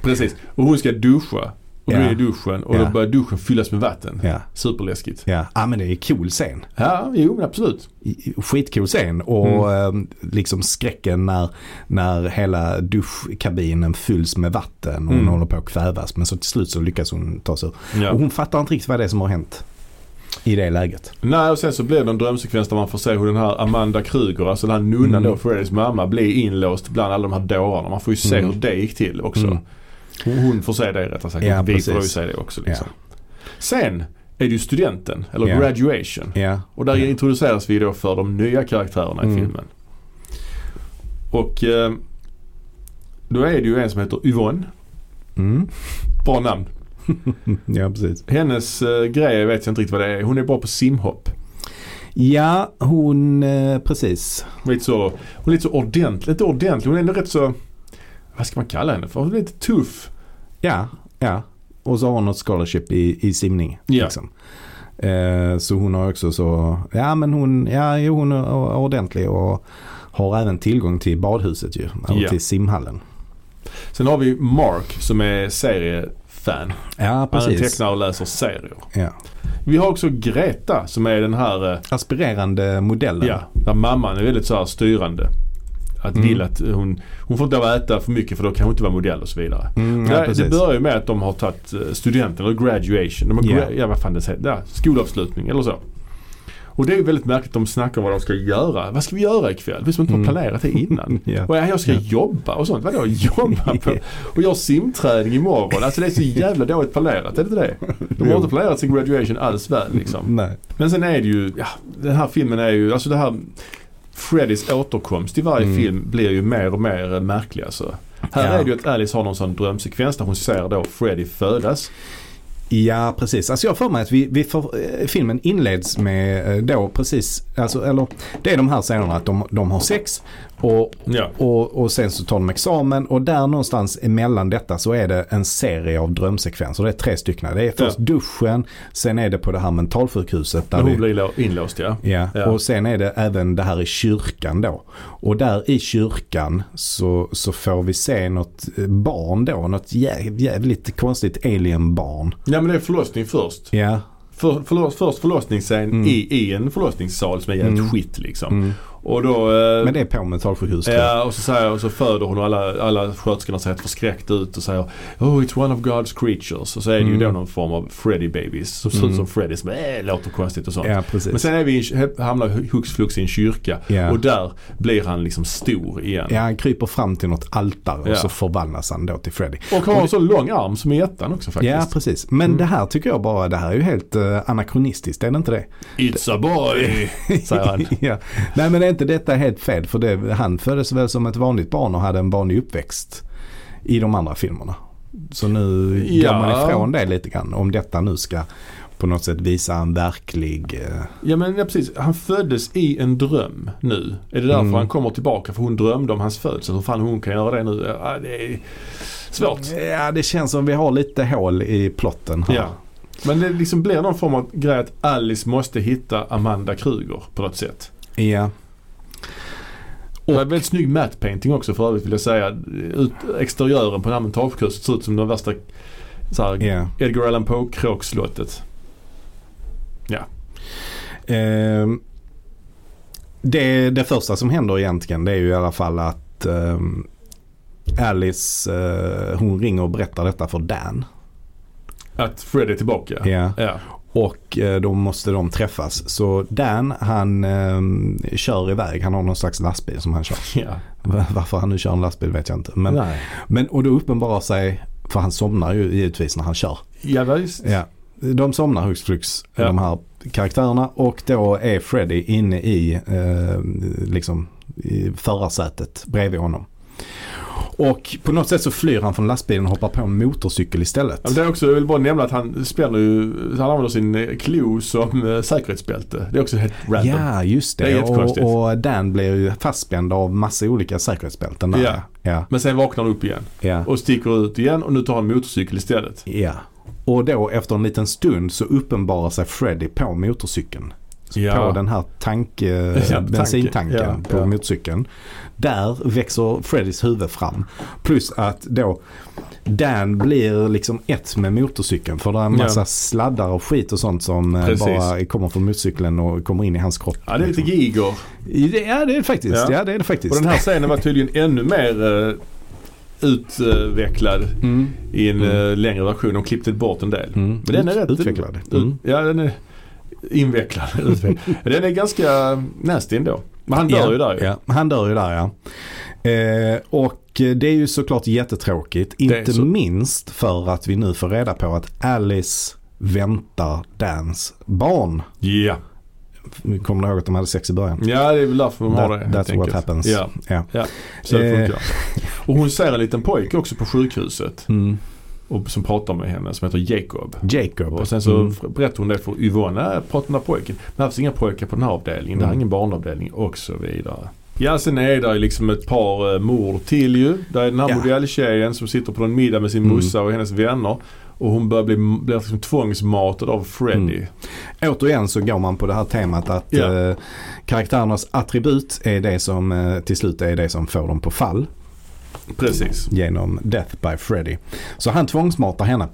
Speaker 2: precis. Och hon ska duscha. Och
Speaker 1: Ja.
Speaker 2: du är i duschen och
Speaker 1: Ja.
Speaker 2: då börjar duschen fyllas med vatten.
Speaker 1: ja,
Speaker 2: Superläskigt.
Speaker 1: ja. Ah, men det är cool scen.
Speaker 2: Ja, jo men absolut.
Speaker 1: I- Skitcool scen och eh, liksom skräcken när, när hela duschkabinen fylls med vatten och hon
Speaker 2: Mm.
Speaker 1: håller på att kvävas. Men så till slut så lyckas hon ta sig ur.
Speaker 2: Ja.
Speaker 1: Och hon fattar inte riktigt vad det är som har hänt i det läget.
Speaker 2: Nej, och sen så blev det en drömsekvens där man får se hur den här Amanda Kruger, alltså den här nunnan
Speaker 1: Mm.
Speaker 2: då, Freddys mamma, blir inlåst bland alla de här dårarna. Man får ju se
Speaker 1: Mm.
Speaker 2: hur det gick till också.
Speaker 1: Mm.
Speaker 2: Hon, hon får se det rättare sagt.
Speaker 1: Ja,
Speaker 2: Vi
Speaker 1: precis.
Speaker 2: får ju se det också liksom. Sen är det ju studenten, eller
Speaker 1: Ja.
Speaker 2: graduation.
Speaker 1: Ja.
Speaker 2: Och där
Speaker 1: Ja.
Speaker 2: introduceras vi då för de nya karaktärerna
Speaker 1: Mm.
Speaker 2: i filmen. Och eh, då är det ju en som heter Yvonne.
Speaker 1: Mm.
Speaker 2: Bra namn.
Speaker 1: ja, precis.
Speaker 2: Hennes eh, grej vet jag inte riktigt vad det är. Hon är bra på simhopp.
Speaker 1: Ja, hon, eh, precis.
Speaker 2: Lite så, hon är lite så ordentlig. Inte ordentlig, hon är ändå rätt så... Vad ska man kalla henne för? Hon är lite tuff.
Speaker 1: Ja, ja. Och så har hon något scholarship i, i simning.
Speaker 2: Ja.
Speaker 1: Liksom. Eh, så hon har också så, ja men hon, ja jo, hon är o- ordentlig och har även tillgång till badhuset ju. Eller
Speaker 2: Ja.
Speaker 1: till simhallen.
Speaker 2: Sen har vi Mark som är seriefan.
Speaker 1: Ja,
Speaker 2: Han
Speaker 1: precis.
Speaker 2: tecknar och läser serier.
Speaker 1: Ja.
Speaker 2: Vi har också Greta som är den här eh,
Speaker 1: Aspirerande modellen.
Speaker 2: Ja, där mamman är väldigt så här styrande. Att
Speaker 1: Mm.
Speaker 2: vill att hon, hon får inte lov att äta för mycket för då kan hon inte vara modell och så vidare.
Speaker 1: Mm, ja,
Speaker 2: Där, det
Speaker 1: precis.
Speaker 2: börjar ju med att de har tagit eh, studenten eller graduation. De har,
Speaker 1: Ja.
Speaker 2: gra- ja, vad fan det heter, ja, skolavslutning eller så. Och det är ju väldigt märkligt att de snackar om vad de ska göra. Vad ska vi göra ikväll? Det är som att de har
Speaker 1: Mm.
Speaker 2: planerat det innan.
Speaker 1: [laughs] Ja.
Speaker 2: Och jag ska
Speaker 1: Ja.
Speaker 2: jobba och sånt. Vadå jobba
Speaker 1: [laughs]
Speaker 2: på? Och jag har simträning imorgon. Alltså det är så jävla dåligt planerat. Är det inte det? De har inte planerat sin graduation alls väl liksom.
Speaker 1: Nej.
Speaker 2: Men sen är det ju, ja, den här filmen är ju, alltså det här Freddys återkomst i varje
Speaker 1: Mm.
Speaker 2: film blir ju mer och mer eh, märklig alltså. Här
Speaker 1: Ja.
Speaker 2: är det ju att Alice har någon sån drömsekvens där hon ser då Freddy födas.
Speaker 1: Ja, precis. Alltså jag har för mig att vi, vi för, eh, filmen inleds med eh, då precis, alltså, eller det är de här scenerna att de, de har sex och,
Speaker 2: Ja.
Speaker 1: och, och sen så tar de examen och där någonstans emellan detta så är det en serie av drömsekvenser. Det är tre stycken. Det är först
Speaker 2: Ja.
Speaker 1: duschen, sen är det på det här mentalsjukhuset. Där
Speaker 2: När
Speaker 1: vi,
Speaker 2: hon blir lo- inlåst ja.
Speaker 1: Ja.
Speaker 2: Ja.
Speaker 1: och sen är det även det här i kyrkan då. Och där i kyrkan så, så får vi se något eh, barn då, något jävligt, jävligt konstigt alienbarn.
Speaker 2: Ja men det är förlossning först.
Speaker 1: Ja,
Speaker 2: För, förlo- först förlossningsscen
Speaker 1: Mm.
Speaker 2: i, i en förlossningssal som är jävligt
Speaker 1: Mm.
Speaker 2: skit liksom.
Speaker 1: mm.
Speaker 2: Och då... eh,
Speaker 1: men det är på mentalsjukhus tror jag.
Speaker 2: Ja, och så, säger, och så föder hon och alla, alla sköterskorna ser helt förskräckt ut och säger Oh it's one of God's creatures. Och så är det
Speaker 1: Mm.
Speaker 2: ju då någon form av Freddy babies som ser ut som Freddy som äh, låter konstigt och sånt.
Speaker 1: Ja, precis.
Speaker 2: Men sen är vi i, en- hamnar hux flux i en kyrka
Speaker 1: Ja.
Speaker 2: och där blir han liksom stor igen.
Speaker 1: Ja, han kryper fram till något altare
Speaker 2: Ja.
Speaker 1: och så förvandlas han då till Freddy.
Speaker 2: Och har en så lång arm som i ettan också faktiskt.
Speaker 1: Ja, precis. Men det här tycker jag bara, det här är ju helt eh, anakronistiskt, är det inte det? [laughs]
Speaker 2: It's a boy! säger han.
Speaker 1: ja. Nej, men är inte detta helt fel? För det, han föddes väl som ett vanligt barn och hade en vanlig uppväxt i de andra filmerna. Så nu
Speaker 2: Ja.
Speaker 1: går man ifrån det lite grann. Om detta nu ska på något sätt visa en verklig... eh,
Speaker 2: Ja men ja, precis. Han föddes i en dröm nu. Är det därför
Speaker 1: Mm.
Speaker 2: han kommer tillbaka? För hon drömde om hans födsel. Hur fan hon kan göra det nu? Ja, det är svårt.
Speaker 1: Ja, det känns som vi har lite hål i plotten här.
Speaker 2: Ja. Men det liksom blir någon form av grej att Alice måste hitta Amanda Kruger på något sätt.
Speaker 1: ja.
Speaker 2: Och det är väldigt snygg matte painting också för övrigt vill jag säga. Ut, exteriören på det här mentalsjukhuset ser ut som den värsta så här,
Speaker 1: ja.
Speaker 2: Edgar Allan Poe-kråkslottet.
Speaker 1: Ehm, det, det första som händer egentligen det är ju i alla fall att ehm, Alice eh, hon ringer och berättar detta för Dan.
Speaker 2: Att Fred är tillbaka.
Speaker 1: Ja.
Speaker 2: Ja.
Speaker 1: Och eh, då måste de träffas. Så Dan han ehm, kör iväg. Han har någon slags lastbil som han kör. [laughs]
Speaker 2: ja.
Speaker 1: Va- Varför han nu kör en lastbil vet jag inte. Men,
Speaker 2: Nej.
Speaker 1: men, och då uppenbarar sig, för han somnar ju givetvis när han kör.
Speaker 2: Ja, visst.
Speaker 1: Ja. De somnar hux flux,
Speaker 2: Ja.
Speaker 1: de här karaktärerna. Och då är Freddy inne i, eh, liksom, i förarsätet bredvid honom. Och på något sätt så flyr han från lastbilen och hoppar på en motorcykel istället.
Speaker 2: Ja, men det är också, jag vill bara nämna att han spänner ju, han använder sin eh, klo som eh, säkerhetsbälte. Det är också helt random.
Speaker 1: Ja, just det.
Speaker 2: Det är jättekonstigt.
Speaker 1: och, och Dan blir ju fastspänd av massa olika säkerhetsbälten där.
Speaker 2: Ja.
Speaker 1: Ja,
Speaker 2: Men sen vaknar han upp igen
Speaker 1: ja,
Speaker 2: och sticker ut igen och nu tar han motorcykel istället.
Speaker 1: ja. Och då efter en liten stund så uppenbarar sig Freddy på motorcykeln. på den här tank,
Speaker 2: [laughs]
Speaker 1: eh,
Speaker 2: tanken.
Speaker 1: bensintanken
Speaker 2: Ja,
Speaker 1: på
Speaker 2: ja.
Speaker 1: motorcykeln. Där växer Freddys huvud fram. Plus att då Dan blir liksom ett med motorcykeln. För det är en massa
Speaker 2: Ja.
Speaker 1: sladdar och skit och sånt som eh,
Speaker 2: Precis.
Speaker 1: bara kommer från motorcykeln och kommer in i hans kropp.
Speaker 2: Ja, det är lite
Speaker 1: liksom.
Speaker 2: giger.
Speaker 1: Ja det är det faktiskt. Ja.
Speaker 2: Ja.
Speaker 1: det är det faktiskt.
Speaker 2: Och den här scenen var tydligen ännu mer eh, utvecklad
Speaker 1: Mm.
Speaker 2: i en
Speaker 1: Mm.
Speaker 2: eh, längre version. De klippte bort en del.
Speaker 1: Mm.
Speaker 2: Men den är
Speaker 1: Ut-
Speaker 2: rätt-
Speaker 1: utvecklad.
Speaker 2: Ut-
Speaker 1: Mm.
Speaker 2: Ja, den är
Speaker 1: [laughs]
Speaker 2: invecklad. utvecklad. den är ganska nasty ändå. Men han dör
Speaker 1: Ja,
Speaker 2: ju där ju.
Speaker 1: ja. Han dör ju där ja. Eh, och eh, det är ju såklart jättetråkigt.
Speaker 2: är
Speaker 1: Inte
Speaker 2: så-
Speaker 1: minst för att vi nu får reda på att Alice väntar Dans barn.
Speaker 2: Ja.
Speaker 1: Kommer du ihåg att de hade sex i början?
Speaker 2: ja, det är väl därför de har det.
Speaker 1: That-
Speaker 2: helt
Speaker 1: that's what
Speaker 2: enkelt.
Speaker 1: happens.
Speaker 2: Ja,
Speaker 1: Ja.
Speaker 2: så det
Speaker 1: Eh.
Speaker 2: funkar. Och hon ser en liten pojke också på sjukhuset.
Speaker 1: Mm.
Speaker 2: och, som pratar med henne som heter Jacob.
Speaker 1: Jacob.
Speaker 2: Och sen så
Speaker 1: Mm.
Speaker 2: f- berättar hon det för Yvonne, äh, prata med pojken. Det här finns inga pojkar på den här avdelningen, det här är
Speaker 1: Mm.
Speaker 2: ingen barnavdelning och så vidare. Ja sen är det ju liksom ett par eh, mord till ju. Där är den här
Speaker 1: Ja.
Speaker 2: modelltjejen som sitter på en middag med sin
Speaker 1: Mm.
Speaker 2: morsa och hennes vänner. Och hon börjar bli, bli liksom tvångsmatad av Freddy.
Speaker 1: Mm. Återigen så går man på det här temat att
Speaker 2: Ja.
Speaker 1: eh, karaktärernas attribut är det som eh, till slut är det som får dem på fall
Speaker 2: Precis.
Speaker 1: genom Death by Freddy. Så han tvångsmatar henne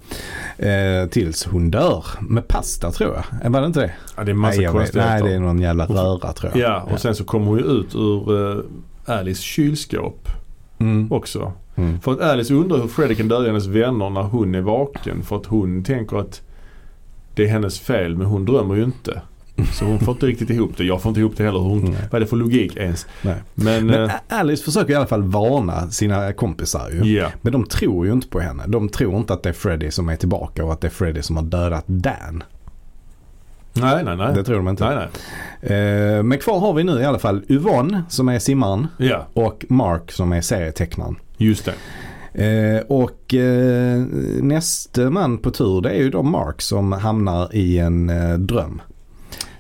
Speaker 1: eh, tills hon dör med pasta tror jag. Eh, Var det inte det?
Speaker 2: Ja, det är en massa
Speaker 1: nej, jag vet, nej,
Speaker 2: konstigheter.
Speaker 1: det är någon jävla röra tror jag.
Speaker 2: Ja och sen så kommer hon ju ut ur uh, Alice kylskåp
Speaker 1: Mm.
Speaker 2: också.
Speaker 1: Mm.
Speaker 2: För att Alice undrar hur Freddy kan döda hennes vänner när hon är vaken. För att hon tänker att det är hennes fel men hon drömmer ju inte. Så hon får inte riktigt ihop det. Jag får inte ihop det heller. Hon,
Speaker 1: Nej.
Speaker 2: Vad är det för logik ens?
Speaker 1: Nej.
Speaker 2: Men,
Speaker 1: Men
Speaker 2: eh,
Speaker 1: Ä- Alice försöker i alla fall varna sina kompisar ju.
Speaker 2: ja.
Speaker 1: Men de tror ju inte på henne. De tror inte att det är Freddy som är tillbaka och att det är Freddy som har dödat Dan.
Speaker 2: Nej, nej, nej.
Speaker 1: Det tror de inte.
Speaker 2: Nej, nej.
Speaker 1: Eh, Men kvar har vi nu i alla fall Yvonne som är simmaren
Speaker 2: Ja,
Speaker 1: och Mark som är serietecknaren.
Speaker 2: just det.
Speaker 1: Eh, Och eh, nästa man på tur det är ju då Mark som hamnar i en eh, dröm.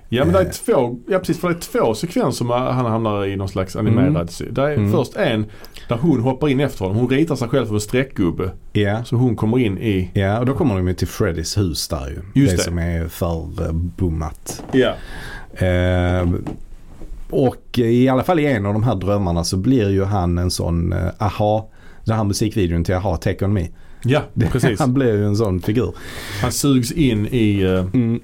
Speaker 2: Ja men det
Speaker 1: Eh.
Speaker 2: är två, ja precis för det är två sekvenser med han hamnar i någon slags animerad
Speaker 1: Mm.
Speaker 2: sy- Det är
Speaker 1: Mm.
Speaker 2: först en där hon hoppar in efter honom. Hon ritar sig själv som en streckgubbe.
Speaker 1: Ja.
Speaker 2: Så hon kommer in i...
Speaker 1: Ja, och då kommer de ju till Freddys hus där ju.
Speaker 2: Just det.
Speaker 1: som är eh, förbommat.
Speaker 2: Ja.
Speaker 1: Eh, och i alla fall i en av de här drömmarna så blir ju han en sån eh, aha. Den här musikvideon till Aha Take On Me.
Speaker 2: Ja,
Speaker 1: [laughs]
Speaker 2: precis.
Speaker 1: Han blir ju en sån figur.
Speaker 2: Han sugs in i, eh,
Speaker 1: Mm.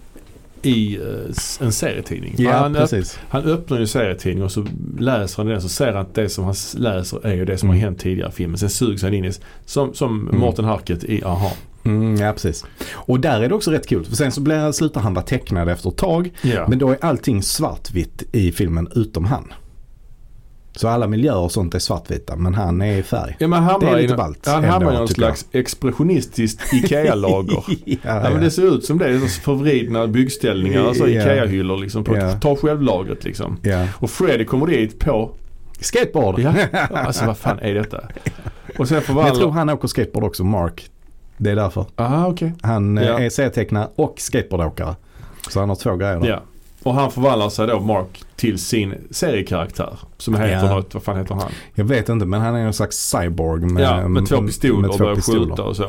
Speaker 2: i eh, s- en serietidning.
Speaker 1: Ja,
Speaker 2: han, öpp-
Speaker 1: precis.
Speaker 2: han öppnar ju en serietidning och så läser han den så ser han att det som han s- läser är ju det som
Speaker 1: Mm.
Speaker 2: har hänt tidigare i filmen. Sen sugs han in i, s- som, som
Speaker 1: Mm.
Speaker 2: Mårten Harket i Aha.
Speaker 1: Mm, ja, precis. Och där är det också rätt kul. För sen så blir, slutar han vara tecknad efter ett tag.
Speaker 2: Ja.
Speaker 1: Men då är allting svartvitt i filmen utom han. Så alla miljöer och sånt är svartvita men han är i färg.
Speaker 2: Ja, men han
Speaker 1: Det är
Speaker 2: hamnar i
Speaker 1: lite
Speaker 2: en-
Speaker 1: ballt
Speaker 2: Han
Speaker 1: ändå,
Speaker 2: hamnar i någon
Speaker 1: tycker jag.
Speaker 2: slags
Speaker 1: [laughs]
Speaker 2: expressionistiskt IKEA-lager.
Speaker 1: ja,
Speaker 2: Ja, men det ser ut som det. det är så Förvridna byggställningar, alltså
Speaker 1: Ja.
Speaker 2: IKEA-hyllor liksom. På,
Speaker 1: Ja.
Speaker 2: Ta själv-lagret liksom.
Speaker 1: ja.
Speaker 2: Och Freddy kommer dit på,
Speaker 1: Skateboard!
Speaker 2: ja, alltså vad fan är detta? Och sen
Speaker 1: Men jag
Speaker 2: förvandlar...
Speaker 1: tror han åker skateboard också, Mark. Det är därför.
Speaker 2: Aha, okej.
Speaker 1: Han eh,
Speaker 2: Ja.
Speaker 1: är serietecknare och skateboardåkare. Så han har två grejer där.
Speaker 2: Ja. Och han förvandlar sig då, Mark, till sin seriekaraktär. Som heter
Speaker 1: Ja.
Speaker 2: något, vad fan heter han?
Speaker 1: Jag vet inte men han är någon slags cyborg. Med,
Speaker 2: ja, ehm, med två pistoler
Speaker 1: med
Speaker 2: och
Speaker 1: två
Speaker 2: börjar
Speaker 1: pistoler.
Speaker 2: skjuta och så.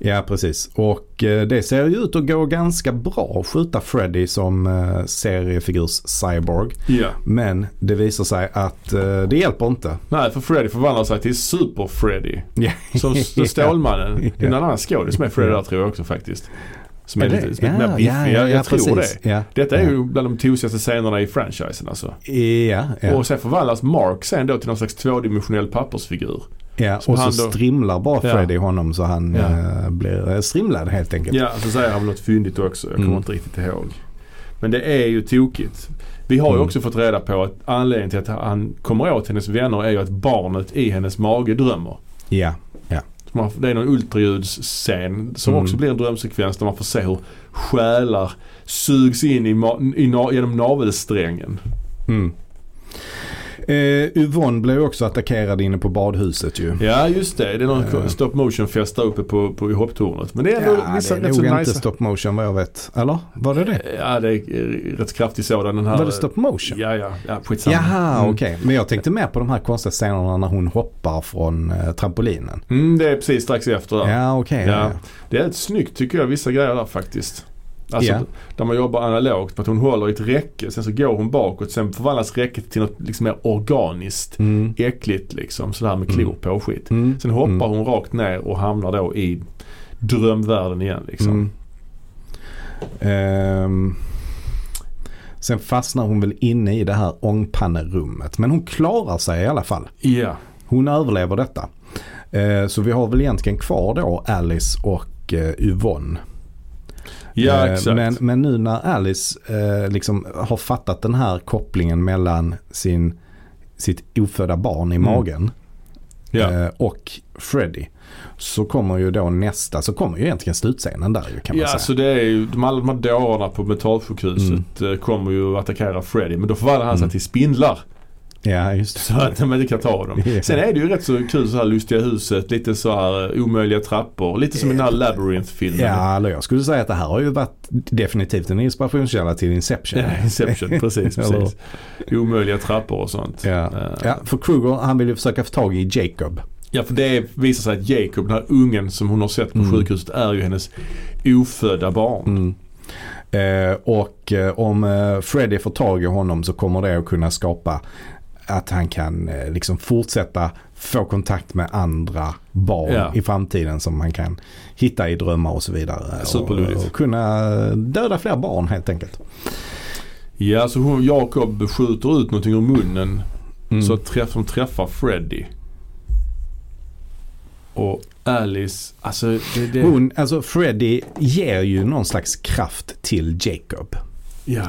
Speaker 1: Ja precis. Och eh, det ser ju ut att gå ganska bra att skjuta Freddy som eh, seriefigurs cyborg.
Speaker 2: Ja.
Speaker 1: Men det visar sig att eh, det hjälper inte.
Speaker 2: Nej, för Freddy förvandlar sig till Super-Freddy.
Speaker 1: [laughs] Ja.
Speaker 2: Som [laughs] s- Stålmannen.
Speaker 1: Ja.
Speaker 2: Det är en annan skådis med Freddy
Speaker 1: Ja.
Speaker 2: där tror jag också faktiskt. Som är,
Speaker 1: Är
Speaker 2: lite,
Speaker 1: det?
Speaker 2: som är lite mer biffig. Ja, jag tror
Speaker 1: precis.
Speaker 2: det.
Speaker 1: Ja.
Speaker 2: Detta är ju bland de tosigaste scenerna i franchisen alltså.
Speaker 1: Ja, ja.
Speaker 2: Och sen förvandlas Mark sen då till någon slags tvådimensionell pappersfigur.
Speaker 1: ja.
Speaker 2: som
Speaker 1: och så
Speaker 2: han då-
Speaker 1: strimlar bara
Speaker 2: Ja.
Speaker 1: Freddy honom så han
Speaker 2: Ja.
Speaker 1: eh, blir eh, strimlad helt enkelt.
Speaker 2: Ja, alltså så säger han väl något fyndigt också. Jag kommer
Speaker 1: Mm.
Speaker 2: inte riktigt ihåg. Men det är ju tokigt. Vi har ju
Speaker 1: Mm.
Speaker 2: också fått reda på att anledningen till att han kommer åt hennes vänner är ju att barnet i hennes mage drömmer.
Speaker 1: Ja.
Speaker 2: Så man- Det är någon ultraljudsscen som
Speaker 1: Mm.
Speaker 2: också blir en drömsekvens där man får se hur själar sugs in i ma- i na- genom navelsträngen.
Speaker 1: Mm. Eh, Yvonne blev ju också attackerad inne på badhuset ju.
Speaker 2: Ja just det. Det är någon
Speaker 1: Ja.
Speaker 2: stop motion fest där uppe på, på i hopptornet. Men det är ändå
Speaker 1: Ja, det
Speaker 2: vissa
Speaker 1: är
Speaker 2: rätt så
Speaker 1: nog inte
Speaker 2: nice.
Speaker 1: stop motion vad jag vet. Eller? Var det det?
Speaker 2: Ja det är eh, rätt kraftig sådan den här.
Speaker 1: Var det stop motion?
Speaker 2: Ja ja, ja skitsamma.
Speaker 1: Jaha,
Speaker 2: Mm.
Speaker 1: okej. Men jag tänkte mer på de här konstiga scenerna när hon hoppar från eh, trampolinen.
Speaker 2: Mm, det är precis strax efter där.
Speaker 1: Ja, okej.
Speaker 2: Ja.
Speaker 1: ja.
Speaker 2: Det är rätt snyggt tycker jag vissa grejer där faktiskt. Alltså
Speaker 1: Ja.
Speaker 2: där man jobbar analogt. med Att hon håller i ett räcke, sen så går hon bakåt. Sen förvandlas räcket till något liksom mer organiskt.
Speaker 1: Mm.
Speaker 2: Äckligt liksom. Sådär med klor
Speaker 1: Mm.
Speaker 2: på och skit.
Speaker 1: Mm.
Speaker 2: Sen hoppar
Speaker 1: Mm.
Speaker 2: hon rakt ner och hamnar då i drömvärlden igen liksom.
Speaker 1: Mm. Ehm. Sen fastnar hon väl inne i det här ångpannerummet. Men hon klarar sig i alla fall.
Speaker 2: Ja.
Speaker 1: Hon överlever detta. Eh, så vi har väl egentligen kvar då Alice och eh, Yvonne.
Speaker 2: Ja
Speaker 1: Eh,
Speaker 2: exakt.
Speaker 1: Men, men nu när Alice eh, liksom har fattat den här kopplingen mellan sin, sitt ofödda barn i
Speaker 2: Mm.
Speaker 1: magen
Speaker 2: ja.
Speaker 1: eh, och Freddy. Så kommer ju då nästa, så kommer ju egentligen slutscenen där ju kan man
Speaker 2: Ja,
Speaker 1: säga.
Speaker 2: så det är ju, de, alla de här dårarna på mentalsjukhuset eh, kommer ju att attackera Freddy. Men då förvandlar han sig
Speaker 1: Mm.
Speaker 2: till spindlar.
Speaker 1: Ja, just
Speaker 2: Så att man inte kan ta dem.
Speaker 1: Ja.
Speaker 2: Sen är det ju rätt så kul så här lustiga huset. Lite så här eh, omöjliga trappor. Lite som i den här Labyrinth-filmen.
Speaker 1: Ja, eller jag skulle säga att det här har ju varit definitivt en inspirationskälla till Inception.
Speaker 2: Ja, Inception, precis.
Speaker 1: Eller-
Speaker 2: precis. Omöjliga trappor och sånt.
Speaker 1: Ja.
Speaker 2: Eh,
Speaker 1: Ja, för Kruger han vill ju försöka få tag i Jacob.
Speaker 2: ja, för det visar sig att Jacob, den här ungen som hon har sett på
Speaker 1: Mm.
Speaker 2: sjukhuset, är ju hennes ofödda barn.
Speaker 1: Mm. Eh, och eh, om eh, Freddy får tag i honom så kommer det att kunna skapa att han kan eh, liksom fortsätta få kontakt med andra barn
Speaker 2: Ja.
Speaker 1: i framtiden som han kan hitta i drömmar och så vidare.
Speaker 2: Superludigt.
Speaker 1: Och, och kunna eh, döda fler barn helt enkelt.
Speaker 2: Ja, så hon, Jacob skjuter ut någonting ur munnen
Speaker 1: Mm.
Speaker 2: så att träff, de träffar Freddy. Och Alice, alltså det... det
Speaker 1: Hon, alltså Freddy ger ju någon slags kraft till Jacob.
Speaker 2: ja.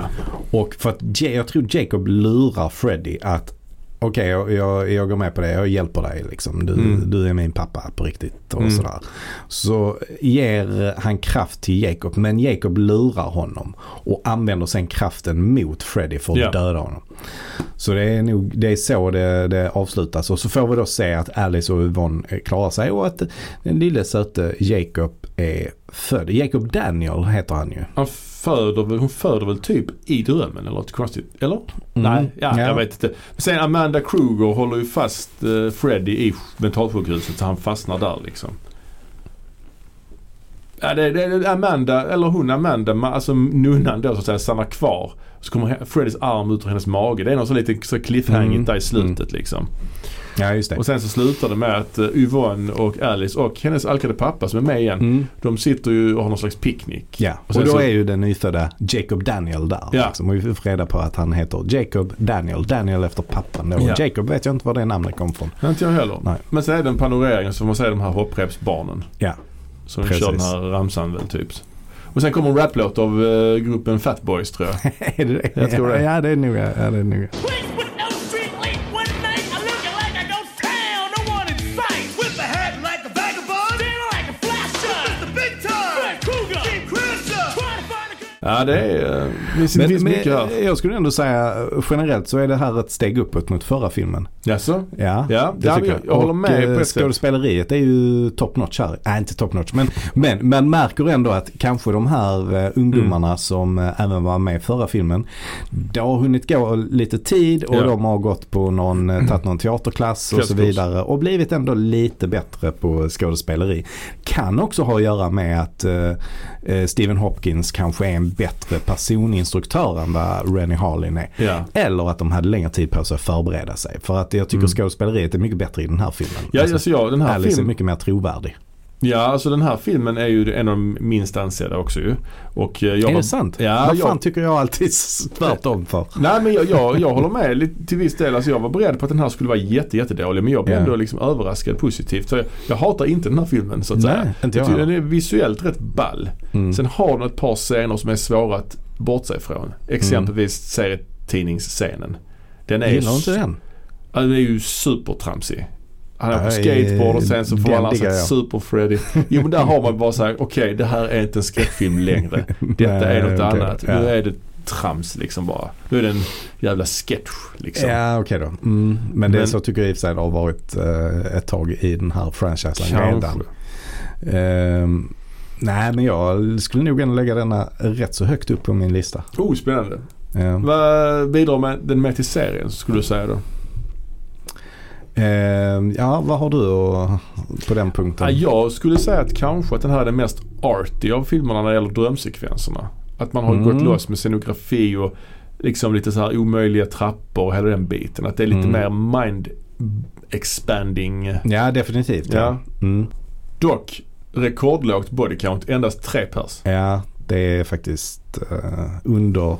Speaker 1: Och för att Ja- jag tror Jacob lurar Freddy att okej jag, jag, jag går med på det, jag hjälper dig liksom. Du,
Speaker 2: Mm.
Speaker 1: du är min pappa på riktigt och
Speaker 2: Mm.
Speaker 1: sådär. Så ger han kraft till Jacob men Jacob lurar honom och använder sen kraften mot Freddy för att
Speaker 2: Ja.
Speaker 1: döda honom. Så det är nog det är så det, det avslutas och så får vi då se att Alice och Yvonne eh, klarar sig och att den lille söte Jacob är född. Jacob Daniel heter han ju.
Speaker 2: Han föder, väl- hon föder väl typ i drömmen eller något konstigt? Eller?
Speaker 1: Mm.
Speaker 2: Nej, ja, jag vet inte. Men sen Amanda Kruger håller ju fast eh, Freddy i mentalsjukhuset så han fastnar där liksom. Ja, det, det, det- Amanda, eller hon Amanda, ma- alltså nunnan då så att säga, stannar kvar. Så kommer he- Freddys arm ut ur hennes mage. Det är något så lite så cliffhangigt
Speaker 1: Mm.
Speaker 2: där i slutet liksom.
Speaker 1: Ja just det.
Speaker 2: Och sen så slutar det med att eh, Yvonne och Alice och hennes alkade pappa som är med igen.
Speaker 1: Mm.
Speaker 2: De sitter ju och har någon slags picknick.
Speaker 1: Ja,
Speaker 2: Och
Speaker 1: och,
Speaker 2: sen
Speaker 1: då
Speaker 2: så-
Speaker 1: är ju den nyfödda Jacob Daniel där.
Speaker 2: Ja.
Speaker 1: Liksom. Och vi får reda på att han heter Jacob Daniel. Daniel efter pappan då.
Speaker 2: Ja.
Speaker 1: Jacob vet jag inte var det namnet kom från.
Speaker 2: Nej, Inte jag heller.
Speaker 1: Nej.
Speaker 2: Men sen är det en panorering som man säger de här hopprepsbarnen.
Speaker 1: Ja.
Speaker 2: Som de
Speaker 1: Precis.
Speaker 2: kör den här ramsan väl typ. Och sen kommer en raplåt av eh, gruppen Fat Boys tror
Speaker 1: [laughs]
Speaker 2: jag.
Speaker 1: [laughs] är det det?
Speaker 2: Jag tror det.
Speaker 1: Ja, det är nog. Ja, det är nog.
Speaker 4: Place with no street late one night. I'm looking like I don't town, no one in sight. With the head like a vagabond, standing like a flasher. It's the big time. Fred Krueger, Jim Crimson, trying to find a good.
Speaker 2: Ja det är... Eh, det finns,
Speaker 1: Men,
Speaker 2: finns
Speaker 1: men
Speaker 2: mycket här.
Speaker 1: jag skulle ändå säga generellt så är det här ett steg uppåt mot förra filmen.
Speaker 2: Jaså?
Speaker 1: Ja,
Speaker 2: Ja, ja, men jag- jag håller med
Speaker 1: eh,
Speaker 2: på ett sätt.
Speaker 1: Skådespeleriet är ju top notch här. Nej, inte top notch. Men, men man märker ändå att kanske de här eh, ungdomarna
Speaker 2: Mm.
Speaker 1: som eh, även var med i förra filmen. Det har hunnit gå lite tid och
Speaker 2: Ja.
Speaker 1: de har gått på någon, eh, tagit någon teaterklass och så
Speaker 2: Klasskurs.
Speaker 1: vidare. Och blivit ändå lite bättre på skådespeleri. Kan också ha att göra med att eh, eh, Stephen Hopkins kanske är en bättre personinstruktör än vad Rennie Harlin är.
Speaker 2: Ja.
Speaker 1: Eller att de hade längre tid på sig att förbereda sig. För att jag tycker skådespeleriet är mycket bättre i den här filmen.
Speaker 2: Mm. Ja,
Speaker 1: Alltså,
Speaker 2: alltså, ja, den här
Speaker 1: Alice
Speaker 2: filmen,
Speaker 1: är mycket mer trovärdig.
Speaker 2: ja, alltså den här filmen är ju en av de minst ansedda också ju. Och eh, jag
Speaker 1: är
Speaker 2: var-
Speaker 1: det sant?
Speaker 2: Ja,
Speaker 1: Vad
Speaker 2: jag-
Speaker 1: fan tycker jag alltid s- tvärtom för?
Speaker 2: Nej men jag, jag, jag håller med lite, till viss del. Alltså jag var beredd på att den här skulle vara jätte, jättedålig men jag blev
Speaker 1: Ja.
Speaker 2: ändå liksom överraskad positivt. Så jag, jag hatar inte den här filmen så att
Speaker 1: Nej,
Speaker 2: säga.
Speaker 1: inte jag
Speaker 2: tycker
Speaker 1: heller.
Speaker 2: den är visuellt rätt ball.
Speaker 1: Mm.
Speaker 2: Sen har den ett par scener som är svåra att bortse ifrån. Exempelvis serietidningsscenen. Den är, ju
Speaker 1: Gillar du inte
Speaker 2: s-
Speaker 1: den?
Speaker 2: Ja, den är ju supertramsig. Han är på
Speaker 1: Nej,
Speaker 2: skateboard och sen så får
Speaker 1: den
Speaker 2: alla
Speaker 1: diggar
Speaker 2: säga
Speaker 1: jag.
Speaker 2: super-Freddy. Jo men där har man bara såhär, okej det här är inte en skräckfilm längre.
Speaker 1: [laughs]
Speaker 2: Detta
Speaker 1: Nej,
Speaker 2: är något
Speaker 1: okej.
Speaker 2: annat.
Speaker 1: Ja.
Speaker 2: Nu är det trams liksom bara. Nu är det en jävla sketch liksom.
Speaker 1: Ja, okej då. Mm. Men det
Speaker 2: Men-
Speaker 1: är så tycker jag i och för sig det har varit eh, ett tag i den här franchisen
Speaker 2: Kanske.
Speaker 1: redan. Ehm, nej, men jag skulle nog ändå lägga denna rätt så högt upp på min lista.
Speaker 2: Oh, spännande.
Speaker 1: Ehm.
Speaker 2: Vad bidrar med, den med till serien skulle du säga då?
Speaker 1: Ehm, ja, vad har du att- på den punkten?
Speaker 2: Ja, jag skulle säga att kanske att den här är den mest arty av filmerna när det gäller drömsekvenserna. Att man har
Speaker 1: Mm.
Speaker 2: gått loss med scenografi och liksom lite så här omöjliga trappor och hela den biten. Att det är lite
Speaker 1: Mm.
Speaker 2: mer mind expanding.
Speaker 1: Ja, definitivt. Ja.
Speaker 2: Ja.
Speaker 1: Mm.
Speaker 2: Dock rekordlågt body count, endast tre pers.
Speaker 1: ja, det är faktiskt eh, under,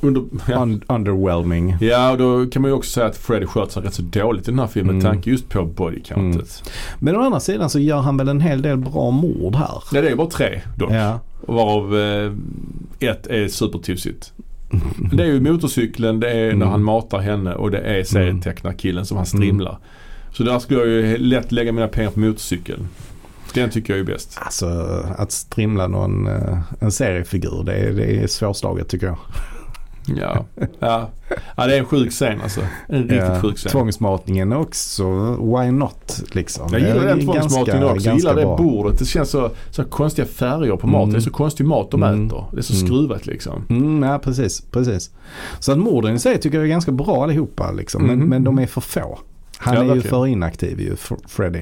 Speaker 2: Under, [laughs] ja.
Speaker 1: un, underwhelming.
Speaker 2: ja, och då kan man ju också säga att Freddy sköt sig rätt så dåligt i den här filmen med
Speaker 1: Mm.
Speaker 2: tanke just på body countet.
Speaker 1: Men å andra sidan så gör han väl en hel del bra mord här.
Speaker 2: Nej, det är bara tre dock.
Speaker 1: Ja,
Speaker 2: Och Varav eh, ett är supertufsigt. Det är ju motorcykeln, det är när
Speaker 1: Mm.
Speaker 2: han matar henne och det är serietecknarkillen som han strimlar. Så där skulle jag ju lätt lägga mina pengar på motorcykeln. Den tycker jag är bäst.
Speaker 1: alltså att strimla någon, eh, en seriefigur det är, det är svårslaget tycker jag.
Speaker 2: Ja. Ja. ja, det är en sjuk scen alltså. En riktigt
Speaker 1: Ja,
Speaker 2: sjuk scen.
Speaker 1: Tvångsmatningen också, why not liksom.
Speaker 2: Jag gillar
Speaker 1: Det är
Speaker 2: den tvångsmatningen
Speaker 1: ganska-
Speaker 2: också. Jag gillar
Speaker 1: ganska
Speaker 2: det
Speaker 1: bra.
Speaker 2: bordet. Det känns så, så här konstiga färger på maten.
Speaker 1: Mm.
Speaker 2: Det är så konstig mat de
Speaker 1: Mm.
Speaker 2: äter. Det är så
Speaker 1: Mm.
Speaker 2: skruvat liksom.
Speaker 1: Mm, ja, precis, precis. Så att morden i sig tycker jag är ganska bra allihopa liksom. Men,
Speaker 2: Mhm.
Speaker 1: men de är för få. Han
Speaker 2: Ja,
Speaker 1: är ju
Speaker 2: verkligen.
Speaker 1: för inaktiv ju, F- Freddy.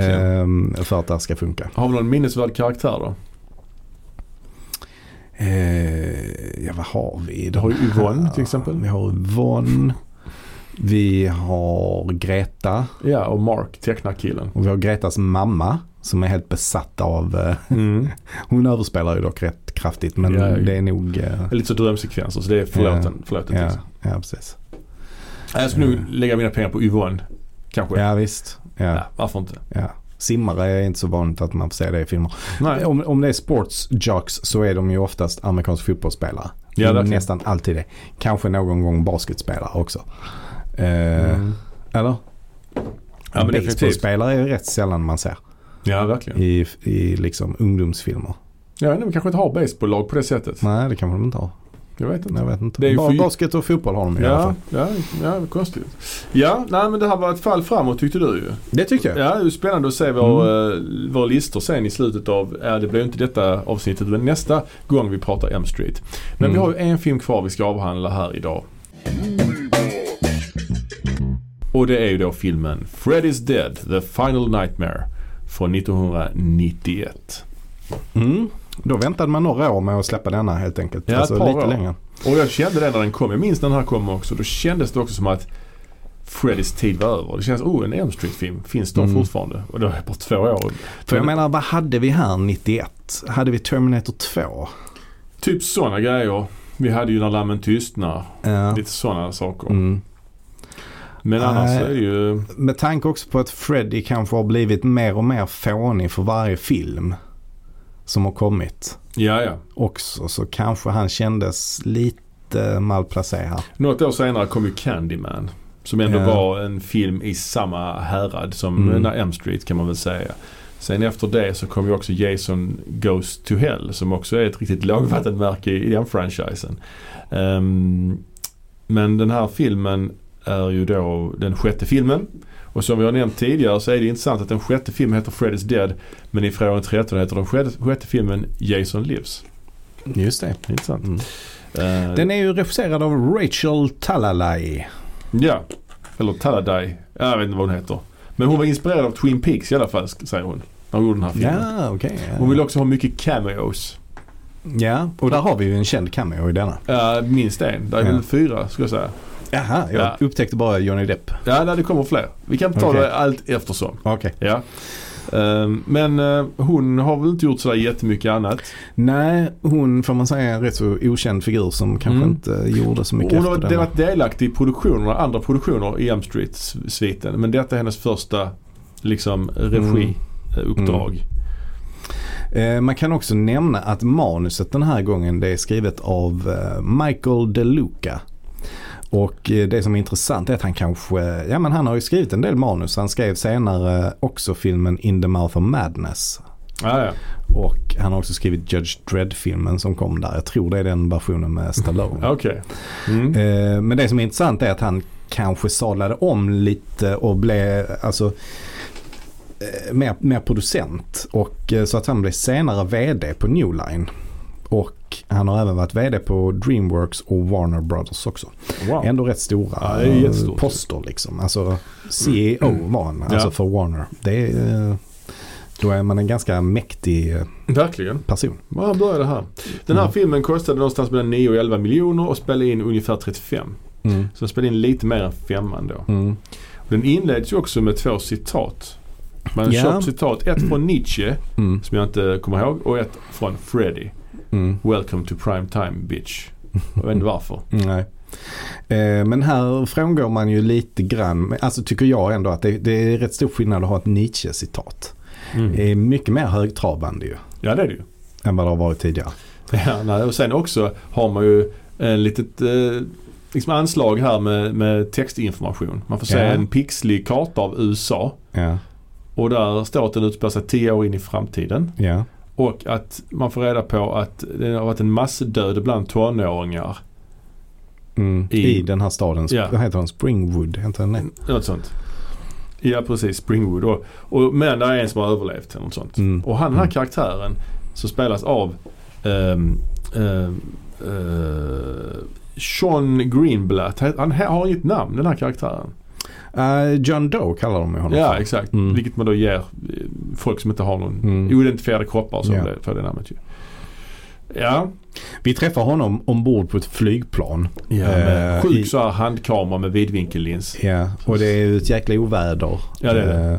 Speaker 1: Ehm, för att det här ska funka.
Speaker 2: Har vi någon minnesvärd karaktär då?
Speaker 1: Eh, ja, vad har vi?
Speaker 2: Vi har ju Yvonne till exempel.
Speaker 1: Vi har Yvonne. Vi har Greta.
Speaker 2: Ja, och Mark, tecknarkillen.
Speaker 1: Och vi har Gretas mamma. Som är helt besatt av... Eh,
Speaker 2: Mm.
Speaker 1: hon överspelar ju dock rätt kraftigt. Men
Speaker 2: Ja, ja.
Speaker 1: det är nog... Eh,
Speaker 2: Lite så drömsekvenser, så det är förlåten.
Speaker 1: Ja.
Speaker 2: förlåten
Speaker 1: ja,
Speaker 2: liksom.
Speaker 1: ja, precis.
Speaker 2: Jag skulle nog lägga mina pengar på Yvonne. Kanske.
Speaker 1: Ja, visst. Ja,
Speaker 2: Ja, varför inte?
Speaker 1: ja. Simmare är inte så vanligt att man får se det i filmer.
Speaker 2: Nej.
Speaker 1: Om, om det är sportsjocks så är de ju oftast amerikanska fotbollsspelare.
Speaker 2: Ja, verkligen.
Speaker 1: Nästan alltid det. Kanske någon gång basketspelare också. Eh, Eller?
Speaker 2: Mm. Ja, men definitivt.
Speaker 1: Baseballspelare är ju rätt sällan man ser
Speaker 2: Ja, verkligen.
Speaker 1: i, i liksom ungdomsfilmer.
Speaker 2: Jag vet inte, vi kanske inte har baseballlag på det sättet.
Speaker 1: Nej, det kanske de inte har.
Speaker 2: Jag vet inte.
Speaker 1: Jag vet inte.
Speaker 2: Det är ju
Speaker 1: Bara
Speaker 2: för-
Speaker 1: basket och fotboll har de i alla
Speaker 2: Ja,
Speaker 1: fall.
Speaker 2: ja, ja, konstigt. Ja, nej men det här var ett fall framåt tyckte du ju.
Speaker 1: Det tyckte jag.
Speaker 2: Ja, det är spännande att se vår,
Speaker 1: Mm.
Speaker 2: eh, våra listor sen i slutet av, ja det blir ju inte detta avsnittet men nästa gång vi pratar M Street. Men
Speaker 1: Mm.
Speaker 2: vi har ju en film kvar vi ska avhandla här idag. Och det är ju då filmen Freddy's Dead, The Final Nightmare från 1991.
Speaker 1: Mm. Då väntade man några år med att släppa denna helt enkelt.
Speaker 2: Ja, ett
Speaker 1: alltså
Speaker 2: par
Speaker 1: lite
Speaker 2: år.
Speaker 1: längre.
Speaker 2: Och jag kände det när den kom. Jag minns när den här kom också. Då kändes det också som att Freddys tid var över. Det känns, oh en M Street-film. Finns de
Speaker 1: Mm.
Speaker 2: fortfarande? Och det var bara två år.
Speaker 1: För jag menar, vad hade vi här 91? Hade vi Terminator 2?
Speaker 2: Typ sådana grejer. Vi hade ju När Lammen Tystnar.
Speaker 1: Ja.
Speaker 2: Lite sådana saker.
Speaker 1: Mm.
Speaker 2: Men annars
Speaker 1: Nej.
Speaker 2: är det ju...
Speaker 1: Med tanke också på att Freddy kanske har blivit mer och mer fånig för varje film som har kommit
Speaker 2: Ja, ja.
Speaker 1: också. Så kanske han kändes lite malplacerad.
Speaker 2: Något år senare kom ju Candyman. Som ändå
Speaker 1: Ja.
Speaker 2: var en film i samma härad som
Speaker 1: Mm.
Speaker 2: mm. M Street kan man väl säga. Sen efter det så kom ju också Jason Goes to Hell som också är ett riktigt [laughs] lågvattenmärke i den franchisen. Ehm, men den här filmen är ju då den sjätte filmen. Och som vi har nämnt tidigare så är det intressant att den sjätte filmen heter Freddy's Dead men i Frågan 13 heter den sjätte, sjätte filmen Jason Lives.
Speaker 1: Just det.
Speaker 2: Intressant.
Speaker 1: Mm.
Speaker 2: Ehm,
Speaker 1: Den är ju regisserad av Rachel Talalay.
Speaker 2: Ja, eller Talladay. Jag vet inte vad hon heter. Men hon var inspirerad av Twin Peaks i alla fall, sk- säger hon. När hon gjorde den här filmen.
Speaker 1: Ja, okej.
Speaker 2: Hon vill också ha mycket cameos.
Speaker 1: Ja, och där har vi ju en känd cameo i denna.
Speaker 2: Uh, minst en. Det är väl
Speaker 1: Ja.
Speaker 2: fyra, skulle jag säga.
Speaker 1: Jaha, jag
Speaker 2: Ja.
Speaker 1: upptäckte bara Johnny Depp.
Speaker 2: Ja, nej, det kommer fler. Vi kan ta
Speaker 1: Okej.
Speaker 2: det allt eftersom.
Speaker 1: Okej.
Speaker 2: Ja. Ehm, men eh, hon har väl inte gjort sådär jättemycket annat.
Speaker 1: Nej, hon får man säga är en rätt så okänd figur som kanske
Speaker 2: Mm.
Speaker 1: inte gjorde så mycket
Speaker 2: Hon har
Speaker 1: efter denna.
Speaker 2: varit delaktig i produktioner, andra produktioner i M Street-sviten. Men detta är hennes första liksom
Speaker 1: Mm.
Speaker 2: regiuppdrag.
Speaker 1: Eh, Man kan också nämna att manuset den här gången det är skrivet av eh, Michael DeLuca. Och eh, det som är intressant är att han kanske, eh, ja men han har ju skrivit en del manus. Han skrev senare också filmen In the Mouth of Madness.
Speaker 2: Ja, ja.
Speaker 1: Och han har också skrivit Judge Dredd-filmen som kom där. Jag tror det är den versionen med Stallone.
Speaker 2: Okej. Mm.
Speaker 1: Eh, Men det som är intressant är att han kanske sadlade om lite och blev alltså, eh, mer, mer producent. Och, eh, så att han blev senare vd på New Line. Och han har även varit vd på Dreamworks och Warner Brothers också.
Speaker 2: Wow.
Speaker 1: Ändå rätt stora
Speaker 2: Ja, det är
Speaker 1: eh,
Speaker 2: jättestort.
Speaker 1: poster liksom. Alltså CEO var han, alltså
Speaker 2: Mm. Ja.
Speaker 1: för Warner. Det är, eh, då är man en ganska mäktig eh,
Speaker 2: Verkligen.
Speaker 1: person.
Speaker 2: Ja, han började här. Den
Speaker 1: Mm.
Speaker 2: här filmen kostade någonstans mellan 9 och 11 miljoner och spelade in ungefär 35.
Speaker 1: Mm.
Speaker 2: Så den spelade in lite mer än femman då.
Speaker 1: Mm.
Speaker 2: Den inleds ju också med två citat. Man har
Speaker 1: Ja.
Speaker 2: köpt citat. Ett från Nietzsche,
Speaker 1: Mm.
Speaker 2: som jag inte kommer ihåg, och ett från Freddy.
Speaker 1: Mm.
Speaker 2: Welcome to prime time bitch. Jag vet inte varför.
Speaker 1: Nej. Eh, Men här frångår man ju lite grann, men alltså tycker jag ändå att det, det är rätt stor skillnad att ha ett Nietzsche-citat.
Speaker 2: Mm.
Speaker 1: Det är mycket mer högtravande ju,
Speaker 2: Ja, det är det ju.
Speaker 1: än vad det har varit tidigare.
Speaker 2: Ja, nej, och sen också har man ju en litet eh, liksom anslag här med, med textinformation. Man får se
Speaker 1: Ja.
Speaker 2: en pixlig karta av USA.
Speaker 1: Ja,
Speaker 2: Och där står att den utspelar sig 10 år in i framtiden.
Speaker 1: ja.
Speaker 2: Och att man får reda på att det har varit en massdöd bland tonåringar
Speaker 1: Mm. I,
Speaker 2: I-
Speaker 1: den här staden.
Speaker 2: Ja. Mm.
Speaker 1: Yeah. Vad heter den? Springwood? Heter den det?
Speaker 2: Något sånt. Ja precis, Springwood. Och, och, men det är en som har överlevt eller något sånt.
Speaker 1: Mm.
Speaker 2: Och han, den här
Speaker 1: Mm.
Speaker 2: karaktären som spelas av ehm, ehm, eh, Sean Greenblatt. Han- Han har inget namn den här karaktären.
Speaker 1: Eh, John Doe kallar de ju honom
Speaker 2: Ja
Speaker 1: för.
Speaker 2: exakt.
Speaker 1: Mm.
Speaker 2: Vilket man då ger eh, folk som inte har någon
Speaker 1: Mm.
Speaker 2: oidentifierade kroppar och så
Speaker 1: Ja.
Speaker 2: det- får det namnet ju. Ja,
Speaker 1: Vi träffar honom ombord på ett flygplan.
Speaker 2: ja
Speaker 1: Eh,
Speaker 2: med
Speaker 1: i-
Speaker 2: sjuk så här handkamera med vidvinkellins.
Speaker 1: Ja, och det är ju ett jäkla oväder.
Speaker 2: Ja, det är det.
Speaker 1: Eh,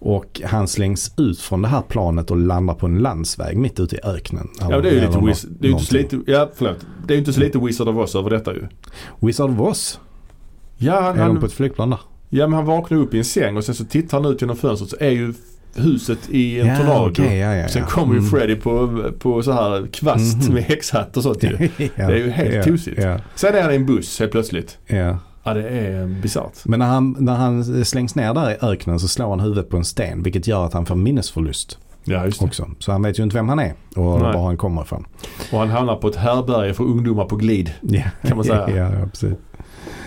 Speaker 1: Och han slängs ut från det här planet och landar på en landsväg mitt ute i öknen.
Speaker 2: Ja, det är ju
Speaker 1: Eller
Speaker 2: lite,
Speaker 1: nå-
Speaker 2: Wiz- det är ju inte så
Speaker 1: någonting.
Speaker 2: lite, ja, förlåt. Det är ju inte så lite Wizard of Oz över detta ju.
Speaker 1: Wizard of Oz.
Speaker 2: Ja, han,
Speaker 1: Är de
Speaker 2: han,
Speaker 1: på ett flygplan där?
Speaker 2: ja, men han vaknar upp i en säng och sen så tittar han ut genom fönstret så är ju huset i en
Speaker 1: Ja,
Speaker 2: tornado.
Speaker 1: okej, ja, ja, ja.
Speaker 2: Sen kommer ju
Speaker 1: Mm.
Speaker 2: Freddy på, på så här kvast
Speaker 1: Mhm.
Speaker 2: med häxhatt och sånt ju.
Speaker 1: [laughs] Ja,
Speaker 2: Det är ju helt
Speaker 1: ja,
Speaker 2: tosigt.
Speaker 1: Ja,
Speaker 2: Sen är han i en buss helt plötsligt.
Speaker 1: ja.
Speaker 2: Ja, det är eh, bisarrt.
Speaker 1: Men när han, när han slängs ner där i öknen så slår han huvudet på en sten vilket gör att han får minnesförlust
Speaker 2: Ja, just det.
Speaker 1: också. Så han vet ju inte vem han är och
Speaker 2: Nej.
Speaker 1: var han kommer ifrån.
Speaker 2: Och han hamnar på ett härbärge för ungdomar på glid.
Speaker 1: Ja,
Speaker 2: Kan man
Speaker 1: [laughs]
Speaker 2: säga.
Speaker 1: ja, ja precis.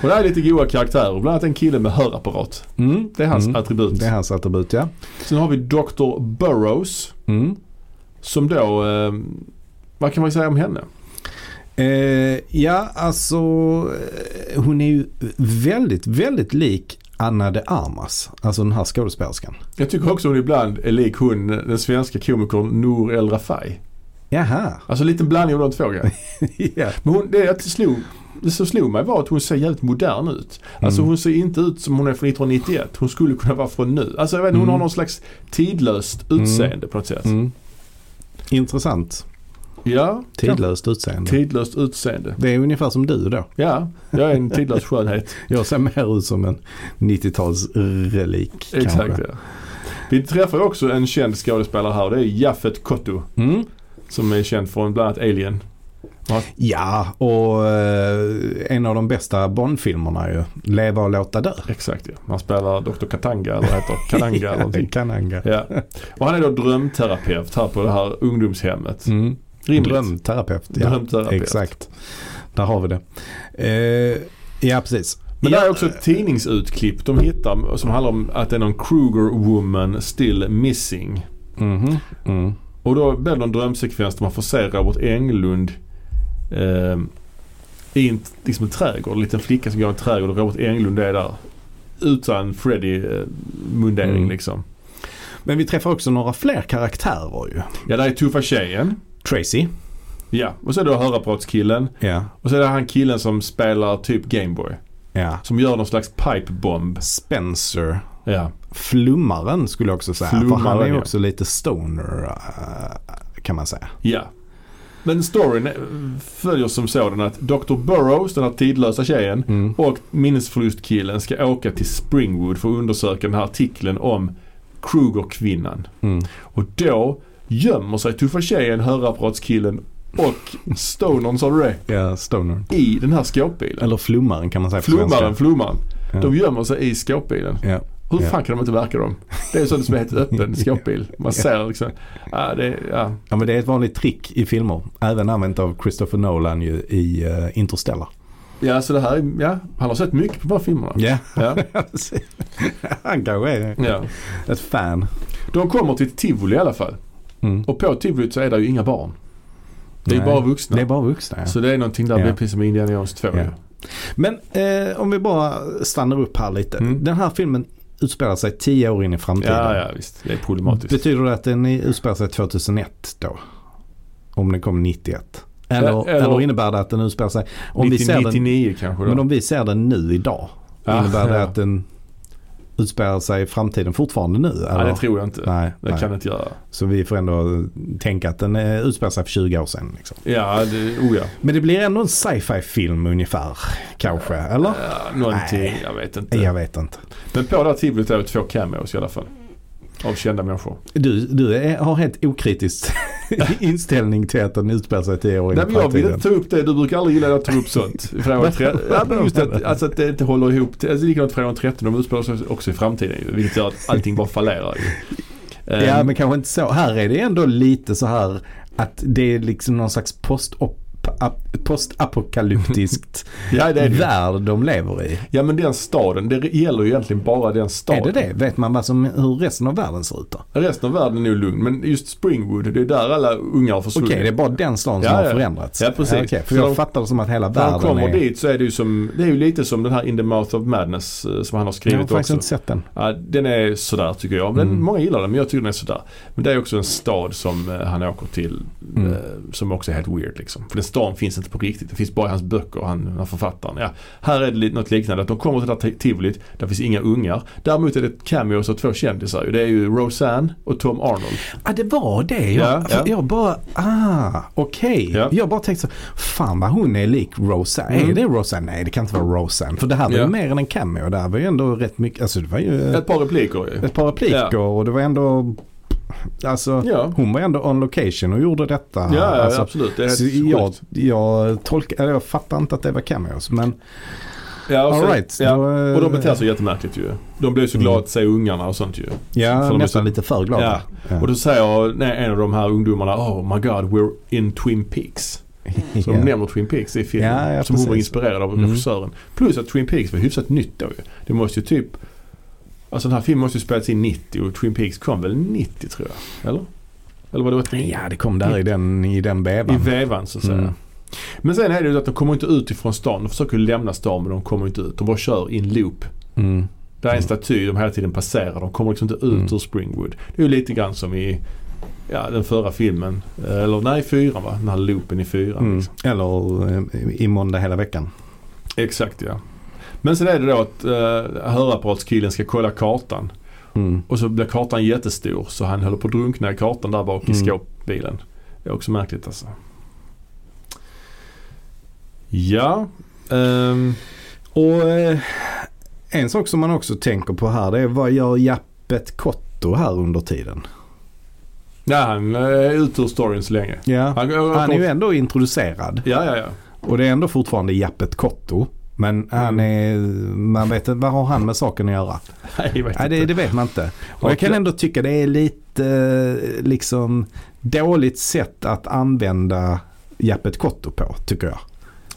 Speaker 2: Och det här är lite goa karaktärer. Bland annat en kille med hörapparat.
Speaker 1: Mm.
Speaker 2: Det är hans
Speaker 1: Mm.
Speaker 2: attribut.
Speaker 1: Det är hans attribut ja.
Speaker 2: Sen har vi Dr. Burrows.
Speaker 1: Mm.
Speaker 2: Som då, eh, vad kan man säga om henne?
Speaker 1: Eh, ja, alltså eh, hon är ju väldigt, väldigt lik Anna de Armas. Alltså den här skådespelerskan.
Speaker 2: Jag tycker också hon ibland är lik hon, den svenska komikern Nour El Rafai. [laughs]
Speaker 1: Jaha.
Speaker 2: Alltså en liten blandning av de två grejerna.
Speaker 1: ja.
Speaker 2: Men hon, det, jag slog, det som slog mig var att hon ser jävligt modern ut. Alltså
Speaker 1: Mm.
Speaker 2: hon ser inte ut som hon är från 1991. Hon skulle kunna vara från nu. Alltså jag vet inte, hon
Speaker 1: Mm.
Speaker 2: har någon slags tidlöst utseende på något sätt.
Speaker 1: Mm. Intressant.
Speaker 2: Ja,
Speaker 1: Tidlöst utseende.
Speaker 2: tidlöst utseende.
Speaker 1: det är ungefär som du då.
Speaker 2: Ja, jag är en tidlös skönhet.
Speaker 1: Jag ser mer ut som en 90-talsrelik.
Speaker 2: Exakt
Speaker 1: kanske.
Speaker 2: ja. Vi träffar ju också en känd skådespelare här och det är Jaffet Kotto.
Speaker 1: Mm.
Speaker 2: Som är känd från bland annat Alien.
Speaker 1: Ja, och eh, en av de bästa Bondfilmerna ju. Leva och låta dö.
Speaker 2: Exakt ja. Han spelar Dr. Katanga eller heter Kananga
Speaker 1: [laughs]
Speaker 2: eller någonting.
Speaker 1: Kananga.
Speaker 2: Ja. Och han är då drömterapeut här på det här ungdomshemmet.
Speaker 1: Mm.
Speaker 2: Rimligt.
Speaker 1: Drömterapeut. Ja.
Speaker 2: Drömterapeut.
Speaker 1: Exakt. Där har vi det. Eh, ja, precis.
Speaker 2: Men
Speaker 1: ja,
Speaker 2: det är också ett tidningsutklipp de hittar som handlar om att det är någon Kruger woman still missing.
Speaker 1: mhm, mm.
Speaker 2: Och då blir det en drömsekvens där man får se Robert Englund eh, i en, liksom en trädgård. En liten flicka som går i en trädgård och Robert Englund är där. Utan Freddy-mundering
Speaker 1: Mm.
Speaker 2: liksom.
Speaker 1: Men vi träffar också några fler karaktärer ju.
Speaker 2: Ja, där är tuffa tjejen.
Speaker 1: Tracy.
Speaker 2: Ja, och så är det hörapparatskillen.
Speaker 1: Ja.
Speaker 2: Och så är det han killen som spelar typ Gameboy.
Speaker 1: ja.
Speaker 2: Som gör någon slags pipebomb.
Speaker 1: Spencer.
Speaker 2: Ja.
Speaker 1: Flummaren skulle jag också säga. för han är
Speaker 2: Flummaren,
Speaker 1: ju
Speaker 2: ja.
Speaker 1: också lite stoner eh, kan man säga.
Speaker 2: Ja. Men storyn eh, följer som sådan att Dr. Burrows, den här tidlösa tjejen,
Speaker 1: Mm.
Speaker 2: och minnesförlustkillen ska åka till Springwood för att undersöka den här artikeln om Kruger-kvinnan.
Speaker 1: Mm.
Speaker 2: Och då gömmer sig tuffa tjejen, hörapparatskillen och stonern sa du det?
Speaker 1: Ja, stoner.
Speaker 2: I den här skåpbilen.
Speaker 1: Eller flummaren kan man säga på
Speaker 2: Flummaren,
Speaker 1: svenska.
Speaker 2: flummaren.
Speaker 1: Ja.
Speaker 2: De gömmer sig i skåpbilen.
Speaker 1: Ja.
Speaker 2: Hur
Speaker 1: Ja.
Speaker 2: fan kan de inte verka dem? Det är en sån som är helt öppen skåpbil.
Speaker 1: [laughs]
Speaker 2: Man ser liksom. Ja, det, ja.
Speaker 1: ja, men det är ett vanligt trick i filmer. Även använt av Christopher Nolan ju i eh, Interstellar.
Speaker 2: ja, så det här är- ja, han har sett mycket på de här filmerna.
Speaker 1: Ja,
Speaker 2: Ja.
Speaker 1: precis. [laughs] han kanske är
Speaker 2: Ja.
Speaker 1: ett fan.
Speaker 2: De kommer till ett tivoli i alla fall.
Speaker 1: Mm.
Speaker 2: Och på tivolit så är det ju inga barn. Det är ju
Speaker 1: Nej.
Speaker 2: bara vuxna.
Speaker 1: Det är bara vuxna ja.
Speaker 2: Så det är någonting där,
Speaker 1: Ja.
Speaker 2: det är precis som Indiana Jones 2
Speaker 1: Ja.
Speaker 2: ju.
Speaker 1: Men eh, om vi bara stannar upp här lite.
Speaker 2: Mm.
Speaker 1: Den här filmen utspelar sig tio år in i framtiden.
Speaker 2: Ja, ja visst. Det är problematiskt.
Speaker 1: Betyder det att den i- utspelar sig 2001 då? Om den kom 91? Eller,
Speaker 2: Ja,
Speaker 1: eller,
Speaker 2: eller-
Speaker 1: innebär det att den utspelar sig... Om vi
Speaker 2: 90,
Speaker 1: ser den,
Speaker 2: 99 kanske då.
Speaker 1: men om vi ser den nu idag,
Speaker 2: Ah,
Speaker 1: innebär det
Speaker 2: ja.
Speaker 1: att den utspelar sig i framtiden fortfarande nu?
Speaker 2: Nej,
Speaker 1: eller?
Speaker 2: det tror jag inte.
Speaker 1: Nej,
Speaker 2: Det
Speaker 1: nej.
Speaker 2: kan det inte göra.
Speaker 1: Så vi får ändå tänka att den eh, utspelar sig för 20 år sedan. Liksom.
Speaker 2: Ja, det, oh ja.
Speaker 1: Men det blir ändå en sci-fi film ungefär, kanske? Eller?
Speaker 2: ja någonting,
Speaker 1: Nej.
Speaker 2: jag vet inte.
Speaker 1: Jag vet inte.
Speaker 2: Men på det här tivolit är det två cameos i alla fall. Av kända människor.
Speaker 1: Du, du är, har helt okritisk [laughs] inställning till att den utspelar sig tio år in
Speaker 2: Nej,
Speaker 1: i
Speaker 2: men jag vill
Speaker 1: framtiden.
Speaker 2: inte ta upp det. Du brukar aldrig gilla att jag tar upp sånt. Från tre...
Speaker 1: [laughs]
Speaker 2: ja, men just att, alltså att det inte håller ihop. Det- Alltså, likadant från 13. De utspelar sig också i framtiden ju. Vilket gör att allting bara fallerar ju. Ehm,
Speaker 1: [laughs] Ja, men kanske inte så. Här är det ändå lite så här att det är liksom någon slags post ap- postapokalyptiskt
Speaker 2: [laughs] Ja, det är det ju.
Speaker 1: värld de lever i.
Speaker 2: Ja men den staden, det gäller ju egentligen bara den
Speaker 1: Är
Speaker 2: staden.
Speaker 1: det det? Vet man vad som, hur resten av världen ser ut då?
Speaker 2: Resten av världen är ju lugn. Men just Springwood, det är där alla ungar har
Speaker 1: Okej,
Speaker 2: försvunnit.
Speaker 1: det är bara den staden som
Speaker 2: Ja,
Speaker 1: har
Speaker 2: ja.
Speaker 1: förändrats.
Speaker 2: Ja, precis.
Speaker 1: okej, för
Speaker 2: Så
Speaker 1: jag
Speaker 2: de-
Speaker 1: fattar det som att hela
Speaker 2: När de
Speaker 1: världen
Speaker 2: kommer
Speaker 1: är...
Speaker 2: dit så är det ju som, det är ju lite som den här In the Mouth of Madness eh, som han har
Speaker 1: jag har
Speaker 2: skrivit
Speaker 1: faktiskt
Speaker 2: också.
Speaker 1: inte sett den.
Speaker 2: Ja, den är sådär tycker jag. Men
Speaker 1: Mm.
Speaker 2: Många gillar den men jag tycker den är sådär. Men det är också en stad som eh, han åker till
Speaker 1: Mm.
Speaker 2: eh, som också är helt weird liksom. För den staden finns inte på riktigt. Den finns bara i hans böcker, han, han författaren. Ja, här är det lite- något liknande. Att de kommer till det där ti- tivolit, där finns inga ungar. Däremot är det cameos av två kändisar ju. Det är ju Roseanne och Tom Arnold.
Speaker 1: Ja, det var det. Jag,
Speaker 2: Ja, ja.
Speaker 1: jag bara, ah, okej.
Speaker 2: Ja.
Speaker 1: Jag bara tänkte så, fan vad hon är lik Roseanne. Är
Speaker 2: Mm.
Speaker 1: det Roseanne? Nej, det kan inte vara Roseanne. För det här var
Speaker 2: Ja.
Speaker 1: ju mer än en cameo. Det här var ju ändå rätt mycket, alltså det var ju ett,
Speaker 2: Ett par repliker ju.
Speaker 1: ett par repliker
Speaker 2: Ja.
Speaker 1: och det var ändå, alltså
Speaker 2: Ja.
Speaker 1: hon var ändå on location och gjorde detta.
Speaker 2: Ja, ja
Speaker 1: alltså,
Speaker 2: absolut. Det är
Speaker 1: så
Speaker 2: helt
Speaker 1: jag,
Speaker 2: sjukt.
Speaker 1: jag, tolkar, eller jag fattar inte att det var cameos. Men
Speaker 2: Ja, och,
Speaker 1: all
Speaker 2: sen,
Speaker 1: right,
Speaker 2: ja.
Speaker 1: då, eh,
Speaker 2: och de beter sig jättemärkligt ju. De blir ju så glada att se ungarna och sånt ju. för
Speaker 1: ja,
Speaker 2: de är
Speaker 1: nästan
Speaker 2: så-
Speaker 1: lite för glada.
Speaker 2: Ja. Och då säger nej, en av de här ungdomarna Oh my god, we're in Twin Peaks. Så
Speaker 1: [laughs] Ja.
Speaker 2: de nämner Twin Peaks i filmen.
Speaker 1: Ja, ja,
Speaker 2: som hon var
Speaker 1: precis.
Speaker 2: inspirerad av
Speaker 1: Mm.
Speaker 2: regissören. Plus att Twin Peaks var hyfsat nytt då ju. Det måste ju typ Alltså den här filmen måste ju spelats in 90 och Twin Peaks kom väl 90 tror jag. Eller? Eller var det 89?
Speaker 1: ja, det kom där i den, i den vevan.
Speaker 2: I vevan så att säga.
Speaker 1: Mm.
Speaker 2: Men sen är det ju att de kommer inte ut ifrån stan. De försöker ju lämna stan men de kommer inte ut. De bara kör i en loop.
Speaker 1: Mm.
Speaker 2: Det är en staty de hela tiden passerar. De kommer liksom inte ut
Speaker 1: Mm.
Speaker 2: ur Springwood. Det är ju lite grann som i ja, den förra filmen. eh, Eller nej, fyran va? Den här loopen i fyran.
Speaker 1: Mm.
Speaker 2: Liksom.
Speaker 1: Eller eh, i måndag hela veckan.
Speaker 2: Exakt ja. Men sen är det då att eh, hörapparatskillen ska kolla kartan.
Speaker 1: Mm.
Speaker 2: Och så blir kartan jättestor så han håller på att drunkna i kartan där bak i
Speaker 1: Mm.
Speaker 2: skåpbilen. Det är också märkligt alltså. Ja. ehm,
Speaker 1: Och eh, en sak som man också tänker på här det är vad gör Jappet Kotto här under tiden?
Speaker 2: nej, han eh, är ute ur storyn så länge.
Speaker 1: Ja. Han är ju ändå introducerad
Speaker 2: Ja, ja, [laughs] ja.
Speaker 1: och det är ändå fortfarande Jappet Kotto. Men han är, man vet inte, vad har han med saken att göra?
Speaker 2: Nej, jag vet
Speaker 1: Nej, det,
Speaker 2: inte.
Speaker 1: det vet man inte. Och jag
Speaker 2: Och-
Speaker 1: kan ändå tycka det är lite eh, liksom dåligt sätt att använda Jappet Kotto på, tycker jag.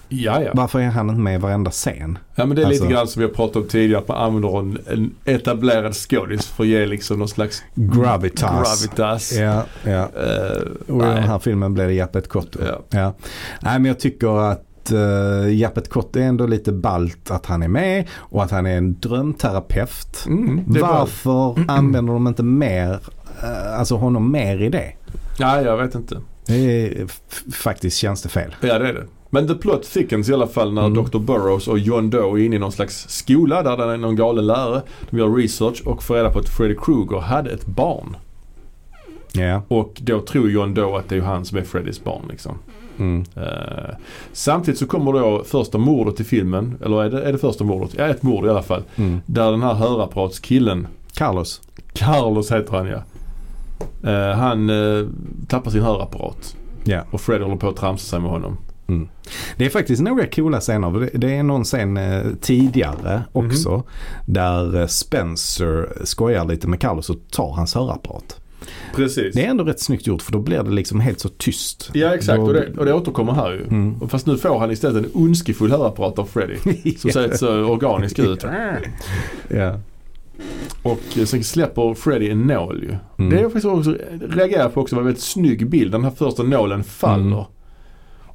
Speaker 2: Ja, ja.
Speaker 1: Varför är han inte med i varenda scen?
Speaker 2: Ja men det är
Speaker 1: Alltså-
Speaker 2: lite grann som vi har pratat om tidigare att man använder en, en etablerad skådis för att ge liksom någon slags
Speaker 1: Gravitas.
Speaker 2: gravitas.
Speaker 1: Ja, ja.
Speaker 2: Eh,
Speaker 1: Och i
Speaker 2: nej.
Speaker 1: den här filmen blev det Jappet Kotto.
Speaker 2: Ja.
Speaker 1: Nej men jag tycker att eh, Jappet Kotto är ändå lite balt att han är med och att han är en drömterapeut.
Speaker 2: Mm, det är bra. Mm.
Speaker 1: Varför använder de inte mer, eh, alltså honom mer i det?
Speaker 2: Nej, jag vet inte.
Speaker 1: Det är f- faktiskt tjänstefel.
Speaker 2: Ja, det är det. Men the plot thickens i alla fall när
Speaker 1: Mm.
Speaker 2: Dr. Burrows och John Doe är inne i någon slags skola där det är någon galen lärare. De gör research och får reda på att Freddy Krueger hade ett barn.
Speaker 1: Ja.
Speaker 2: Och då tror John Doe att det är han som är Freddys barn liksom.
Speaker 1: Mm.
Speaker 2: Eh, samtidigt så kommer då första mordet i filmen. Eller är det, är det första mordet? Ja, ett mord i alla fall.
Speaker 1: Mm.
Speaker 2: Där den här hörapparatskillen
Speaker 1: Carlos.
Speaker 2: Carlos heter han ja. Eh, han eh, tappar sin hörapparat
Speaker 1: Ja.
Speaker 2: och Fred håller på att tramsa sig med honom.
Speaker 1: Mm. Det är faktiskt några coola scener. Det- Det är någon scen eh, tidigare också
Speaker 2: Mm.
Speaker 1: där eh, Spencer skojar lite med Carlos och tar hans hörapparat.
Speaker 2: Precis.
Speaker 1: Det är ändå rätt snyggt gjort för då blir det liksom helt så tyst.
Speaker 2: Ja exakt
Speaker 1: Då-
Speaker 2: och det, och det återkommer här ju.
Speaker 1: Mm.
Speaker 2: Och Fast nu får han istället en ondskefull hörapparat av
Speaker 1: [laughs]
Speaker 2: Freddy. Som ser ett så organisk ut.
Speaker 1: Ja.
Speaker 2: Och eh, sen släpper Freddy en nål ju.
Speaker 1: Mm.
Speaker 2: Det är jag faktiskt också, reagerar på också var en väldigt snygg bild. Den här första nålen faller.
Speaker 1: Mm.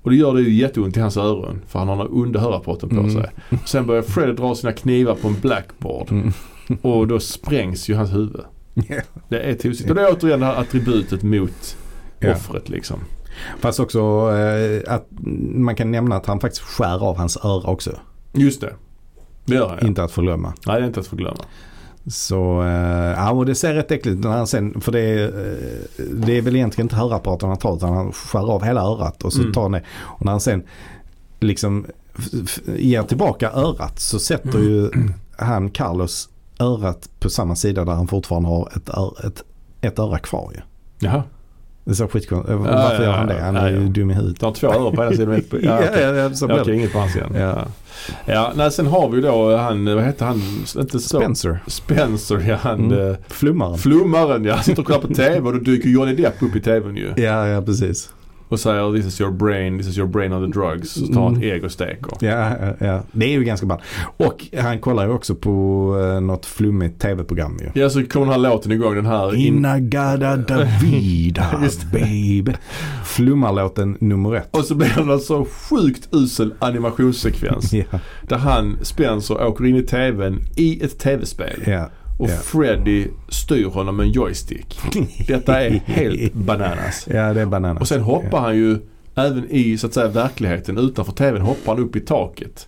Speaker 2: Och det gör det ju jätteont i hans öron. För han har den här onda hörapparaten på
Speaker 1: Mm.
Speaker 2: sig. Sen börjar Freddy dra sina knivar på en blackboard.
Speaker 1: Mm.
Speaker 2: Och då sprängs ju hans huvud.
Speaker 1: Ja.
Speaker 2: Det är tosigt. Och det är återigen det här attributet mot
Speaker 1: Ja.
Speaker 2: offret liksom.
Speaker 1: Fast också eh, att man kan nämna att han faktiskt skär av hans öra också.
Speaker 2: Just det. Det gör han ja.
Speaker 1: Inte att förglömma.
Speaker 2: Nej, det är inte att förglömma.
Speaker 1: Så, eh, ja och det ser rätt äckligt ut när han sen, för det är, eh, det är väl egentligen inte hörapparaten han tar utan han skär av hela örat och så
Speaker 2: Mm.
Speaker 1: tar han det. Och när han sen liksom f- f- ger tillbaka örat så sätter ju han Carlos örat på samma sida där han fortfarande har ett, ör, ett, ett öra kvar ju.
Speaker 2: Jaha.
Speaker 1: Det är så skitkonstigt. Eh, Varför
Speaker 2: ja,
Speaker 1: gör han det?
Speaker 2: ja,
Speaker 1: Han
Speaker 2: ja,
Speaker 1: är ju
Speaker 2: ja.
Speaker 1: dum i huvudet.
Speaker 2: Du har två öron på ena sidan och
Speaker 1: [laughs]
Speaker 2: ett på... Ja, okej.
Speaker 1: ja, så
Speaker 2: Ja,
Speaker 1: blir
Speaker 2: Okej,
Speaker 1: det.
Speaker 2: inget på hans igen.
Speaker 1: Ja.
Speaker 2: Ja. ja, nej, sen har vi då han, vad hette han? Inte så.
Speaker 1: Spencer,
Speaker 2: Spencer, ja. Han,
Speaker 1: Mm.
Speaker 2: eh,
Speaker 1: flummaren.
Speaker 2: flummaren ja. Sitter och kollar på TV och då dyker Johnny Depp upp i TVn ju.
Speaker 1: Ja, ja precis.
Speaker 2: och säger this is your brain, this is your brain on the drugs. Så tar han ett ägg och steker.
Speaker 1: Ja, ja, ja. Det är ju ganska ball. Och han kollar ju också på eh, något flummigt tv-program ju.
Speaker 2: Ja, så kommer den här låten igång. Den här... In- [laughs]
Speaker 1: Inagada Davida baby. Flummarlåten nummer ett.
Speaker 2: och så blir det en så sjukt usel animationssekvens.
Speaker 1: Ja,
Speaker 2: Där han, Spencer, åker in i TVn i ett TV-spel.
Speaker 1: ja,
Speaker 2: Och
Speaker 1: ja.
Speaker 2: Freddy styr honom med en [laughs] joystick. Detta är helt bananas.
Speaker 1: ja, Alltså, det är bananas.
Speaker 2: Och sen hoppar
Speaker 1: Ja.
Speaker 2: han ju även i så att säga verkligheten utanför TVn hoppar han upp i taket.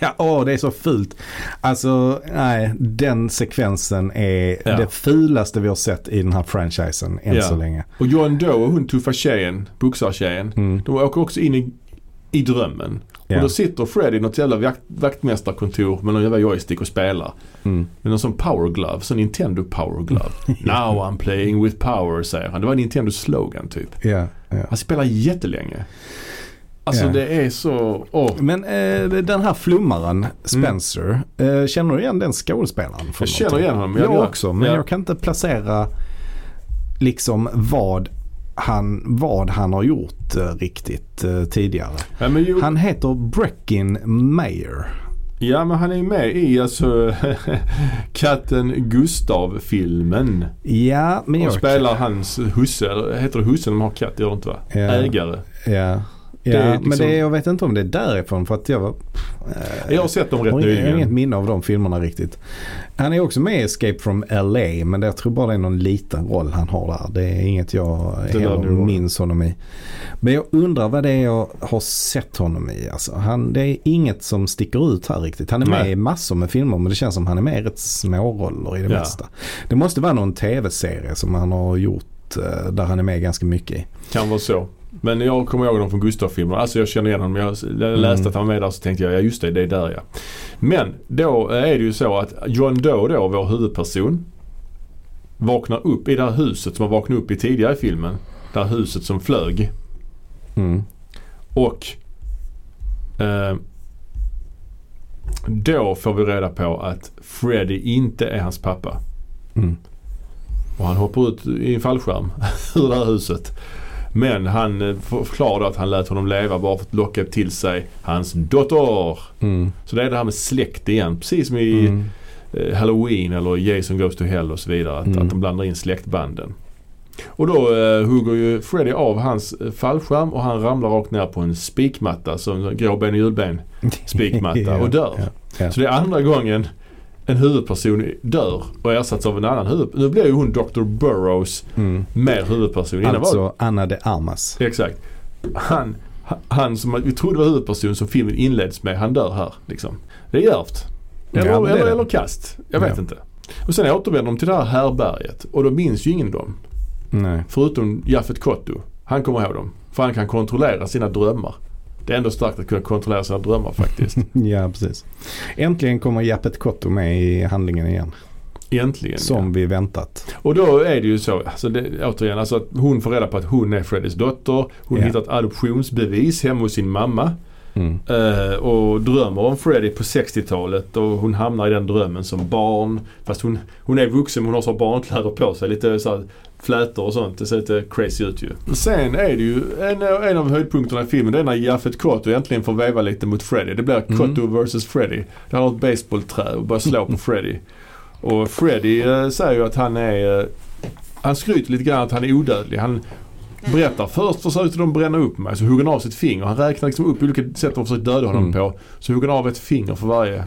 Speaker 1: Ja, åh, det är så fult. Alltså, nej, den sekvensen är
Speaker 2: Ja.
Speaker 1: det fulaste vi har sett i den här franchisen än
Speaker 2: Ja.
Speaker 1: så länge.
Speaker 2: Och John Doe och hon tuffa tjejen, boxartjejen,
Speaker 1: Mm.
Speaker 2: de åker också in i, i drömmen.
Speaker 1: Ja.
Speaker 2: Och då sitter Freddy i något jävla vakt, vaktmästarkontor med någon jävla joystick och spelar.
Speaker 1: Mm.
Speaker 2: Med någon sån power glove, sån Nintendo
Speaker 1: [laughs]
Speaker 2: power glove. Now I'm playing with power säger han. Det var Nintendos slogan typ.
Speaker 1: Ja, ja.
Speaker 2: Han spelar jättelänge. Alltså
Speaker 1: Ja.
Speaker 2: det är så, åh.
Speaker 1: Men eh, den här flummaren, Spencer, eh, känner du igen den skådespelaren? från
Speaker 2: Mm. Jag känner
Speaker 1: någonting?
Speaker 2: igen honom,
Speaker 1: Jag,
Speaker 2: jag gör.
Speaker 1: också, men
Speaker 2: Ja.
Speaker 1: jag kan inte placera liksom vad han, vad han har gjort eh, riktigt eh, tidigare.
Speaker 2: Ja, men ju,
Speaker 1: Han heter Breckin Mayer.
Speaker 2: Ja men han är ju med i alltså [laughs] Katten Gustav-filmen.
Speaker 1: Ja, men
Speaker 2: Och
Speaker 1: jag...
Speaker 2: spelar hans husse, eller heter det husse när man har katt? Det gör det inte va?
Speaker 1: Ja.
Speaker 2: Ägare.
Speaker 1: Ja, ja
Speaker 2: är liksom-
Speaker 1: men det, jag vet inte om det är därifrån för att jag var... eh,
Speaker 2: Jag har sett dem
Speaker 1: jag
Speaker 2: rätt
Speaker 1: har inget- jag har inget
Speaker 2: nyligen.
Speaker 1: minne av de filmerna riktigt. Han är också med i Escape from LA men jag tror bara det är någon liten roll han har där. Det är inget jag
Speaker 2: där
Speaker 1: heller
Speaker 2: du har.
Speaker 1: minns honom i. Men jag undrar vad det är jag har sett honom i. Alltså, han, det är inget som sticker ut här riktigt. Han är med
Speaker 2: Nej.
Speaker 1: i massor med filmer men det känns som han är med i rätt småroller i det
Speaker 2: Ja.
Speaker 1: mesta. Det måste vara någon tv-serie som han har gjort eh, där han är med ganska mycket i.
Speaker 2: Kan vara så. Men jag kommer ihåg dem från Gustav-filmerna. Alltså jag känner igen honom. Jag läste att han var med där så tänkte jag, ja just det, det är där ja. Men då är det ju så att John Doe då, vår huvudperson, vaknar upp i det här huset som han vaknade upp i tidigare i filmen. Det här huset som flög.
Speaker 1: Mm.
Speaker 2: Och eh, då får vi reda på att Freddy inte är hans pappa.
Speaker 1: Mm.
Speaker 2: Och han hoppar ut i en fallskärm [laughs] ur det här huset. Men han eh, förklarar då att han lät honom leva bara för att locka till sig hans dotter.
Speaker 1: Mm.
Speaker 2: Så det är det här med släkt igen. Precis som i
Speaker 1: Mm.
Speaker 2: eh, Halloween eller Jason Goes to Hell och så vidare. Att,
Speaker 1: Mm.
Speaker 2: att de blandar in släktbanden. Och då eh, hugger ju Freddy av hans eh, fallskärm och han ramlar rakt ner på en spikmatta. Som gråben
Speaker 1: [laughs]
Speaker 2: och julben spikmatta och dör.
Speaker 1: Ja, ja.
Speaker 2: Så det är andra gången en huvudperson dör och ersätts av en annan huvudperson. Nu blir ju hon Dr. Burrows
Speaker 1: Mm.
Speaker 2: mer huvudperson. Innan var
Speaker 1: Alltså Anna de Armas.
Speaker 2: Exakt. Han, han som vi trodde var huvudperson som filmen inleds med, han dör här. Liksom. Det är djärvt. Eller,
Speaker 1: Ja, men det är
Speaker 2: eller,
Speaker 1: det.
Speaker 2: eller kast. Jag vet
Speaker 1: Ja.
Speaker 2: inte. Och sen återvänder de till det här härbärget och då minns ju ingen dem.
Speaker 1: Nej.
Speaker 2: Förutom Jaffet Kotto. Han kommer ihåg dem. För han kan kontrollera sina drömmar. Det är ändå starkt att kunna kontrollera sina drömmar faktiskt.
Speaker 1: [laughs] Ja, precis. Äntligen kommer Japet Kotto med i handlingen igen.
Speaker 2: Äntligen.
Speaker 1: Som vi väntat.
Speaker 2: Och då är det ju så, alltså det, återigen, alltså att hon får reda på att hon är Freddys dotter. Hon
Speaker 1: Ja.
Speaker 2: hittar ett adoptionsbevis hemma hos sin mamma.
Speaker 1: Mm.
Speaker 2: Eh, och drömmer om Freddy på 60-talet och hon hamnar i den drömmen som barn. Fast hon, hon är vuxen men hon har så här barnkläder på sig. Lite så här flätor och sånt. Det ser lite crazy ut ju. Sen är det ju en, en av höjdpunkterna i filmen. Det är när Jaffet Kotto äntligen får veva lite mot Freddy. Det blir Kotto vs Freddy. Där har ett baseballträ och börjar slå på Freddy. Och Freddy eh, säger ju att han är... Eh, han skryter lite grann att han är odödlig. Han, Berättar. Först försökte de bränna upp mig. Så hugger han av sitt finger. Han räknar liksom upp olika sätt de försökt döda honom
Speaker 1: Mm.
Speaker 2: på. Så hugger han av ett finger för varje.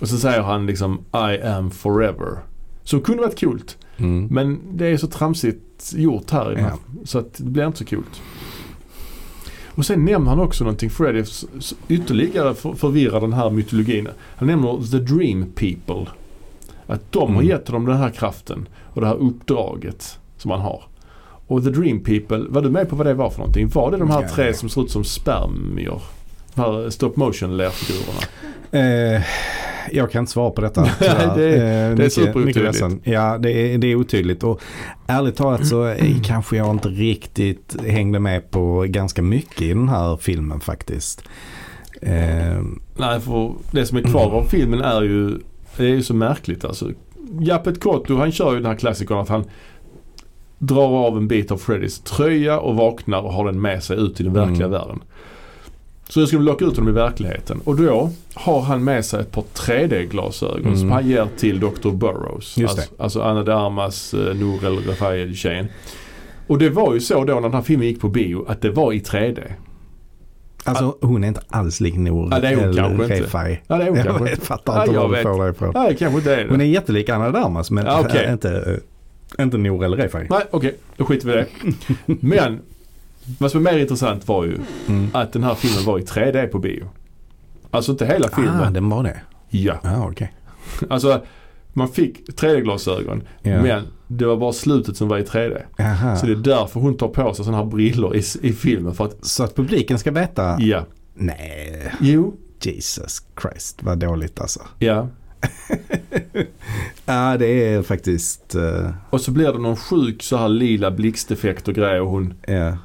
Speaker 2: Och så säger han liksom I am forever. Som kunde varit kul.
Speaker 1: Mm.
Speaker 2: Men det är så tramsigt gjort här. i den här-
Speaker 1: Ja.
Speaker 2: Så att det blir inte så kul. Och sen nämner han också någonting Freddy s- s- ytterligare för, förvirrar den här mytologin. Han nämner the dream people. Att de har
Speaker 1: Mm.
Speaker 2: gett honom den här kraften och det här uppdraget som han har. Och the dream people, var du med på vad det var för någonting? Var det de här
Speaker 1: Ja,
Speaker 2: tre
Speaker 1: nej.
Speaker 2: som ser ut som spermier? De här stop motion lerfigurerna.
Speaker 1: Eh, jag kan inte svara på
Speaker 2: [laughs]
Speaker 1: detta. tyvärr.
Speaker 2: det-
Speaker 1: Eh,
Speaker 2: det är
Speaker 1: mycket-
Speaker 2: superotydligt.
Speaker 1: mycket ledsen. Ja, det är, det är otydligt. Och ärligt talat så
Speaker 2: Mm.
Speaker 1: eh, kanske jag inte riktigt hängde med på ganska mycket i den här filmen faktiskt. Eh,
Speaker 2: Nej, för det som är kvar av filmen är ju, det är ju så märkligt alltså. Japet Kotto han kör ju den här klassikern att han drar av en bit av Freddys tröja och vaknar och har den med sig ut i den verkliga
Speaker 1: Mm.
Speaker 2: världen. Så nu ska de locka ut honom i verkligheten och då har han med sig ett par 3D-glasögon
Speaker 1: Mm.
Speaker 2: som han ger till Dr. Burrows.
Speaker 1: Just
Speaker 2: alltså, alltså Anna de Armas, eh, Nour El Refai-tjejen. Och det var ju så då när den här filmen gick på bio att det var i 3D.
Speaker 1: Alltså hon är inte alls lik Nour
Speaker 2: Ja, det är hon
Speaker 1: eller
Speaker 2: kanske inte.
Speaker 1: Refai.
Speaker 2: Ja, det är hon
Speaker 1: Jag
Speaker 2: kanske.
Speaker 1: vet- fattar inte
Speaker 2: Ja,
Speaker 1: var
Speaker 2: jag
Speaker 1: du
Speaker 2: vet.
Speaker 1: får det ifrån.
Speaker 2: Nej, kanske inte är det.
Speaker 1: Hon är jättelik Anna Darmas men
Speaker 2: Ja, okej.
Speaker 1: inte, inte Nour eller Refai.
Speaker 2: Nej, okej. Då skiter vi i det.
Speaker 1: [laughs]
Speaker 2: Men vad som är mer intressant var ju
Speaker 1: Mm.
Speaker 2: att den här filmen var i 3D på bio. Alltså inte hela filmen.
Speaker 1: Ah, den var det.
Speaker 2: Ja.
Speaker 1: Ah, okej.
Speaker 2: Alltså man fick 3D-glasögon
Speaker 1: Ja.
Speaker 2: men det var bara slutet som var i 3D.
Speaker 1: Jaha.
Speaker 2: Så
Speaker 1: Så,
Speaker 2: det är därför hon tar på sig sådana här brillor i, i filmen. För att,
Speaker 1: att publiken ska veta?
Speaker 2: ja.
Speaker 1: Nej,
Speaker 2: Jo.
Speaker 1: Jesus Christ vad dåligt alltså.
Speaker 2: Ja.
Speaker 1: Ja, det är faktiskt... eh,
Speaker 2: Och så blir det någon sjuk så här lila blixteffekt och grejer. Och hon,
Speaker 1: ja.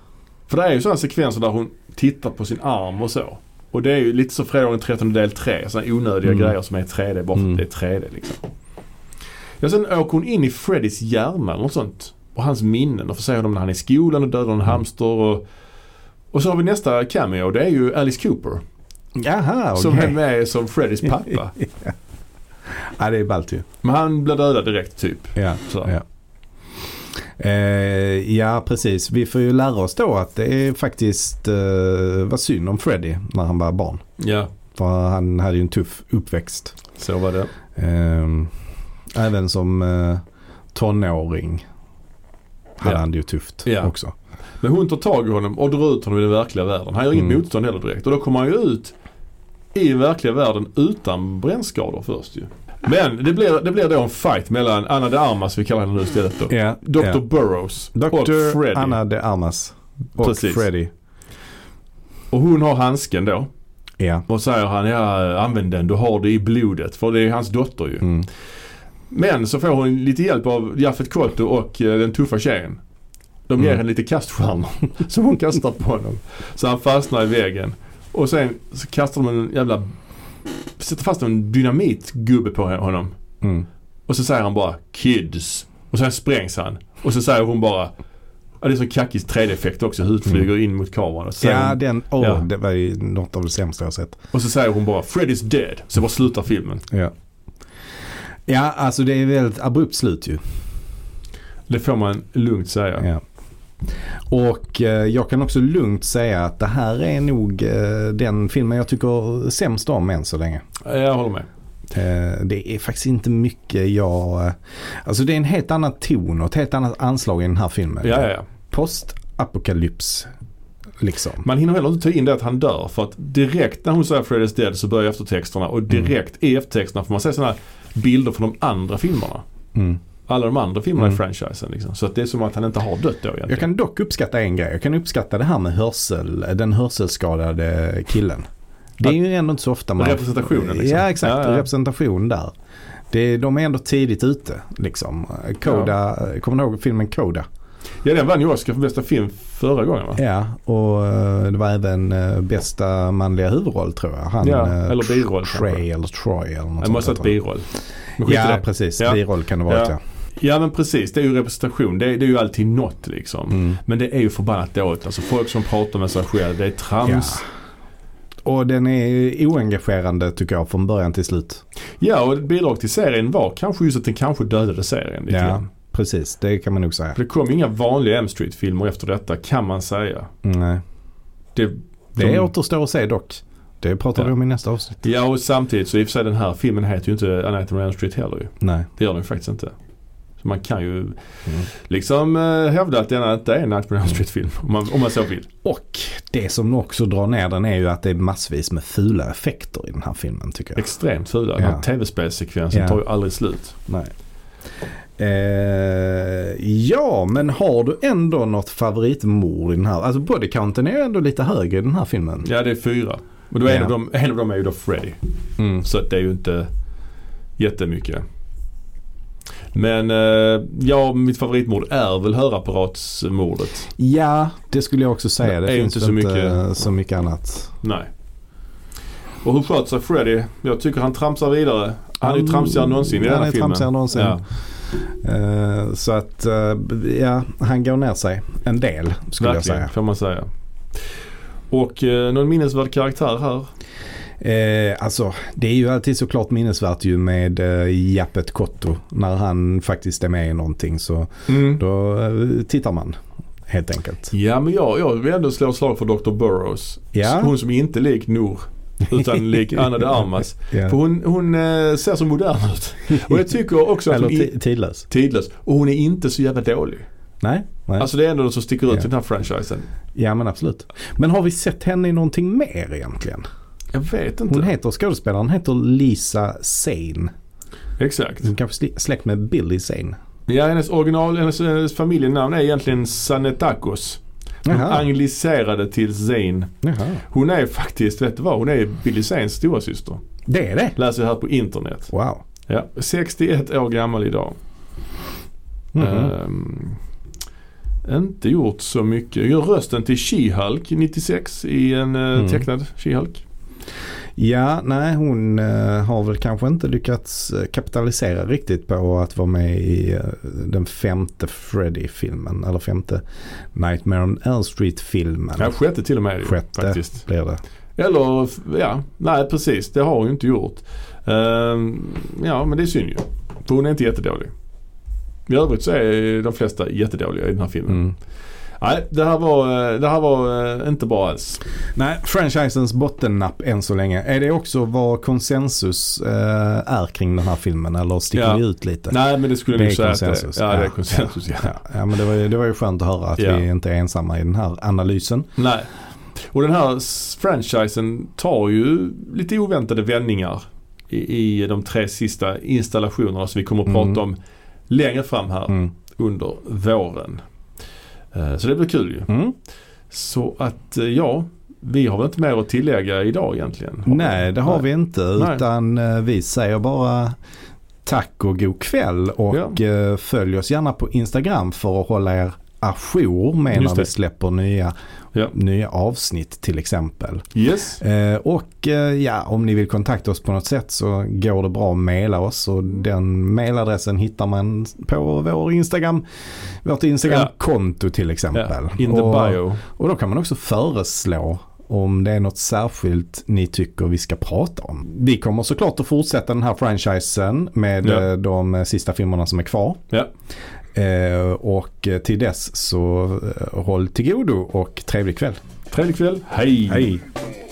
Speaker 2: för det är ju sådana sekvenser där hon tittar på sin arm och så. Och det är ju lite så fredag den 13 del 3. Sådana onödiga
Speaker 1: Mm.
Speaker 2: grejer som är 3D bara för
Speaker 1: Mm.
Speaker 2: att det är 3D liksom. Ja, sen åker hon in i Freddys hjärna eller något sånt. Och hans minnen och får se honom när han är i skolan och dödar en hamster. Och, och så har vi nästa cameo. Det är ju Alice Cooper.
Speaker 1: Jaha, okej.
Speaker 2: Som är med som Freddys [laughs] pappa.
Speaker 1: Ja, det är ballt ju.
Speaker 2: Men han blir dödad direkt typ.
Speaker 1: Ja.
Speaker 2: Så.
Speaker 1: Ja. Eh, ja, precis. Vi får ju lära oss då att det är faktiskt eh, var synd om Freddy när han var barn.
Speaker 2: Ja,
Speaker 1: För han hade ju en tuff uppväxt.
Speaker 2: så var det.
Speaker 1: Eh, även som eh, tonåring hade
Speaker 2: Ja.
Speaker 1: han det ju tufft
Speaker 2: Ja.
Speaker 1: också.
Speaker 2: Men hon tar tag i honom och drar ut honom i den verkliga världen. Han gör inget
Speaker 1: Mm.
Speaker 2: motstånd heller direkt. Och då kommer han ju ut i den verkliga världen utan brännskador först ju. Men det blir, det blir då en fight mellan Anna de Armas, vi kallar henne nu istället då.
Speaker 1: Ja,
Speaker 2: Dr.
Speaker 1: ja.
Speaker 2: Burrows och
Speaker 1: Dr.
Speaker 2: Freddy.
Speaker 1: Anna de Armas och
Speaker 2: Precis.
Speaker 1: Freddy.
Speaker 2: Och hon har handsken då.
Speaker 1: Ja.
Speaker 2: Och säger han, ja använd den, du har det i blodet. För det är hans dotter ju.
Speaker 1: Mm.
Speaker 2: Men så får hon lite hjälp av Jaffet Kotto och eh, den tuffa tjejen. De ger
Speaker 1: Mm.
Speaker 2: henne lite kaststjärnor [laughs] som hon kastar på honom. Så han fastnar i väggen. Och sen så kastar de en jävla... Sätter fast en dynamitgubbe på honom.
Speaker 1: Mm.
Speaker 2: Och så säger han bara “Kids” och sen sprängs han. Och så säger hon bara... Ja, det är så kackig 3D-effekt också. Huvudet flyger in mot kameran. Och så, säger
Speaker 1: Mm. Ja,
Speaker 2: hon,
Speaker 1: den, åh,
Speaker 2: Ja.
Speaker 1: det var ju något av det sämsta jag har sett.
Speaker 2: och så säger hon bara “Fred is dead” så bara slutar filmen.
Speaker 1: Ja. Ja, alltså det är väldigt abrupt slut ju.
Speaker 2: Det får man lugnt säga.
Speaker 1: Ja. Och eh, jag kan också lugnt säga att det här är nog eh, den filmen jag tycker sämst om än så länge.
Speaker 2: Jag håller med.
Speaker 1: Eh, det är faktiskt inte mycket jag... eh, Alltså det är en helt annan ton och ett helt annat anslag i den här filmen.
Speaker 2: Ja, ja, ja.
Speaker 1: Postapokalyps liksom.
Speaker 2: Man hinner heller inte ta in det att han dör för att direkt när hon säger Fred is dead så börjar eftertexterna
Speaker 1: Mm.
Speaker 2: och direkt i eftertexterna får man se sådana bilder från de andra filmerna.
Speaker 1: Mm.
Speaker 2: Alla de andra filmerna i
Speaker 1: Mm.
Speaker 2: franchisen liksom. Så att det är som att han inte har dött då egentligen.
Speaker 1: Jag kan dock uppskatta en grej. Jag kan uppskatta det här med hörsel, den hörselskadade killen. Det är ju ändå inte så ofta man...
Speaker 2: Representationen, liksom.
Speaker 1: Ja exakt,
Speaker 2: Ja, ja.
Speaker 1: representation där. Det, de är ändå tidigt ute liksom. Koda, kommer du ihåg filmen Koda?
Speaker 2: Ja, den vann ju Oscar för bästa film förra gången va?
Speaker 1: Ja, och eh, det var även eh, bästa manliga huvudroll tror jag. Han,
Speaker 2: Ja,
Speaker 1: eh,
Speaker 2: eller biroll kanske.
Speaker 1: Trey eller Troy eller något
Speaker 2: Det måste ha
Speaker 1: sånt.
Speaker 2: varit
Speaker 1: där, tror
Speaker 2: biroll.
Speaker 1: jag.
Speaker 2: Men skit i
Speaker 1: Ja,
Speaker 2: det.
Speaker 1: precis.
Speaker 2: Ja.
Speaker 1: Biroll kan det vara.
Speaker 2: Ja.
Speaker 1: Ja.
Speaker 2: Ja men precis, det är ju representation. Det är, det är ju alltid något liksom.
Speaker 1: Mm.
Speaker 2: Men det är ju förbannat dåligt. Alltså folk som pratar med sig själv, det är trams.
Speaker 1: Och den är oengagerande tycker jag från början till slut.
Speaker 2: Ja, och ett bidrag till serien var kanske just att den kanske dödade serien lite
Speaker 1: Ja,
Speaker 2: grann.
Speaker 1: precis. Det kan man nog säga.
Speaker 2: För det kom inga vanliga M Street-filmer efter detta kan man säga.
Speaker 1: Mm, Nej.
Speaker 2: Det,
Speaker 1: Det
Speaker 2: de-
Speaker 1: återstår att se dock. Det pratar vi
Speaker 2: Mm. Ja.
Speaker 1: om i nästa avsnitt.
Speaker 2: Ja och samtidigt så i och för sig den här filmen heter ju inte A Nightmare on Elm Street heller ju.
Speaker 1: Nej.
Speaker 2: Det gör den ju faktiskt inte. Så man kan ju
Speaker 1: Mm.
Speaker 2: liksom eh, hävda att denna inte är en Nightmare on Elm Street-film om man, om man så vill.
Speaker 1: Och det som också drar ner den är ju att det är massvis med fula effekter i den här filmen tycker jag.
Speaker 2: Extremt fula. Den
Speaker 1: Ja.
Speaker 2: här tv-spelssekvensen
Speaker 1: Ja.
Speaker 2: tar ju aldrig slut.
Speaker 1: Nej. Eh, ja, men har du ändå något favoritmord i den här? Alltså bodycounten är ju ändå lite högre i den här filmen.
Speaker 2: Ja det är fyra. Och då är en,
Speaker 1: Ja.
Speaker 2: av dem, en av dem är ju då Freddy.
Speaker 1: Mm.
Speaker 2: Så att det är ju inte jättemycket. Men eh, ja, mitt favoritmord är väl hörapparatsmordet.
Speaker 1: Ja, det skulle jag också säga. Det,
Speaker 2: Det är ju
Speaker 1: finns
Speaker 2: inte så
Speaker 1: väl
Speaker 2: mycket-
Speaker 1: så mycket annat.
Speaker 2: Nej. Och hur sköt sig Freddy? Jag tycker han tramsar vidare. Han är ju
Speaker 1: Mm,
Speaker 2: tramsigare än någonsin i
Speaker 1: han
Speaker 2: den här
Speaker 1: är
Speaker 2: filmen.
Speaker 1: tramsigare än någonsin.
Speaker 2: Ja.
Speaker 1: Eh, så att eh, ja, han går ner sig en del skulle
Speaker 2: Verkligen,
Speaker 1: jag säga.
Speaker 2: får man säga. Och eh, någon minnesvärd karaktär här?
Speaker 1: Eh, alltså det är ju alltid såklart minnesvärt ju med eh, Japet Kotto. När han faktiskt är med i någonting så
Speaker 2: Mm.
Speaker 1: då eh, tittar man helt enkelt.
Speaker 2: Ja, men jag, jag vill ändå slå ett slag för Dr. Burrows.
Speaker 1: Ja.
Speaker 2: Hon som inte är lik Noor.
Speaker 1: [laughs]
Speaker 2: Utan lik Anna de Armas.
Speaker 1: Ja.
Speaker 2: För hon, hon eh, ser så modern ut. Och jag tycker också att
Speaker 1: Eller
Speaker 2: hon
Speaker 1: ti-
Speaker 2: är
Speaker 1: tidlös.
Speaker 2: tidlös. Och hon är inte så jävla dålig.
Speaker 1: Nej, nej.
Speaker 2: Alltså det är ändå något som sticker ut
Speaker 1: Ja.
Speaker 2: i den här franchisen.
Speaker 1: ja men absolut. Men har vi sett henne i någonting mer egentligen?
Speaker 2: Jag vet inte.
Speaker 1: Hon heter, skådespelaren heter Lisa Sane.
Speaker 2: Exakt.
Speaker 1: Hon kanske sl- släkt med Billy Sane.
Speaker 2: Ja, hennes original, hennes, hennes familjenamn är egentligen Sanetakos. De
Speaker 1: Jaha.
Speaker 2: anglicerade till Zane.
Speaker 1: Jaha.
Speaker 2: Hon är faktiskt, vet du vad? Hon är Billy Zanes stora syster.
Speaker 1: Det är det?
Speaker 2: Läser jag här på internet.
Speaker 1: Wow.
Speaker 2: Ja, 61 år gammal idag.
Speaker 1: Mhm.
Speaker 2: Ehm, inte gjort så mycket. Gör rösten till She-Hulk 96 i en eh,
Speaker 1: Mm.
Speaker 2: tecknad She-Hulk.
Speaker 1: Ja, nej hon eh, har väl kanske inte lyckats eh, kapitalisera riktigt på att vara med i eh, den femte Freddy-filmen. Eller femte Nightmare on Elm Street-filmen.
Speaker 2: Ja, sjätte till och med är det ju,
Speaker 1: Sjätte
Speaker 2: faktiskt.
Speaker 1: blir det.
Speaker 2: Eller, f- ja, nej precis. Det har hon ju inte gjort. Ehm, ja, men det är synd ju. För hon är inte jättedålig. I övrigt så är de flesta jättedåliga i den här filmen.
Speaker 1: Mm.
Speaker 2: Nej, det här var, eh, det här var eh, inte bra alls.
Speaker 1: Nej, franchisens bottennapp än så länge. Är det också vad konsensus eh, är kring den här filmen? Eller sticker
Speaker 2: Ja.
Speaker 1: vi ut lite?
Speaker 2: Nej, men det skulle
Speaker 1: Det
Speaker 2: jag nog
Speaker 1: är
Speaker 2: säga att det
Speaker 1: konsensus.
Speaker 2: är. Ja, det är
Speaker 1: Ja.
Speaker 2: konsensus. Ja.
Speaker 1: Ja, ja, men det var, ju, det var ju skönt att höra att
Speaker 2: Ja.
Speaker 1: vi inte är ensamma i den här analysen.
Speaker 2: Nej. Och den här s- franchisen tar ju lite oväntade vändningar i, i de tre sista installationerna som vi kommer att prata
Speaker 1: Mm.
Speaker 2: om längre fram här
Speaker 1: Mm.
Speaker 2: under våren. Eh, Så det blir kul ju.
Speaker 1: Mm.
Speaker 2: Så att eh, ja, vi har väl inte mer att tillägga idag egentligen? har vi?
Speaker 1: Nej, det har vi inte.
Speaker 2: Nej.
Speaker 1: Utan eh, vi säger bara tack och god kväll. Och eh, följ oss gärna på Instagram för att hålla er ajour med
Speaker 2: Just
Speaker 1: när vi
Speaker 2: det.
Speaker 1: släpper nya,
Speaker 2: Ja.
Speaker 1: nya avsnitt till exempel.
Speaker 2: Yes.
Speaker 1: Eh, och eh, ja, om ni vill kontakta oss på något sätt så går det bra att mejla oss. Och den mailadressen hittar man på vår Instagram, vårt Instagram-konto till exempel.
Speaker 2: Ja, in the
Speaker 1: och,
Speaker 2: bio.
Speaker 1: och då kan man också föreslå om det är något särskilt ni tycker vi ska prata om. Vi kommer såklart att fortsätta den här franchisen med
Speaker 2: Ja.
Speaker 1: eh, de eh, sista filmerna som är kvar.
Speaker 2: Ja.
Speaker 1: Eh, Och eh, till dess så eh, håll till godo och trevlig kväll.
Speaker 2: Trevlig kväll. Hej.
Speaker 1: Hej!
Speaker 5: Hey.